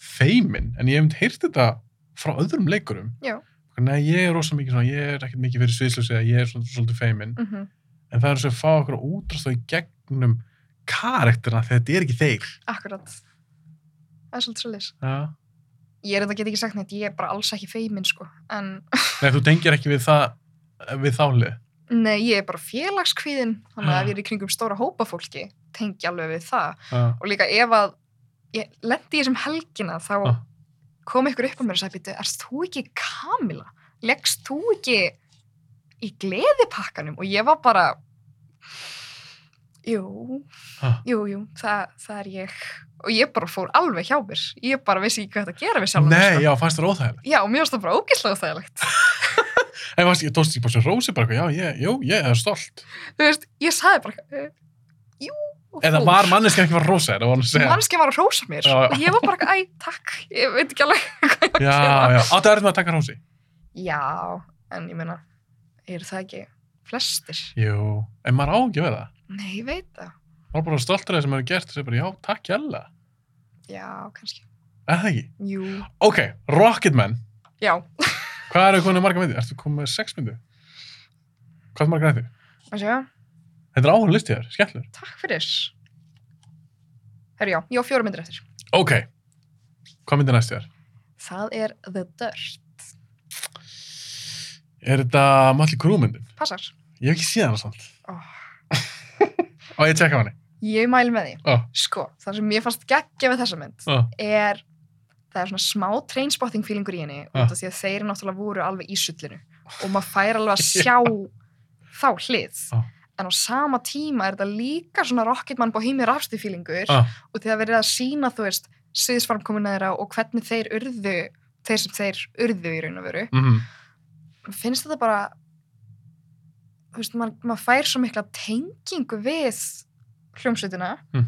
A: feimin. En ég hef myndi heyrt þetta frá öðrum leikurum.
B: Já.
A: Nei, ég er rosa mikið svona, ég er ekkert mikið fyrir sviðslösi eða ég er svona svolítið feimin.
B: mm
A: en það er svo að fá okkur útrast í gegnum karakterna þegar þetta er ekki þeir
B: akkurat það er svolítið svolítið
A: ja.
B: ég er þetta get ekki sagt neitt, ég er bara alls ekki feimin sko, en
A: Nei, þú tengir ekki við það við þálið
B: nei, ég er bara félagskvíðin þannig að
A: Ah.
B: ef ég er í kringum stóra hópa fólki tengi alveg við það
A: ja.
B: og líka ef að ég lendi í þessum helgina þá
A: Ah.
B: kom ykkur upp á mér og sagði býtu, erst þú ekki Kamila? Leggst þú ekki í gleðipakkanum? Og ég var bara jú,
A: Ah.
B: jú, jú það, það er ég og ég bara fór alveg hjá mér ég bara vissi ekki hvað þetta gera við sjálf
A: Nei, já, fannst það óþægilegt
B: Já, mér finnst það bara ógeðslega þægilegt.
A: En fannst, ég tókst ekki bara sem rósi bara, eitthvað, já, ég, jú, ég er stolt
B: Þú veist, ég sagði bara, eh, jú, og
A: Eða
B: fór.
A: var manneski ekki var rósa, eða var hann að segja
B: Manneskja var að hrósa mér
A: Já, já.
B: og ég var bara, æ, takk, ég veit ekki alveg hvað ég var
A: Já,
B: að gera.
A: já, áttu erfið með að taka rósi
B: Já, en ég meina, eru það ekki flestir?
A: Jú, en maður á ekki að vera það
B: Nei, ég veit það.
A: Maður er bara stoltur af það sem maður hefur gert og segir bara, já, takk jælla
B: Já, kannski.
A: Er það ekki?
B: Jú.
A: Ok, Rocketman,
B: Já,
A: hvað eru konið marga myndið? Ertu komið með sex myndið? Hvað er marga myndið?
B: að sjá,
A: Þetta er áhuga listið þér, skemmtilegur
B: takk fyrir. Herru, já, ég á fjóra myndir eftir.
A: Ok, hvað myndir næst þér?
B: Það er The Dirt.
A: Er þetta Malli Krúmyndin?
B: Passar.
A: Ég hef ekki séð hana samt.
B: Oh.
A: Á, ég tjekka hann.
B: Ég mæli með því.
A: Ó,
B: Sko, það sem ég fannst geggja við þessa mynd
A: ó,
B: er, það er svona smá trainspotting fílingur í henni
A: Ah.
B: út af því að þeir náttúrulega voru alveg í sullinu og maður fær alveg að sjá þá hlið.
A: Ah.
B: En á sama tíma er þetta líka svona Rocketman Bohemian Rhapsody fílingur
A: ó.
B: og því að verið að sína, þú veist, sviðsfarmkomuna þeirra og hvernig þeir urðu, þeir sem þeir urðu í raun og veru.
A: mhm,
B: Mér finnst þetta bara þú veist, maður mað fær svo mikla tengingu við hljómsveitina
A: Mm.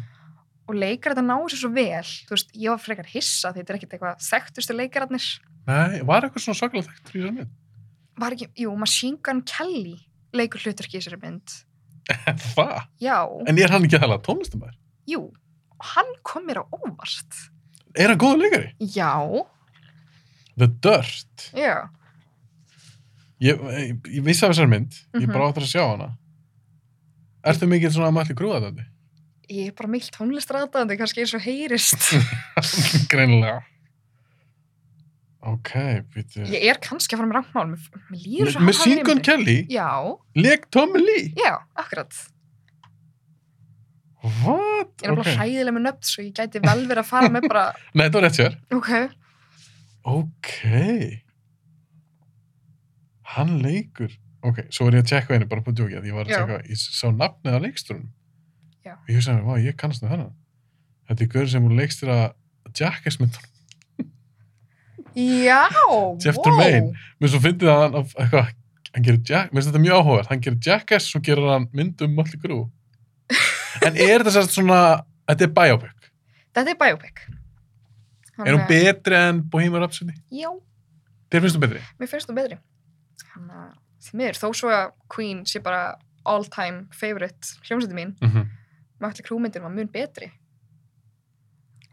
B: og leikar þetta náðu sér svo vel þú veist, ég var frekar hissa því þetta er ekkert eitthvað þekktustu leikararnir
A: Nei, var eitthvað svona svakalega þekktur í þessari mynd?
B: var ekki, jú, Machine Gun Kelly leikur hluturki í þessari mynd
A: Hvað?
B: já,
A: En er hann ekki aðalega tónlistamæður?
B: jú og hann kom mér á óvart
A: Er hann góður leikari?
B: já,
A: The Dirt.
B: já,
A: Ég, ég, ég vissi af þessari mynd, ég
B: Mhm.
A: bara áttur að sjá hana. Ertu mikið svona Malli Krúðaðandi?
B: ég er bara mild tónlistrataðandi kannski eins og heyrist
A: Greinilega. Ok, býttu.
B: ég er kannski að fara með rangmál mér, mér líður svo
A: Með Singun Kelly,
B: já,
A: leik Tommy Lee.
B: já, akkurat
A: What?
B: Ég er nefnilega
A: Ok.
B: hræðileg með nöfn svo ég gæti vel verið að fara með bara,
A: Nei, þetta var rétt sér.
B: ok,
A: Ok. Hann leikur. Ok, svo er ég að tjekka einu, bara búið djókið, að ég var að
B: Já.
A: tjekka, ég sá nafnið á leikstjórnum.
B: Já.
A: Og ég hugsaði mér, vá, ég kannast það hennan. Þetta er gaur sem hún leikst þér að Jackass myndunum.
B: já,
A: Jeff
B: wow.
A: Tremaine. Mér svo fyndið að hann, af- eitthvað, hann gerir Jack, mér finnst þetta mjög áhugað, hann gerir Jackass, svo gerir hann mynd um Mötli Grú. en er þetta sérst svona, þetta er biopic.
B: Þetta er biopic. Hann,
A: Er hún
B: eh,
A: betri en Bohemian Rhapsody?
B: Já,
A: Þér finnst hún betri?
B: mér finnst hún betri. Hann, eh, því miður, þó svo að Queen sé bara all time favorite hljómsætti mín,
A: Mm
B: Mötli Krúmyndin var mun betri.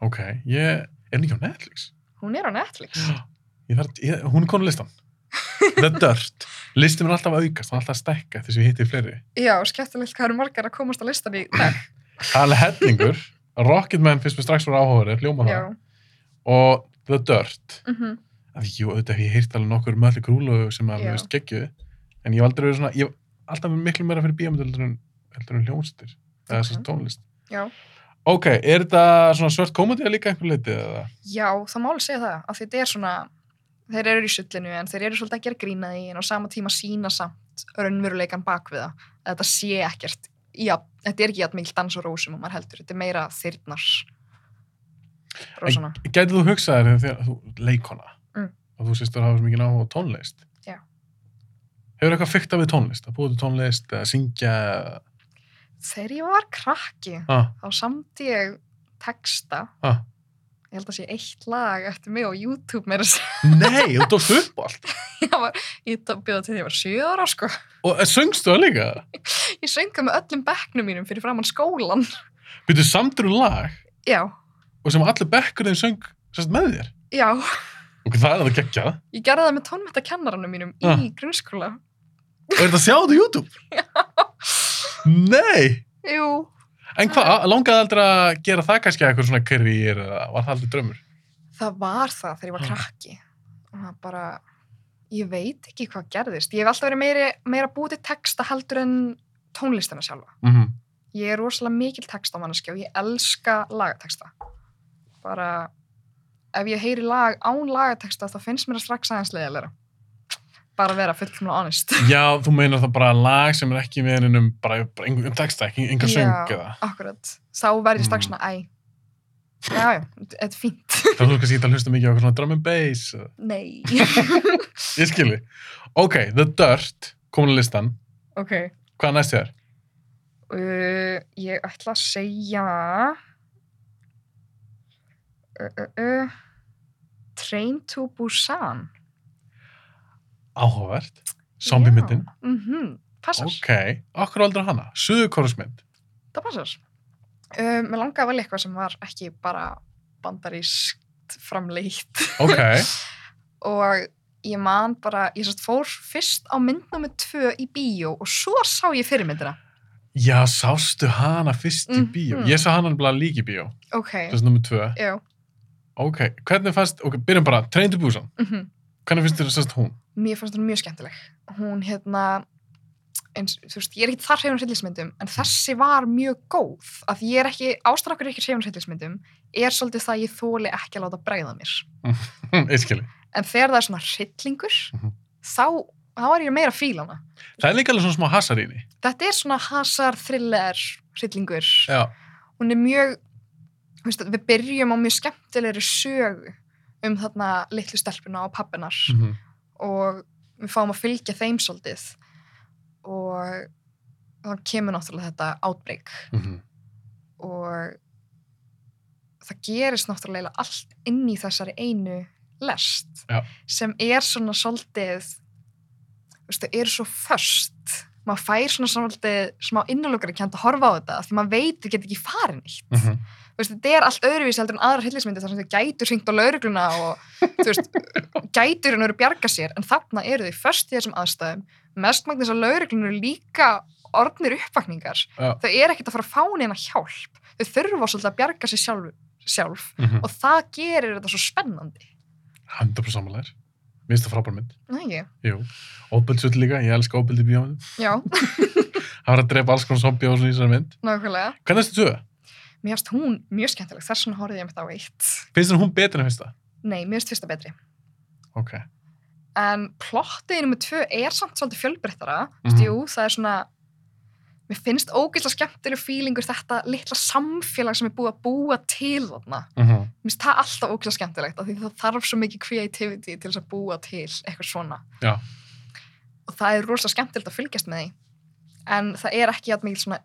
A: Ok, ég, er hún ekki á Netflix?
B: Hún er á Netflix.
A: Ég þarf, ég, hún er konu listan. The Dirt. Listin er alltaf að aukast, hann er alltaf að stekka þess að ég hitti fleiri.
B: Já, skemmtilegt hvað eru margar að komast á listan í dag.
A: Hann er hellingur, Rocketman finnst mér strax voru áhugaður, hljóma það.
B: Já,
A: Og The Dirt.
B: mm
A: Af því, jú, auðvitað hef ég heyrt alveg nokkur möllu grúlu sem að
B: Já.
A: mér veist geggjuð. En ég hef aldrei verið svona, ég hef alltaf verið miklu meira fyrir bíómyndir heldur en, heldur en hljómsýttir. Eða
B: Ok.
A: þess að tónlist.
B: já.
A: Ok, er þetta svona svört komandi líka einhver leitið eða?
B: Já, það máli segja það, að þetta er svona, þeir eru í sullinu en þeir eru svolítið að gera grína því en á sama tíma sína samt raunveruleikan bak við það, að þetta sé ekkert, já, þetta er ekki jafn mikil dans og rósum og maður heldur, þetta er meira þyrnar rósana.
A: Gætið þú hugsað þér þegar þú leikona
B: Mm.
A: og þú sést að hafa svo mikið náhuga á tónlist?
B: Já.
A: Hefur eitthvað fyrta við tónlist? Að búið til tónlist, að syngja?
B: Þegar ég var krakki,
A: Ah,
B: þá samt ég texta,
A: ah.
B: ég held að sé eitt lag eftir mig á YouTube meira að segja,
A: Nei, þú tókst upp á allt.
B: Ég var- ég byrða til því að ég var sjö ára sko,
A: Og söngstu það líka?
B: ég sönga með öllum bekknum mínum fyrir framann skólan,
A: Byrjuð samdur um lag
B: já,
A: og sem allir bekkur þeim söng sérst með þér.
B: já.
A: Og það er það geggjað.
B: Ég gerði það með tónmættakennaranum mínum
A: Ah.
B: í grunnskóla.
A: Og er þetta að sjá þetta á YouTube? Nei!
B: Jú,
A: En hvað, langaði aldrei að gera það kannski eitthvað svona karriér eða var það aldrei draumur?
B: það var það þegar ég var
A: Ah.
B: krakki. Og það bara, ég veit ekki hvað gerðist. Ég hef alltaf verið meiri, meira búið til texta heldur en tónlistina sjálfa.
A: Mm
B: Ég er rosalega mikil textamanneski og ég elska lagatexta. Bara, ef ég heyri lag án lagatexta þá finnst mér það strax aðeins leiðilega. Bara að vera fullkomlega honest.
A: Já, þú meinar það bara lag sem er ekki með hennum bara, bara einhver um texta, ekki einhver söng
B: Já.
A: eða.
B: Akkurat. Þá verð ég strax
A: Mm.
B: svona, æ, já, já, þetta er fínt.
A: Það er þú kannski ekki að hlusta mikið á eitthvað svona drum and bass. eða-
B: Nei.
A: Ég skilji. Ok, The Dirt, komin að listan.
B: ok.
A: Hvað næst þér?
B: Uh, ég ætla að segja uh, uh, uh, Train to Busan
A: Áhugavert. Zombie myndin.
B: mm Passar,
A: Ok, okkur aldrei hana. Suðukorusmynd.
B: það passar uh, Mér langaði að velja eitthvað sem var ekki bara bandarískt framleitt
A: Ok,
B: og ég man bara, ég sérst fór fyrst á myndnúmi 2 í bíó og svo sá ég fyrirmyndina
A: já, sástu hana fyrst í
B: Mhm.
A: bíó. Ég sá hana bara líki bíó,
B: Ok,
A: þessi nummer tvö.
B: já,
A: Ok, hvernig fannst, ok, byrjum bara, Train to Busan,
B: Mm -hmm.
A: hvernig finnst þér sérst hún?
B: Mér fannst hún mjög skemmtileg. Hún hérna, eins, þú veist, ég er ekki þar hreyfun hryllismyndum, en þessi var mjög góð. Að ég er ekki, ástrakkur ekki hreyfun hryllismyndum, er svolítið það að ég þóli ekki að láta bregða mér.
A: Eiskili.
B: En þegar það er svona hryllingur,
A: Mhm.
B: þá, þá er ég meira að fíla hana.
A: Það er líka alveg svona smá hasar í því.
B: Þetta er svona hasar, thriller, hryllingur.
A: Já.
B: Hún er mjög, þú veist, við byrjum á mjög skemmtilegri sögu um þarna litlu stelpuna og pappinar.
A: Mhm.
B: og við fáum að fylgja þeim svolítið og þá kemur náttúrulega þetta átbreyk
A: Mhm.
B: og það gerist náttúrulega eiginlega allt inn í þessari einu lest
A: Já.
B: sem er svona svolítið þú veist, þau eru svo först maður fær svona svolítið smá innalokar að kjönda að horfa á þetta af því maður veit þau get ekki farin eitt
A: Mhm.
B: þú veist, þetta er allt öðruvísi heldur en aðra hillismyndir þar sem þau gætur hringt á laurugluna og þú veist, gætur en eru bjarga sér en þarna eru þau först í þessum aðstæðum mestmagnis að lauruglun eru líka orðnir uppvakningar
A: Já.
B: þau eru ekkert að fara að fá neina hjálp þau þurfa svolítið að bjarga sér sjálf, sjálf
A: Mhm.
B: og það gerir þetta svo spennandi
A: 100% samanlegar. Mér finnst það frábær mynd.
B: Nei, ekki?
A: Jú. Óbildsull líka, ég elska óbildi bíómynd.
B: Já,
A: Það var að drepa alls konar zombi á svona í þessari mynd.
B: nákvæmlega
A: Hvernig finnst þér tvö?
B: Mér finnst hún mjög skemmtileg, þess vegna horfði ég mitt á eitt
A: Finnst þér hún betur en fyrsta?
B: Nei, mér finnst fyrsta betri
A: Ok.
B: en plottið í nummer tvö er samt svolítið fjölbreyttara mm
A: Mhm.
B: -hmm. jú, það er svona mér finnst ógeðslega skemmtileg fílingur þetta litla samfélag sem er búið að búa til þarna,
A: Mhm.
B: mér finnst það alltaf ógeðslega skemmtilegt af því það þarf svo mikið creativity til þess að búa til eitthvað svona
A: Já.
B: og það er rosa skemmtilegt að fylgjast með því en það er ekki játn mikið svona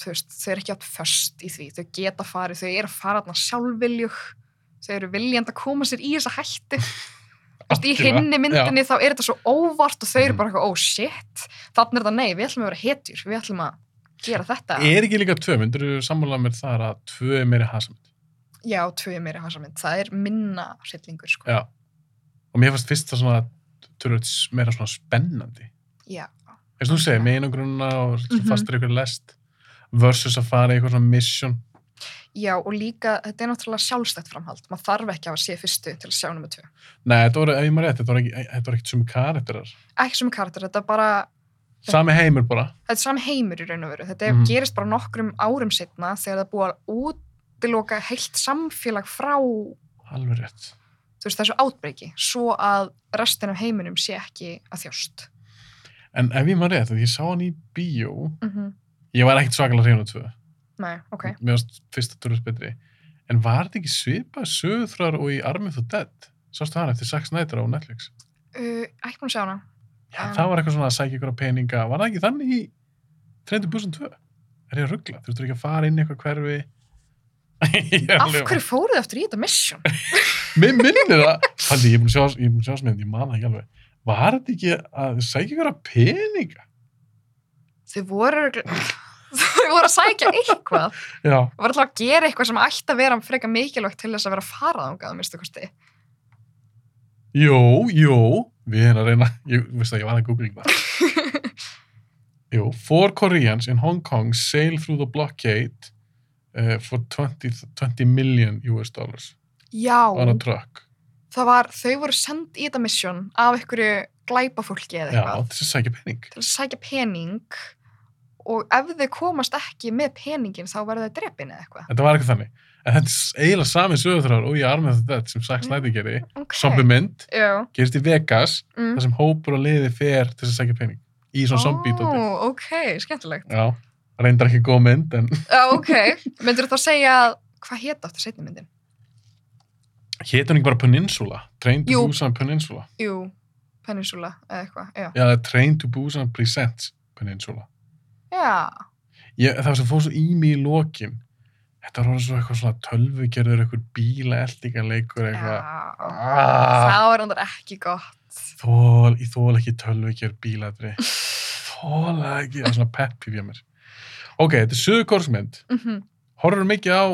B: þú veist, þau eru ekki játn först í því þau geta farið, þau eru að fara þarna sjálfviljug þau eru viljandi að koma sér í þessa hættu Þú veist, í
A: Algjörlega. Mm.
B: hinni myndinni þá er þetta svo óvart og þau eru bara eitthvað, oh shit þannig er þetta nei, við ætlum að vera hetjur við ætlum að gera þetta
A: Er ekki líka tvö? Myndur þú sammála mér þar að tvö er meiri hasamynd?
B: já, tvö er meiri hansamynd, það er minna hryllingur sko,
A: Já. Og mér fannst fyrsta svona tölvöld meira svona spennandi.
B: já,
A: eins og þú segir, með einangrunna og mm
B: Mhm.
A: fastur í eitthvað lest versus að fara í eitthvað svona mission
B: já og líka þetta er náttúrulega sjálfstætt framhald maður þarf ekki að hafa séð fyrstu til að sjá nummer tvö
A: Nei, þetta voru, ef ég maður rétt, þetta voru ekki, þetta voru ekki sumi karakterar
B: ekki sem karakter, þetta er bara
A: Sami heimur bara
B: þetta er sami heimur í raun og veru, þetta er-
A: Mhm.
B: gerist bara nokkrum árum setna þegar það er búið að útiloka heilt samfélag frá þú
A: Alveg rétt
B: veist, þessu átbreyki, svo að restin af heiminum sé ekki að þjást
A: En ef ég maður rétt, að ég sá hann í bíó
B: mm -hmm.
A: Ég var ekkert svakalega hreinu tvö
B: Nei, ok.
A: Mér varst fyrsta törnus betri En var þetta ekki svipað sögurþrar og í Armið þú Dead? Sástu hann eftir Zack Snyder á Netflix
B: Uh, ekki búin að sjá hana.
A: Já,
B: Já.
A: það var eitthvað svona að sækja ykkur á peninga Var það ekki þannig í 30.002? Er ég að ruggla? Þurftur ekki að fara inn í eitthvað hverfi? Ég er
B: Af
A: alveg-
B: hverju fóruð þið aftur í þetta mission?
A: Mér minnir það. Halli, ég er búin að sjá, ég er búin að sjá sem ég man það ekki alveg. Var þetta ekki að sækja ykkur að peninga?
B: Þau voru, örugglega- þau voru að sækja eitthvað.
A: Já.
B: Það var alltaf að gera eitthvað sem ætti að vera freka mikilvægt til þess að vera farað ángað, minnstu kosti.
A: Jó, jó, við erum að reyna, ég veist að ég var að googla það. Jú, four Koreans in Hong Kong sail through the blockade uh, for 20, 20 million US dollars
B: Já,
A: on a truck.
B: það var, þau voru sendt í þetta mission af einhverju glæpafólki eða
A: Já,
B: eitthvað.
A: þessi sækja pening.
B: Til að sækja pening og ef þau komast ekki með peningin þá verður þau drepin eða eitthvað.
A: Þetta var eitthvað þannig. En þetta er eiginlega sami sögurþrar og ég armið þetta sem Zack Snyder gerði.
B: Mm. Ok.
A: Zombie mynd,
B: Já.
A: gerist í Vegas.
B: Mm.
A: þar sem hópur og liði fer til þess að sækja pening í svona zombie dóti
B: Ó, ok, skemmtilegt.
A: já, reyndar ekki góð mynd en
B: Já, ok. Myndur þú þá segja að- hvað hétt aftur setni myndin?
A: hétur hann ekki bara Peninsula Train to
B: Jú.
A: Busan Peninsula
B: Jú, Peninsula eða eitthvað, já.
A: já, það er Train to Busan Presents Peninsula
B: Já,
A: ég, það sem fór svo í mig í lokin þetta var orðið svo eitthvað svona tölvugerður eitthvað bíla eldingarleikur eitthvað
B: já.
A: Ah,
B: Það var endur ekki gott.
A: þól, ég þól ekki tölvugerð bíladri þóla ekki, það er svona peppi við mér ok, þetta er sögurkorsmynd
B: Mhm.
A: horfur mikið á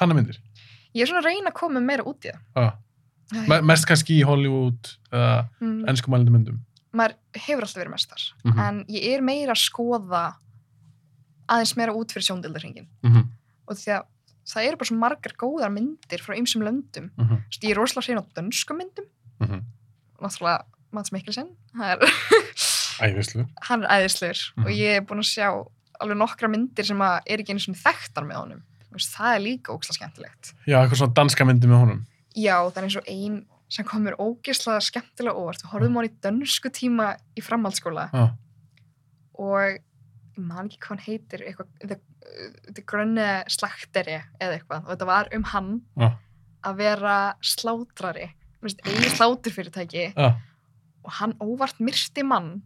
A: þannig myndir
B: Ég er svona að reyna að koma meira út í það.
A: ah. Me mest kannski í Hollywood eða
B: Mm,
A: ennskumælindi myndum
B: Maður hefur alltaf verið mestar,
A: Mhm.
B: en ég er meira að skoða aðeins meira út fyrir sjóndildarhringin.
A: mm -hmm.
B: Og því að það eru bara svo margar góðar myndir frá ymsum löndum
A: Mm -hmm.
B: Þú veist, ég er rosalega hrein á dönskum myndum
A: Mm -hmm.
B: náttúrulega Mats Mikkelsen hann er,
A: Æðislu.
B: hann er æðislegur og
A: Mhm.
B: ég er búin að sjá alveg nokkra myndir sem að er ekki einu svona þekktar með honum Þú veist, það er líka ógislega skemmtilegt
A: Já, eitthvað svona danska myndi með honum.
B: já, það er eins og ein sem komur ógislega skemmtilega óvart við horfum á hann í dönsku tíma í framhaldsskóla
A: Já.
B: og ég man ekki hvað hann heitir eitthvað, the, the grönne slakteri eða eitthvað og þetta var um hann
A: Já.
B: að vera slátrari einu sláturfyrirtæki
A: Já.
B: og hann óvart myrti mann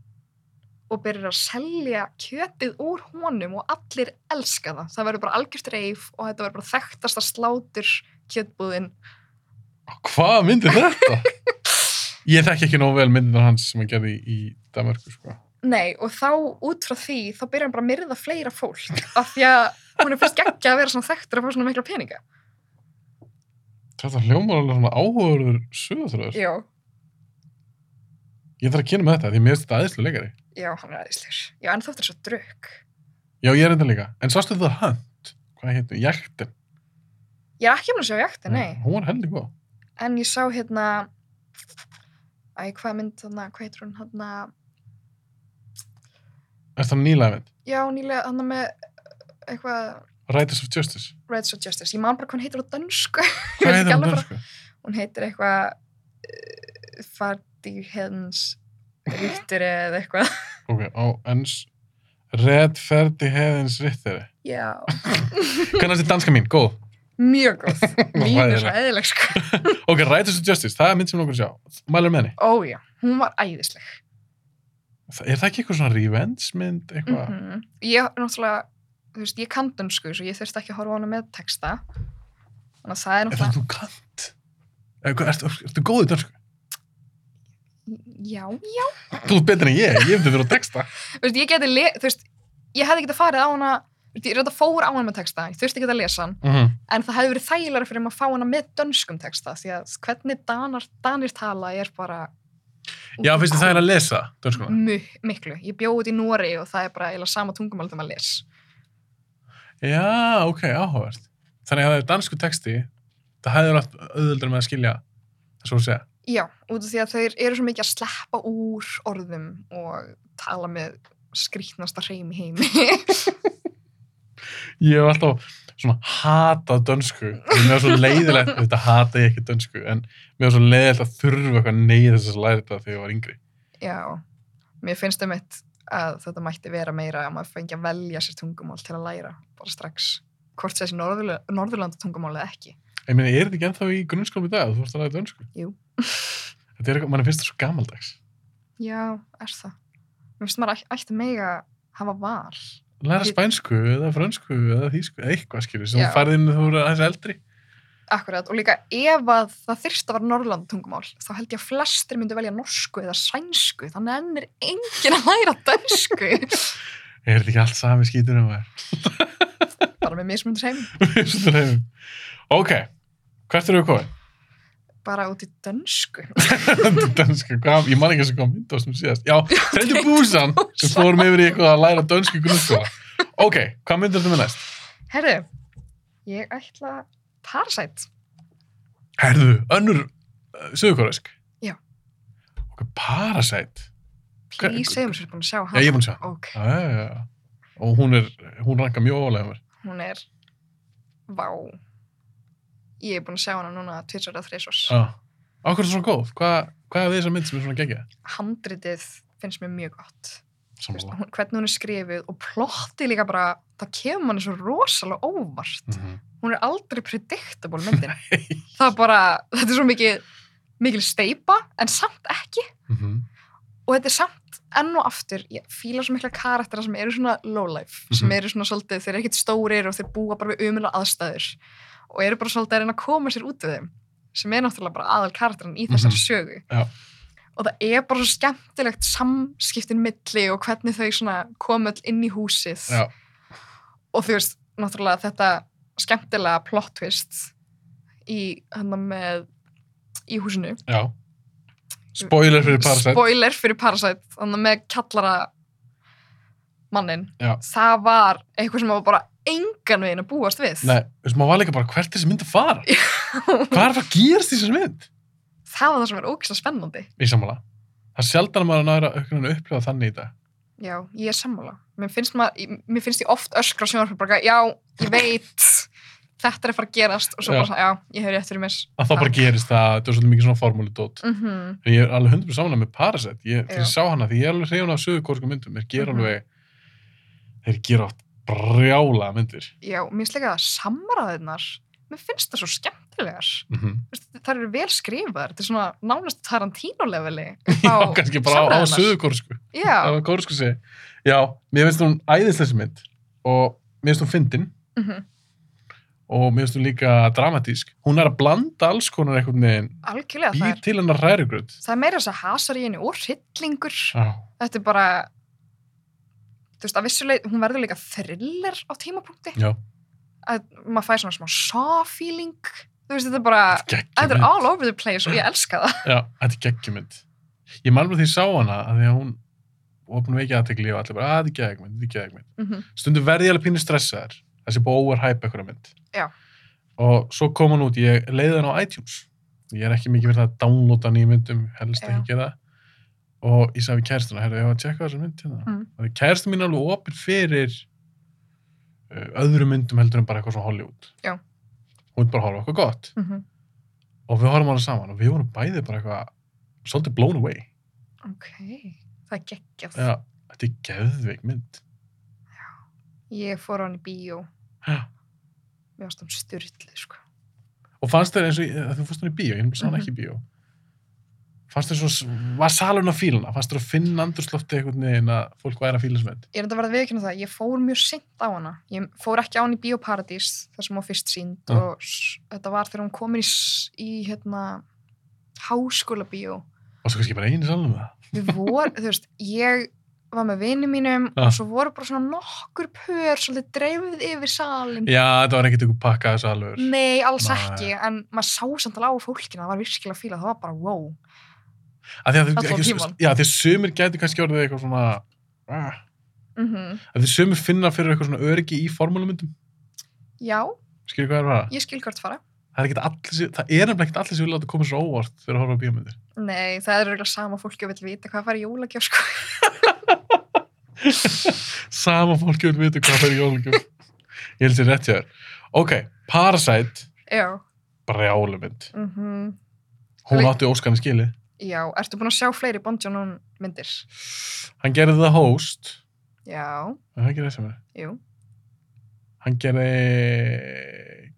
B: og byrjar að selja kjötið úr honum og allir elska það það verður bara algjört reif og þetta verður bara þekktasta slátur kjötbúðin
A: Hvað myndi þetta? Ég þekki ekki nógu vel myndina hans sem hann gerði í Danmarku, sko.
B: Nei, og þá út frá því þá byrjar hann bara að myrða fleira fólk af því að hún er fyrst geggja að vera svona þekktur að fá svona mikla peninga
A: Þetta hljómar alveg svona áhugaverður sögurþröður.
B: Já,
A: Ég þarf að kynna með þetta því mér finnst þetta æðislu leikari.
B: Já, hann er aðeinslegur. Já, en þóttir svo drukk.
A: Já, ég er enda líka. En sástu The Hunt? Hvað heitir? Jæktin.
B: Ég er ekki búin að sjá jakti, nei.
A: Hún var heldig góð.
B: En ég sá hérna, æ, hvað mynd þarna, hvað heitir hún hérna,
A: Er það nýlega mynd?
B: já, nýlega þarna með eitthvað
A: Writers of Justice.
B: Rights of Justice. Ég man bara hvað hún heitir á dansku.
A: Hvað heitir hún
B: alveg
A: dönsku?
B: Hún heitir eitthvað uh, Fardi Hens Ríktur eða eitthvað.
A: Ok, á ens. Redferdi hefðins rittari.
B: Já,
A: Kannast þið danska mín? Góð.
B: mjög góð. Mín er svo
A: Hræðileg.
B: eðileg, sko.
A: Ok, Writers of Justice. Það er mynd sem við okkur sjá. Mælur með henni.
B: Ó, já, hún var æðisleg.
A: Það- Er það ekki eitthvað svona revenge mynd?
B: Mm
A: Eitthvað?
B: Ég náttúrulega, þú veist, ég kan dönsku svo ég þurfti ekki að horfa á hana með texta þannig að það er
A: Er það
B: náttúrulega
A: þú kant? Er, er, ertu, ertu góð í dönsku?
B: já, já,
A: Þú ert betur en ég, ég hefði verið að texta.
B: þú veist, ég geti le- þú veist, ég hefði getið farið á hana þú veist, ég reynda fór á hana með texta, ég þurfti ekki að lesa hann
A: Mm -hmm.
B: en það hefði verið þægilega fyrir mig að fá hana með dönskum texta, því að hvernig danar, danir tala er bara
A: Já, finnst þið það er að lesa dönskuna?
B: Mu- miklu, ég bjóð út í Nóri og það er bara eiginlega sama tungumál þegar maður les
A: Já, ok, áhugavert. Þannig að það er dansku texti, það hefði verið auðvöldur með að skilja það svo að segja.
B: Já, út af því að þeir eru svo mikið að sleppa úr orðum og tala með skrítnasta hreim í heimi.
A: Ég hef alltaf svona hatað dönsku. og Mér var svo leiðilegt, þetta hata ég ekki dönsku, en mér var svo leiðilegt að þurfa eitthvað neyð þess að læra þetta þegar ég var yngri.
B: Já, mér finnst um eitt að þetta mætti vera meira að maður fengi að velja sér tungumál til að læra bara strax. Hvort þessi norðurlanda tungumál eða ekki.
A: Ég meina, er þetta ekki ennþá í grunnskólum í dag að þú vorst að læra dönsku?
B: Jú.
A: Þetta er eitthvað, mann finnst það svo gamaldags.
B: Já, er það. Mér finnst maður æ- ætti mega að hafa val.
A: læra
B: Ég-
A: spænsku eða fransku eða þýsku eða eitthvað skilur sem
B: Já.
A: þú farið inn þegar þú eru aðeins eldri
B: Akkurat, og líka ef að það þyrst að vera norðurlanda tungumál, þá held ég að flestir myndu velja norsku eða sænsku, þannig ennir enginn að læra dansku.
A: er þetta ekki allt sami skítur um
B: bara með mismundur heim.
A: það ok, hvert eru við komin?
B: bara út í dönsku
A: Þetta er dönsku, hvað, ég man ekki eins og hvað mynda sem síðast, já,
B: Tengdu
A: þendur búsan sem
B: Búsan.
A: fórum yfir í eitthvað að læra dönsku í grunnskóla ok, hvað myndir þetta með næst?
B: Herðu, ég ætla Parasite
A: herðu, önnur uh, sögurkórask
B: Já.
A: ok, Parasite Hver-
B: Please, segjum sér búin að sjá
A: já,
B: hana
A: ég er búin að sjá
B: Ok,
A: Já, já, já, já. og hún er, hún ranka mjög ólega mér
B: hún er Vá Ég er búin að sjá hana núna tvisar að þrisvars
A: Já. Á hverju er það svona góð? Hva, hvað er við þessar mynd sem er svona geggjað?
B: Handritið finnst mér mjög gott Þú veist, hún, Hvernig hún er skrifuð og plotti líka bara Það kemur manni svo rosalega óvart
A: Mm -hmm.
B: Hún er aldrei predictable myndin Það er bara, þetta er svo mikið mikil steipa, en samt ekki
A: Mm -hmm.
B: og þetta er samt enn og aftur ég fíla svo mikla karaktera sem eru svona lowlife, sem
A: Mhm.
B: eru svona svolítið þeir eru ekkit stórir og þeir búa bara við umjöla aðstæður og eru bara svolítið að reyna að koma sér út við þeim sem er náttúrulega bara aðal karakterin í þessari
A: Mhm.
B: sögu
A: Já.
B: og það er bara svo skemmtilegt samskiptin milli og hvernig þau svona koma öll inn í húsið
A: Já.
B: og þú veist, náttúrulega þetta skemmtilega plot twist í hann með í húsinu
A: Já. Spoiler fyrir Parasite.
B: spoiler fyrir Parasite þannig að með kallara mannin
A: Já.
B: það var eitthvað sem var bara engan veginn að búast við
A: Nei, þú veist, maður var líka bara hvert þessi mynd að fara. Hvað er það að gerast í þessari mynd?
B: það var það sem er ógislega spennandi
A: Í sammála. Það er sjaldan að maður náður að aukna að upplifa þannig í dag.
B: já, ég er sammála mér finnst, maður, mér finnst ég oft öskra á sjónarfið bara, já, ég veit þetta er að fara að gerast og svo
A: Já.
B: bara svona, já, ég hefur rétt fyrir mér
A: Að þá bara gerist það, þetta er svolítið mikið svona formúludót.
B: mm
A: En Ég er alveg hundum samanlega með Parasite. Ég, þegar ég
B: Já.
A: sá hana, því ég er alveg hreyfuna af sögurkórsku myndum. Þeir gera
B: Mhm.
A: alveg, þeir gera oft brjála myndir.
B: já, mér finnst líka að samræðinar mér finnst það svo skemmtilegar
A: Mm -hmm.
B: Þú veist, það eru vel skrifaðar þetta er svona nánast Tarantino-leveli
A: Já, kannski bara á, á
B: samræðurnar.
A: sögurkórsku.
B: já,
A: Á kórsku segi. Já, mér finnst hún æðislega þessi mynd og mér finnst hún fyndin
B: mm
A: og mér finnst hún líka dramatísk. Hún er að blanda alls konar einhvern veginn,
B: algjörlega það
A: býr
B: er
A: til hennar rærugröð.
B: það er meira þess að hasar í henni og hryllingur
A: Já,
B: þetta er bara þú veist, að vissuleit, hún verður líka thriller á tímapunkti
A: já,
B: að maður fær svona smá saw-feeling þú veist, þetta er bara þetta er
A: geggjum.
B: all over the place og ég elska það
A: Já, þetta er geggjumynd. Ég man bara því ég sá hana að því að hún opnum ekki aðtekli og allir bara, að þetta er geggjumynd, þetta er geggjumynd.
B: Mhm.
A: Stundum verði ég alveg pínu stressaður, þessi búið overhype eitthvað mynd.
B: Já.
A: Og svo kom hann út, ég leiði hann á iTunes. Ég er ekki mikið verið að downloada nýjum myndum, helst
B: Já.
A: ekki gera. Og ég sagði við kæristuna, herru, ég var að tjekka þessa mynd hérna.
B: Mm.
A: Og því kæristin mín er alveg opið fyrir uh, öðrum myndum heldur en bara eitthvað svona Hollywood.
B: Já.
A: Hún vill bara horfa á eitthvað gott
B: Mhm.
A: og við horfum á hana saman og við vorum bæði bara eitthvað svolítið blown away
B: ok, það er geggjað
A: Já, þetta er geðveik mynd
B: ég fór á hann í bíó
A: Já.
B: mér varst hann styrlið sko.
A: og fannst þér eins og, eh, þú fannst þér í bíó, ég sá
B: Mhm.
A: hana ekki í bíó fannst þér svo, var salun að fíla hana fannst þér að finna andurslofti einhvern veginn að fólk væri að fíla sem þetta
B: ég er þetta að verða viðkynna það, ég fór mjög sent á hana ég fór ekki á hann í Bíóparadís þar sem hún var fyrst sínd
A: Já.
B: og s- þetta var þegar hún komin í, s- í hérna, háskóla bíó
A: og svo kannski bara einu salun með það
B: við vorum, þú veist, ég var með vinum mínum
A: Já.
B: og svo voru bara svona nokkur pör svolítið dreifð yfir salin
A: Já, þetta var ekkert einhver pakkaði salur
B: nei, alls
A: Nei.
B: ekki, en maður sá samt alveg á fólkina, það var virkilega fíla, það var bara wow
A: að því að þið,
B: Allan
A: ekki,
B: tímann.
A: já, því að sumir gæti kannski orðið eitthvað svona ah,
B: mm
A: að því sumir finna fyrir eitthvað svona öryggi í formúlumyndum
B: já,
A: skilur hvað er að vera?
B: ég skil hvert fara
A: Það er ekkert allir, sem- það er nefnilega ekkert allir sem vilja að koma svo óvart fyrir að horfa á bíómyndir
B: nei, það er eiginlega sama fólki og vil vita hvað fara í jólagjöf sko.
A: sama fólki vil vita hvað fyrir jólugjöf ég held sér rétt hjá þér ok, Parasite,
B: já,
A: brjálumynd
B: mhm
A: hún
B: Lí-
A: átti óskarni skili
B: Já, ertu búin að sjá fleiri Bond Jonon myndir?
A: hann gerði The Host
B: Já,
A: en hann gerði sem er
B: jú.
A: hann gerði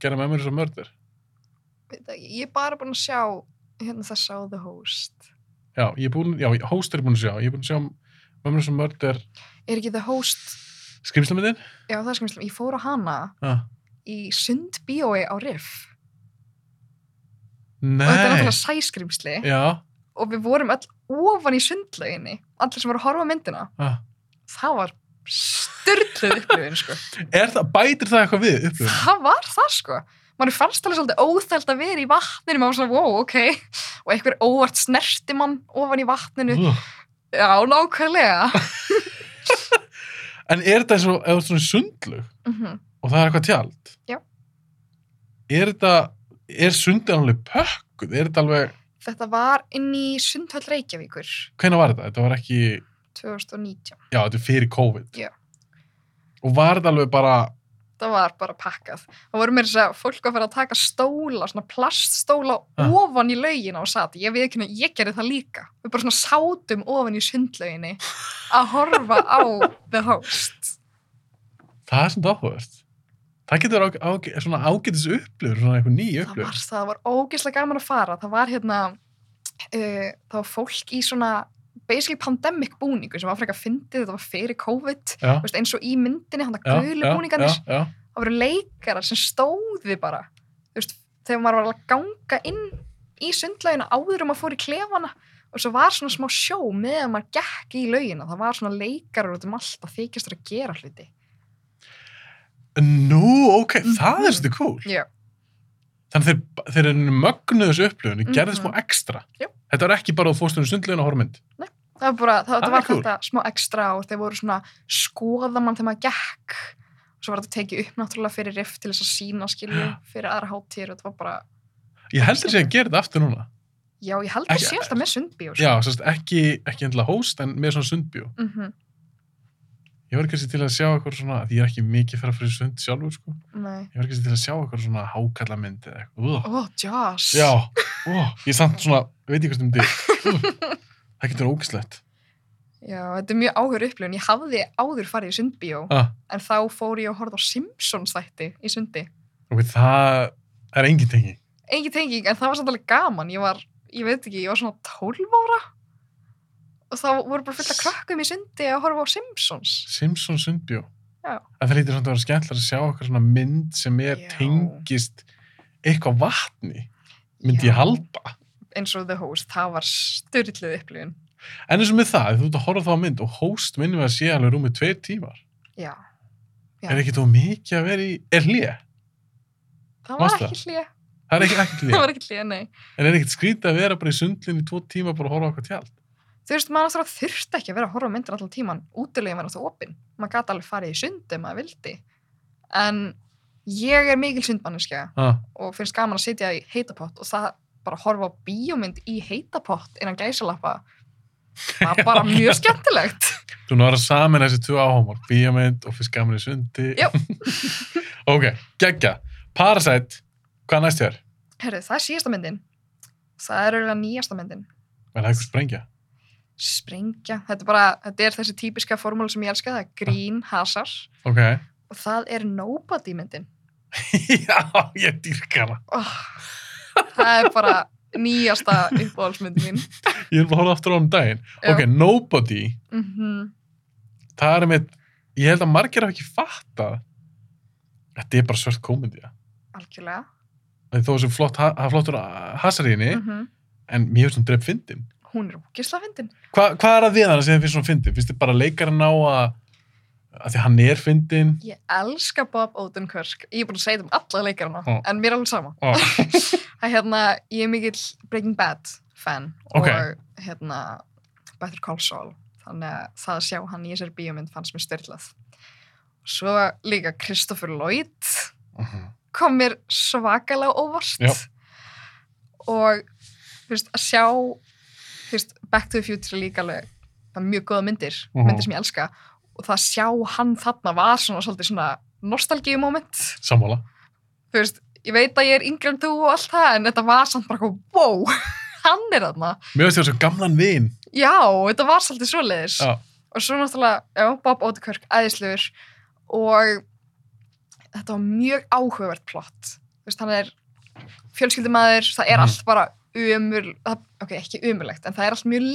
A: gerði Memories of Murder
B: Veit það ekki, Ég er bara búin að sjá hérna það sá The Host.
A: já, ég er búin, já, Host er ég búin að sjá ég er búin að sjá Memories of Murder
B: Er ekki The Host,
A: skrimslamyndin
B: já það er skimslega, ég fór á hana
A: ah.
B: í sundbíói á Riff. Og þetta er
A: nei,
B: náttúrulega sæskrimsli
A: já
B: og við vorum öll ofan í sundlauginni, allir sem voru að horfa á myndina.
A: ah.
B: Það var styrluð upplifin, sko.
A: er það, bætir það eitthvað við upplöfum
B: það var það, sko. Manni fannst alveg svolítið óþælt að vera í vatninu, maður var svona, wow, ok. Og einhver óvart snerti mann ofan í vatninu.
A: Ugh.
B: Já, nákvæmlega.
A: en er þetta eins og eða svona sundlug
B: Mhm.
A: og það er eitthvað tjald
B: Já.
A: er þetta er sundin alveg pökkuð er þetta alveg,
B: Þetta var inn í Sundhöll Reykjavíkur
A: hvenær var þetta? þetta var ekki,
B: 2019.
A: já þetta er fyrir COVID
B: Já.
A: og var þetta alveg bara
B: Það var bara pakkað. Það voru mér þess að fólk að fara að taka stóla, svona plaststóla
A: Ah.
B: ofan í laugina og sat. Ég við ekki, ég gerði það líka. Við bara svona sátum ofan í sundlauginni að horfa á The Host.
A: það er svona áhugast það getur á, á, svona ágætis upplifur svona einhver ný
B: Það
A: upplifur
B: var, það var ógeðslega gaman að fara. Það var hérna, uh, það var fólk í svona basically pandemic búningu sem var frekar fyndið, þetta var fyrir COVID.
A: já,
B: Þú Veist, eins og í myndinni, hann
A: já,
B: það gulu
A: já,
B: búningarnir.
A: já,
B: það voru leikarar sem stóði bara þú veist, þegar maður var að ganga inn í sundlaugina áður um að fór í klefana og svo var svona smá sjó meðan maður gekk í laugina það var svona leikarar út um allt að þykjast þeirra að gera hluti
A: nú ok, það er
B: Mhm.
A: svolítið cool
B: Já.
A: þannig þeir, þeir eru mögnuðu þessu upplifun mm
B: Mhm.
A: gerði smá ekstra
B: Já.
A: þetta var ekki bara að þú fórst um sundlugin og hormynd
B: það var bara, það,
A: Það
B: það
A: er
B: var
A: Ah, cool.
B: þetta smá ekstra og þeir voru svona skoða mann þegar maður gekk svo var þetta tekið upp náttúrulega fyrir riff til þess að sína skilju fyrir aðra hátíðir og þetta var bara
A: Ég heldur sér að gera þetta aftur núna.
B: já, ég held að
A: Ekki-
B: sé alltaf með sundbíó sko.
A: Já, sérst, ekki, ekki endilega host, en með svona sundbjó.
B: mm -hmm.
A: Ég var kannski til að sjá eitthvað svona, því ég er ekki mikið fyrir að fyrir sund sjálfur, sko. Ég var kannski til að sjá eitthvað svona hákallamynd eða eitthvað. Ugh.
B: ó, jazz
A: Já, ó, ég samt svona, veit ég hvað um þig. Það getur verið ógislegt.
B: Já, þetta er mjög áhör upplifun. Ég hafði áður farið í sundbíó,
A: Ah,
B: en þá fór ég og horfði á Simpsons þætti í sundi.
A: ok, það er engin tengi.
B: Engin tenging, en það var samt alveg gaman. Ég var, ég veit ekki, ég var svona 12 ára og þá voru bara fullt af krökkum í sundi að horfa á Simpsons.
A: Simpson sundbjó.
B: Já.
A: En það lítur svona að vera skemmtilega að sjá eitthvað svona mynd sem er
B: Já.
A: tengist eitthvað vatni, myndi ég
B: Já.
A: halda.
B: Eins og The Host, það var styrlið upplifun.
A: En eins og með það, þú ert að horfa þá á mynd og host minnum við að sé alveg rúmið tveir tímar.
B: Já, Já.
A: Er ekki þú mikið að vera í, er hlýja?
B: það var
A: Varstu
B: ekki hlið.
A: Það er ekki ekki
B: Það
A: hlýja.
B: var ekki hlið, nei.
A: en er ekkit skrítið að vera bara í sundlinni í tvo tíma bara að horfa á okkur tjald?
B: Þú veist, maður náttúrulega þurfti ekki að vera að horfa á myndir alltaf tíman. Útilegin var náttúrulega opinn. Maður gæti alveg farið í sund ef maður vildi. En ég er mikil sundmanneskja
A: Ah,
B: og finnst gaman að sitja í heitapott og það bara að horfa á bíómynd í heitapott innan gæsalappa það var bara mjög skemmtilegt
A: þú náður að samin þessi tvö áhámar, bíómynd og fyrst gaman í sundi.
B: Jú.
A: ok, geggja. Parasite, hvað næst þér?
B: Herru, það er síðasta myndin það er auðvitað nýjasta myndin
A: Vel, það er eitthvað sprengja.
B: Sprengja, þetta er bara þetta er þessi típiska formúli sem ég elska það er grín, hasar
A: Ok.
B: og það er nobody myndin
A: Já, ég dýrka hana.
B: oh, það er bara nýjasta uppáhaldsmyndin mín
A: Ég er bara að horfa aftur á um daginn.
B: Já.
A: Ok, Nobody,
B: mm
A: það er með, ég held að margir hafa ekki fattað. Þetta er bara svört komedía.
B: algjörlega
A: Því Þó sem flott, ha- það er flottur hasaríðinni,
B: mm
A: mm. en mér finnst hún drepp fyndin.
B: hún er ógislega fyndin
A: Hva, hvað er að við hana sem þið finnst svona fyndin? Finnst þið bara leikarinn á að, að því hann er fyndin?
B: Ég elska Bob Odenkirk. Ég er búin að segja þetta um alla leikarana,
A: Ó.
B: en mér er alveg sama.
A: Ó.
B: Það hérna, ég er mikill Breaking Bad fan
A: Ok.
B: og hérna Better Call Saul. Þannig að það að sjá hann í þessari bíómynd fannst mér styrlað. Svo líka Christopher Lloyd
A: mhm.
B: kom mér svakalega óvart.
A: Já.
B: Og, þú veist, að sjá, þú veist, Back to the Future er líka alveg, það er mjög góða myndir,
A: Mhm.
B: myndir sem ég elska. Og það að sjá hann þarna var svona svolítið svona nostalgíumoment.
A: Sammála.
B: Þú veist, ég veit að ég er yngri en þú og allt það, en þetta var samt bara eitthvað, wow, hann er þarna.
A: Mér finnst þér svo gamlan vin.
B: Já, þetta var svolítið svoleiðis
A: Já.
B: og svo náttúrulega, já, Bob Odenkirk æðislegur og þetta var mjög áhugavert plott, þú veist, hann er fjölskyldumæður, það er
A: Mhm.
B: allt bara umul, það, ok, ekki umulegt en það er allt mjög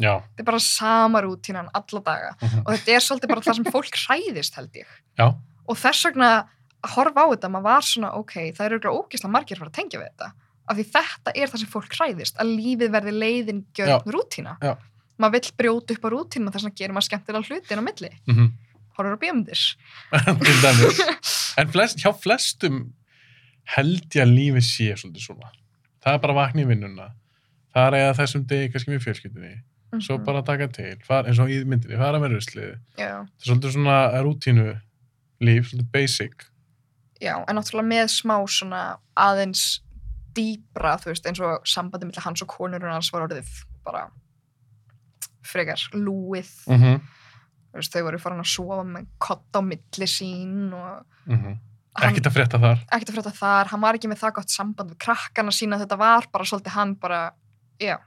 A: Já. Mhm.
B: þetta er bara sama rútínan alla daga og þetta er svolítið bara það sem fólk hræðist held ég,
A: Já.
B: og þess vegna að horfa á þetta, maður var svona, ok það eru ekki ógislega margir að fara að tengja við þetta af því þetta er það sem fólk hræðist að lífið verði leiðingjörn rútína
A: Já.
B: maður vill brjóta upp á rútínu þess vegna gerir maður skemmtilega hlutin á milli
A: Mm
B: horfur á bíómyndir
A: Til dæmis. En flest, hjá flestum held ég að lífi sé svolítið svona. Það er bara að vakna í vinnuna. Það er að eiga þessum degi kannski með fjölskyldinni. Svo
B: Mhm.
A: bara að taka til. Far, eins og í myndinni, fara með ruslið.
B: já,
A: Það er svolítið svona rútínu líf, svolítið basic.
B: já, en náttúrulega með smá svona aðeins dýbra, þú veist, eins og sambandi millir hans og konur hans var orðið bara frekar lúið,
A: Mm -hmm.
B: þú veist, þau voru farin að sofa með kott á milli sín og hann,
A: Mhm. Ekkert að frétta þar.
B: ekkert að frétta þar, hann var ekki með það gott samband við krakkana sína, þetta var bara svolítið hann bara, já,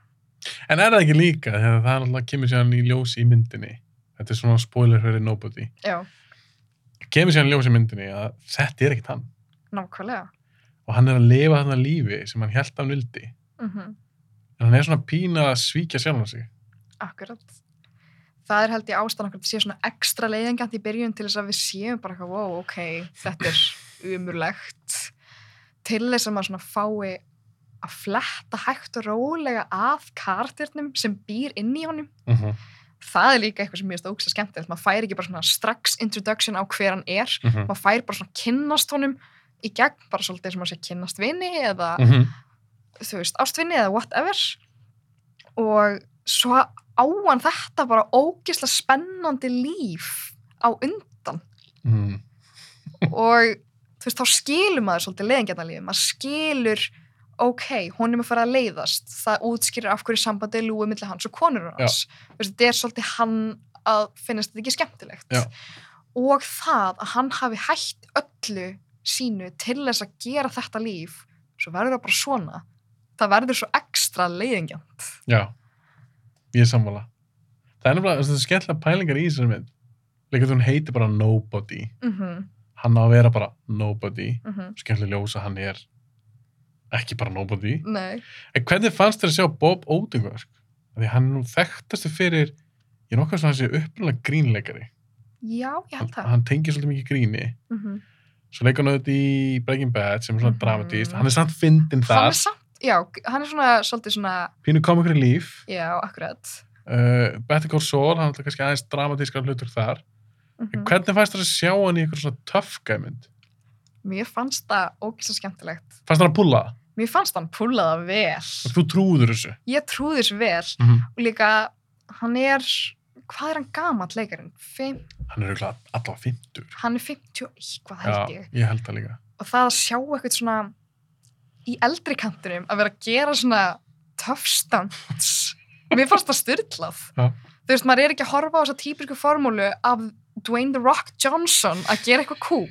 A: En er það ekki líka, þegar það er alltaf kemur sér í ljós í myndinni. Þetta er svona spoiler fyrir nobody.
B: já,
A: kemur síðan í ljós í myndinni að þetta er ekkert hann
B: nákvæmlega
A: og hann er að lifa þarna lífi sem hann held að hann vildi
B: mhm
A: en hann er svona pína að svíkja sjálfan sig
B: Akkurat. Það er held ég ástæðan okkur að þetta sé svona ekstra leiðingjant í byrjun til þess að við séum bara eitthvað, wow, ok, þetta er umurlegt. Til þess að maður svona fái að fletta hægt og rólega að kartirnum sem býr inn í honum.
A: mm -hmm.
B: Það er líka eitthvað sem mér finnst ógst að skemmtilegt. Maður fær ekki bara svona strax introduction á hver hann er. Maður fær bara svona kynnast honum í gegn, bara svolítið sem maður sé kynnast vini eða þú veist, ástvinni eða whatever og svo á hann þetta bara ógislega spennandi líf á undan
A: Mm.
B: og þú veist, þá skilur maður svolítið leðingjarnalífið, maður skilur ok, hún er með að fara að leiðast það útskýrir af hverju sambandi er lúið millir hans og konur hans, þú veist, þetta er svolítið hann að finnast þetta ekki skemmtilegt
A: Já.
B: og það að hann hafi hætt öllu sínu til þess að gera þetta líf svo verður það bara svona það verður svo ekstra leiðingjant
A: Já, ég er sammála. Það er nefnilega, þess að skemmtilega pælingar í þessari mynd. Líka því hún heitir bara Nobody.
B: mm -hmm,
A: Hann á að vera bara Nobody. Skemmtilega ljósa hann er ekki bara Nobody.
B: nei,
A: En hvernig fannst þér að sjá Bob Odenkirk? Af Því hann er nú þekktastu fyrir, ég er nokkað svona að hann sé upprunalega grínleikari.
B: já, ég
A: Hann,
B: held það
A: hann tengir svolítið mikið gríni.
B: mm -hmm.
A: Svo leikur hann auðvitað í Breaking Bad sem er svona
B: Mhm.
A: dramatíst. Hann er samt fyndin
B: hann er
A: þar.
B: samt, já, hann er svona svolítið svona,
A: Pínu komikur í líf.
B: já, akkurat
A: Uh, Better Call Saul, hann er alltaf kannski aðeins dramatískar hlutur þar.
B: mm
A: En hvernig fannst þér að sjá hann í eitthvað svona tough guy mynd?
B: mér fannst það ógislega skemmtilegt
A: Fannst þér að pulla?
B: mér fannst hann púlaða vel
A: Og þú trúður þessu?
B: ég trúði þessu vel
A: Mm -hmm.
B: og líka hann er hvað er hann gamall leikarinn? Fimm,
A: Hann er auðvitað allavega fyndur.
B: hann er 51, hvað held ég
A: ég held það líka.
B: og það að sjá eitthvað svona í eldri kantinum að vera að gera svona töfstants mér fannst það styrlað
A: Já.
B: þú veist, maður er ekki að horfa á þessa típisku formúlu af Dwayne The Rock Johnson að gera eitthvað cool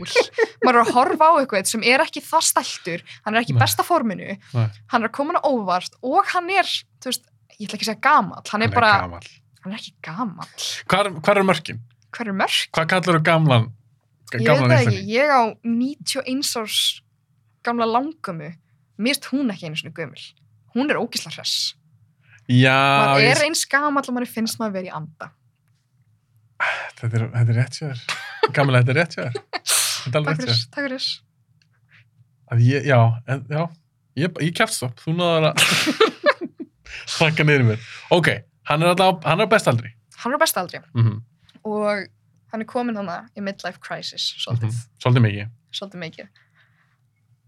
B: maður er að horfa á eitthvað sem er ekki það stæltur hann er ekki í
A: Nei.
B: besta forminu
A: Nei.
B: hann er að koma á óvart og hann er þú veist, ég ætla ekki að segja gamall hann er bara,
A: gamall.
B: hann er ekki gamall
A: Hvar, hvar er mörkin?
B: hver er mörk?
A: Hvað kallar þú gamlan? ga-
B: Ég veit það ekki,
A: Anthony?
B: ég á 91 árs gamla langamu mist hún ekki einu svona gömul hún er ógisla hress
A: Já,
B: maður
A: ég,
B: er eins gamall og maður finnst maður verið í anda
A: þetta, er, þetta er rétt hjá þér. Gamla, þetta er rétt hjá þér. Þetta er alveg rétt hjá
B: takk fyrir,
A: þér.
B: takk fyrir
A: Að Ég, já, en, já, ég, ég kæft stopp. Þú náður að þakka niður í mér. Ok, hann er alltaf, hann er á bestaldri.
B: hann er á besta aldri
A: Mm
B: og hann er komin hana í midlife crisis svolítið,
A: Svolítið mikið.
B: svolítið mikið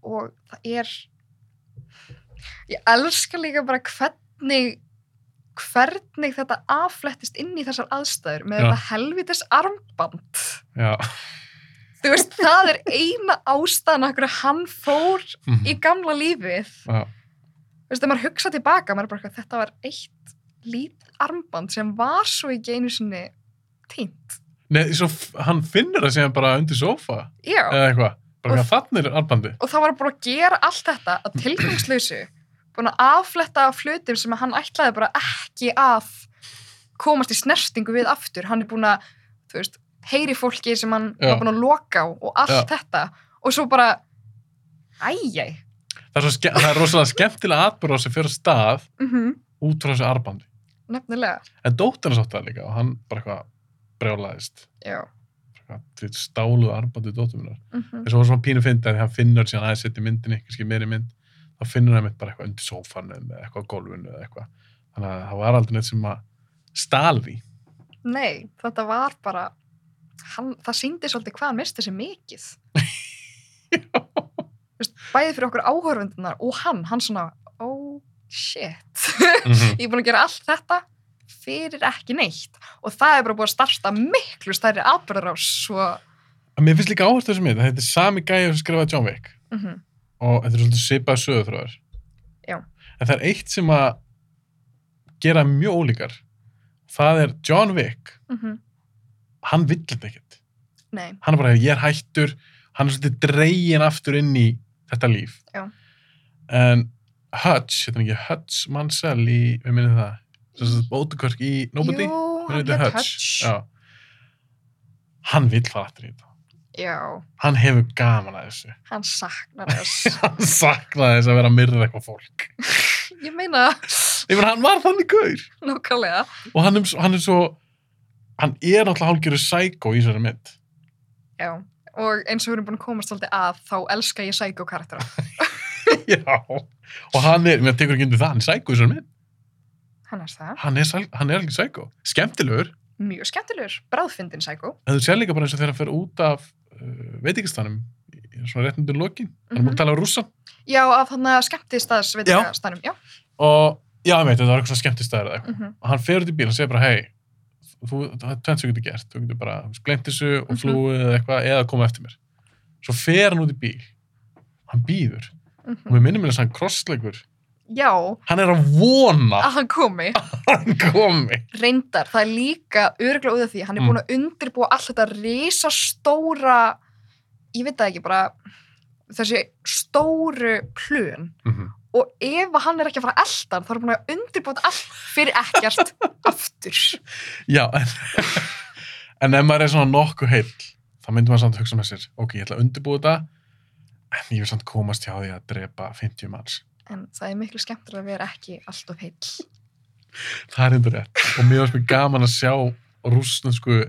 B: og það er ég elska líka bara hvernig hvernig þetta afflettist inn í þessar aðstæður með
A: Já.
B: þetta helvitis armband
A: Já.
B: þú veist, það er eina ástæðan af hverju hann fór
A: Mhm.
B: í gamla lífið þú
A: Já.
B: veist, þegar maður hugsa tilbaka maður er bara, eitthvað, þetta var eitt lít armband sem var svo ekki einu sinni tínt
A: Nei, svo f- hann finnur það síðan bara undir sofa
B: já,
A: eða eitthvað. Bara
B: Og-
A: hvað þannig er armbandi.
B: og það var bara að gera allt þetta að tilgangslausu búin að affletta af flutum sem hann ætlaði bara ekki að komast í snertingu við aftur hann er búin að, þú veist, heyri fólki sem hann
A: Já.
B: var búin að loka á og allt þetta og svo bara æjæ
A: Það er, svo ske- það er rosalega skemmtilega atbyrða sem fyrir stað
B: mm
A: út frá þessu armbandi.
B: nefnilega
A: En dóttina sátt það líka og hann bara eitthvað brjálaðist.
B: Já.
A: Bara eitthvað, Þið stáluðu armbandi dóttuminnar.
B: Mm
A: En svo var svona pínu fyndið að hann finnur síðan aðeins sitt í myndinni, kannski meiri mynd. Þá finnur hann mitt bara eitthvað undir sófanum eða eitthvað á gólfinu eða eitthvað. Þannig að það var aldrei neitt sem að stál því.
B: Nei, þetta var bara, hann, það síndi svolítið hvað hann misti sér mikið. Vist, bæði fyrir okkur áhörfundunar og hann, hann svona, oh shit, ég er búin að gera allt þetta fyrir ekki neitt. Og það er bara búin að starta miklu stærri atbyrðarás, svo,
A: En Mér finnst líka áherslu þessu mynd. að Þetta er sami gæja sem skrifaði John Wick.
B: mm
A: og þetta er svolítið svipaði sögurþróðar.
B: Já.
A: En það er eitt sem að gera mjög ólíkar. Það er John Wick, hann vill þetta ekkert.
B: mhm. nei,
A: Hann er bara, ég er hættur, hann er svolítið dregin aftur inn í þetta líf.
B: Já.
A: En Hutch, þetta er ekki Hutch Mansell í, við minnum það, svo bótukörk í Nobody.
B: jú,
A: Hún
B: hann
A: heitir
B: hétt Hutch.
A: Já. Hann vill fara aftur í þetta.
B: Já,
A: Hann hefur gaman að þessu.
B: hann saknar þess.
A: Hann saknaði þess að vera að myrða eitthvað fólk.
B: ég meina,
A: Ég meina, hann var þannig gaur.
B: nákvæmlega,
A: og hann er, hann er svo hann er náttúrulega hálfgjöru sækó í þessari mynd
B: já. Og eins og við erum búin að komast svolítið að, þá elska ég sækókaraktera.
A: já og hann er, mér tekur ekki undir það, hann er sækó í þessari mynd
B: Hann er það.
A: hann er, sæl- hann er alveg sækó, skemmtilegur
B: mjög skemmtilegur, bráðfindin sækó
A: en þú sér líka bara eins og þegar hann fer út af uh, veitingastanum, í- svona rétt undir lokin hann er múið
B: Mhm.
A: að tala á rússan
B: já, af hann að skemmtistaðs veitingastanum já,
A: og já, ég veit, þetta var eitthvað svona skemmtistæður eða eitthvað
B: mm -hmm.
A: og hann fer út í bíl og segir bara, hei þú, það er tvennt sem þú getur gert, þú getur bara glemt þessu og
B: Mhm.
A: flúið eða eitthvað, eða koma eftir mér svo fer hann út í bíl hann býður og
B: Mhm.
A: við minnum mér að hann krossleikur
B: Já,
A: hann er að vona
B: að hann komi.
A: að hann komi
B: Reyndar, það er líka öruglega út af því. Hann er
A: Mm.
B: búin að undirbúa allt þetta risastóra, ég veit það ekki, bara þessi stóru plön.
A: Mhm.
B: Og ef hann er ekki að fara að elda hann, þá er hann búin að undirbúa þetta allt fyrir ekkert aftur.
A: já en, en ef maður er svona nokkuð heill þá myndum maður samt að hugsa með sér ok, ég ætla að undirbúa þetta en ég vil samt komast hjá því að drepa 50 manns
B: En það er miklu skemmtilega að vera ekki alltof heill.
A: það er endur rétt og mér varst mér gaman að sjá rúsnesku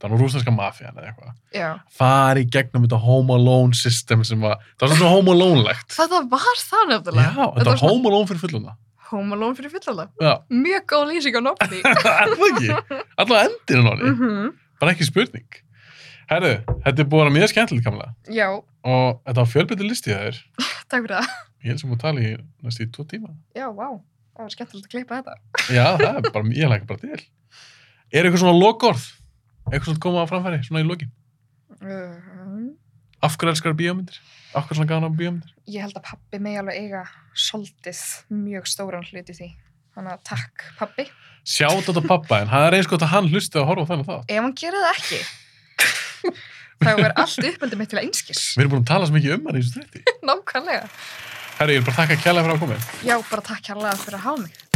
A: það var nú rúsneska mafían eða eitthvað
B: Já.
A: fari í gegnum þetta home alone system sem var, það var svona home alone-legt
B: Þetta var það
A: Já,
B: nefnilega.
A: þetta var home alone fyrir fulluna
B: Home Alone fyrir fullala.
A: Já,
B: Mjög góð lýsing á nafni.
A: er það ekki? Alltaf endirinn á henni,
B: Mhm.
A: bara ekki spurning Herru, þetta er búið að vera mjög skemmtilegt kamla
B: Já,
A: og þetta var fjölbyttur listið þær
B: takk fyrir það.
A: ég held sem búið að tala í næstu í tvo tíma
B: Já, vá. Það var skemmtilegt að klippa þetta.
A: Já, það er bara, ég læka bara til Er eitthvað svona lokorð? Eitthvað svona koma á framfæri, svona í lokin
B: Uh,
A: Af hverju elskar bíómyndir? Af hverju svona gana bíómyndir?
B: ég held að pappi megi alveg eiga soldið mjög stóran hluti í því. Þannig að takk, pappi.
A: Sjátt á pappa, en það er eins gott að hann hlusti að horfa á þennan þátt
B: Ef hann gerir það ekki, þá er allt uppeldið mitt til einskis.
A: Við erum búin að tala svo mikið um hann í þessu þrætti.
B: Nákvæmlega.
A: Herri, ég vil bara þakka kjærlega fyrir að koma.
B: Já, bara takk hérlega fyrir að hafa mig.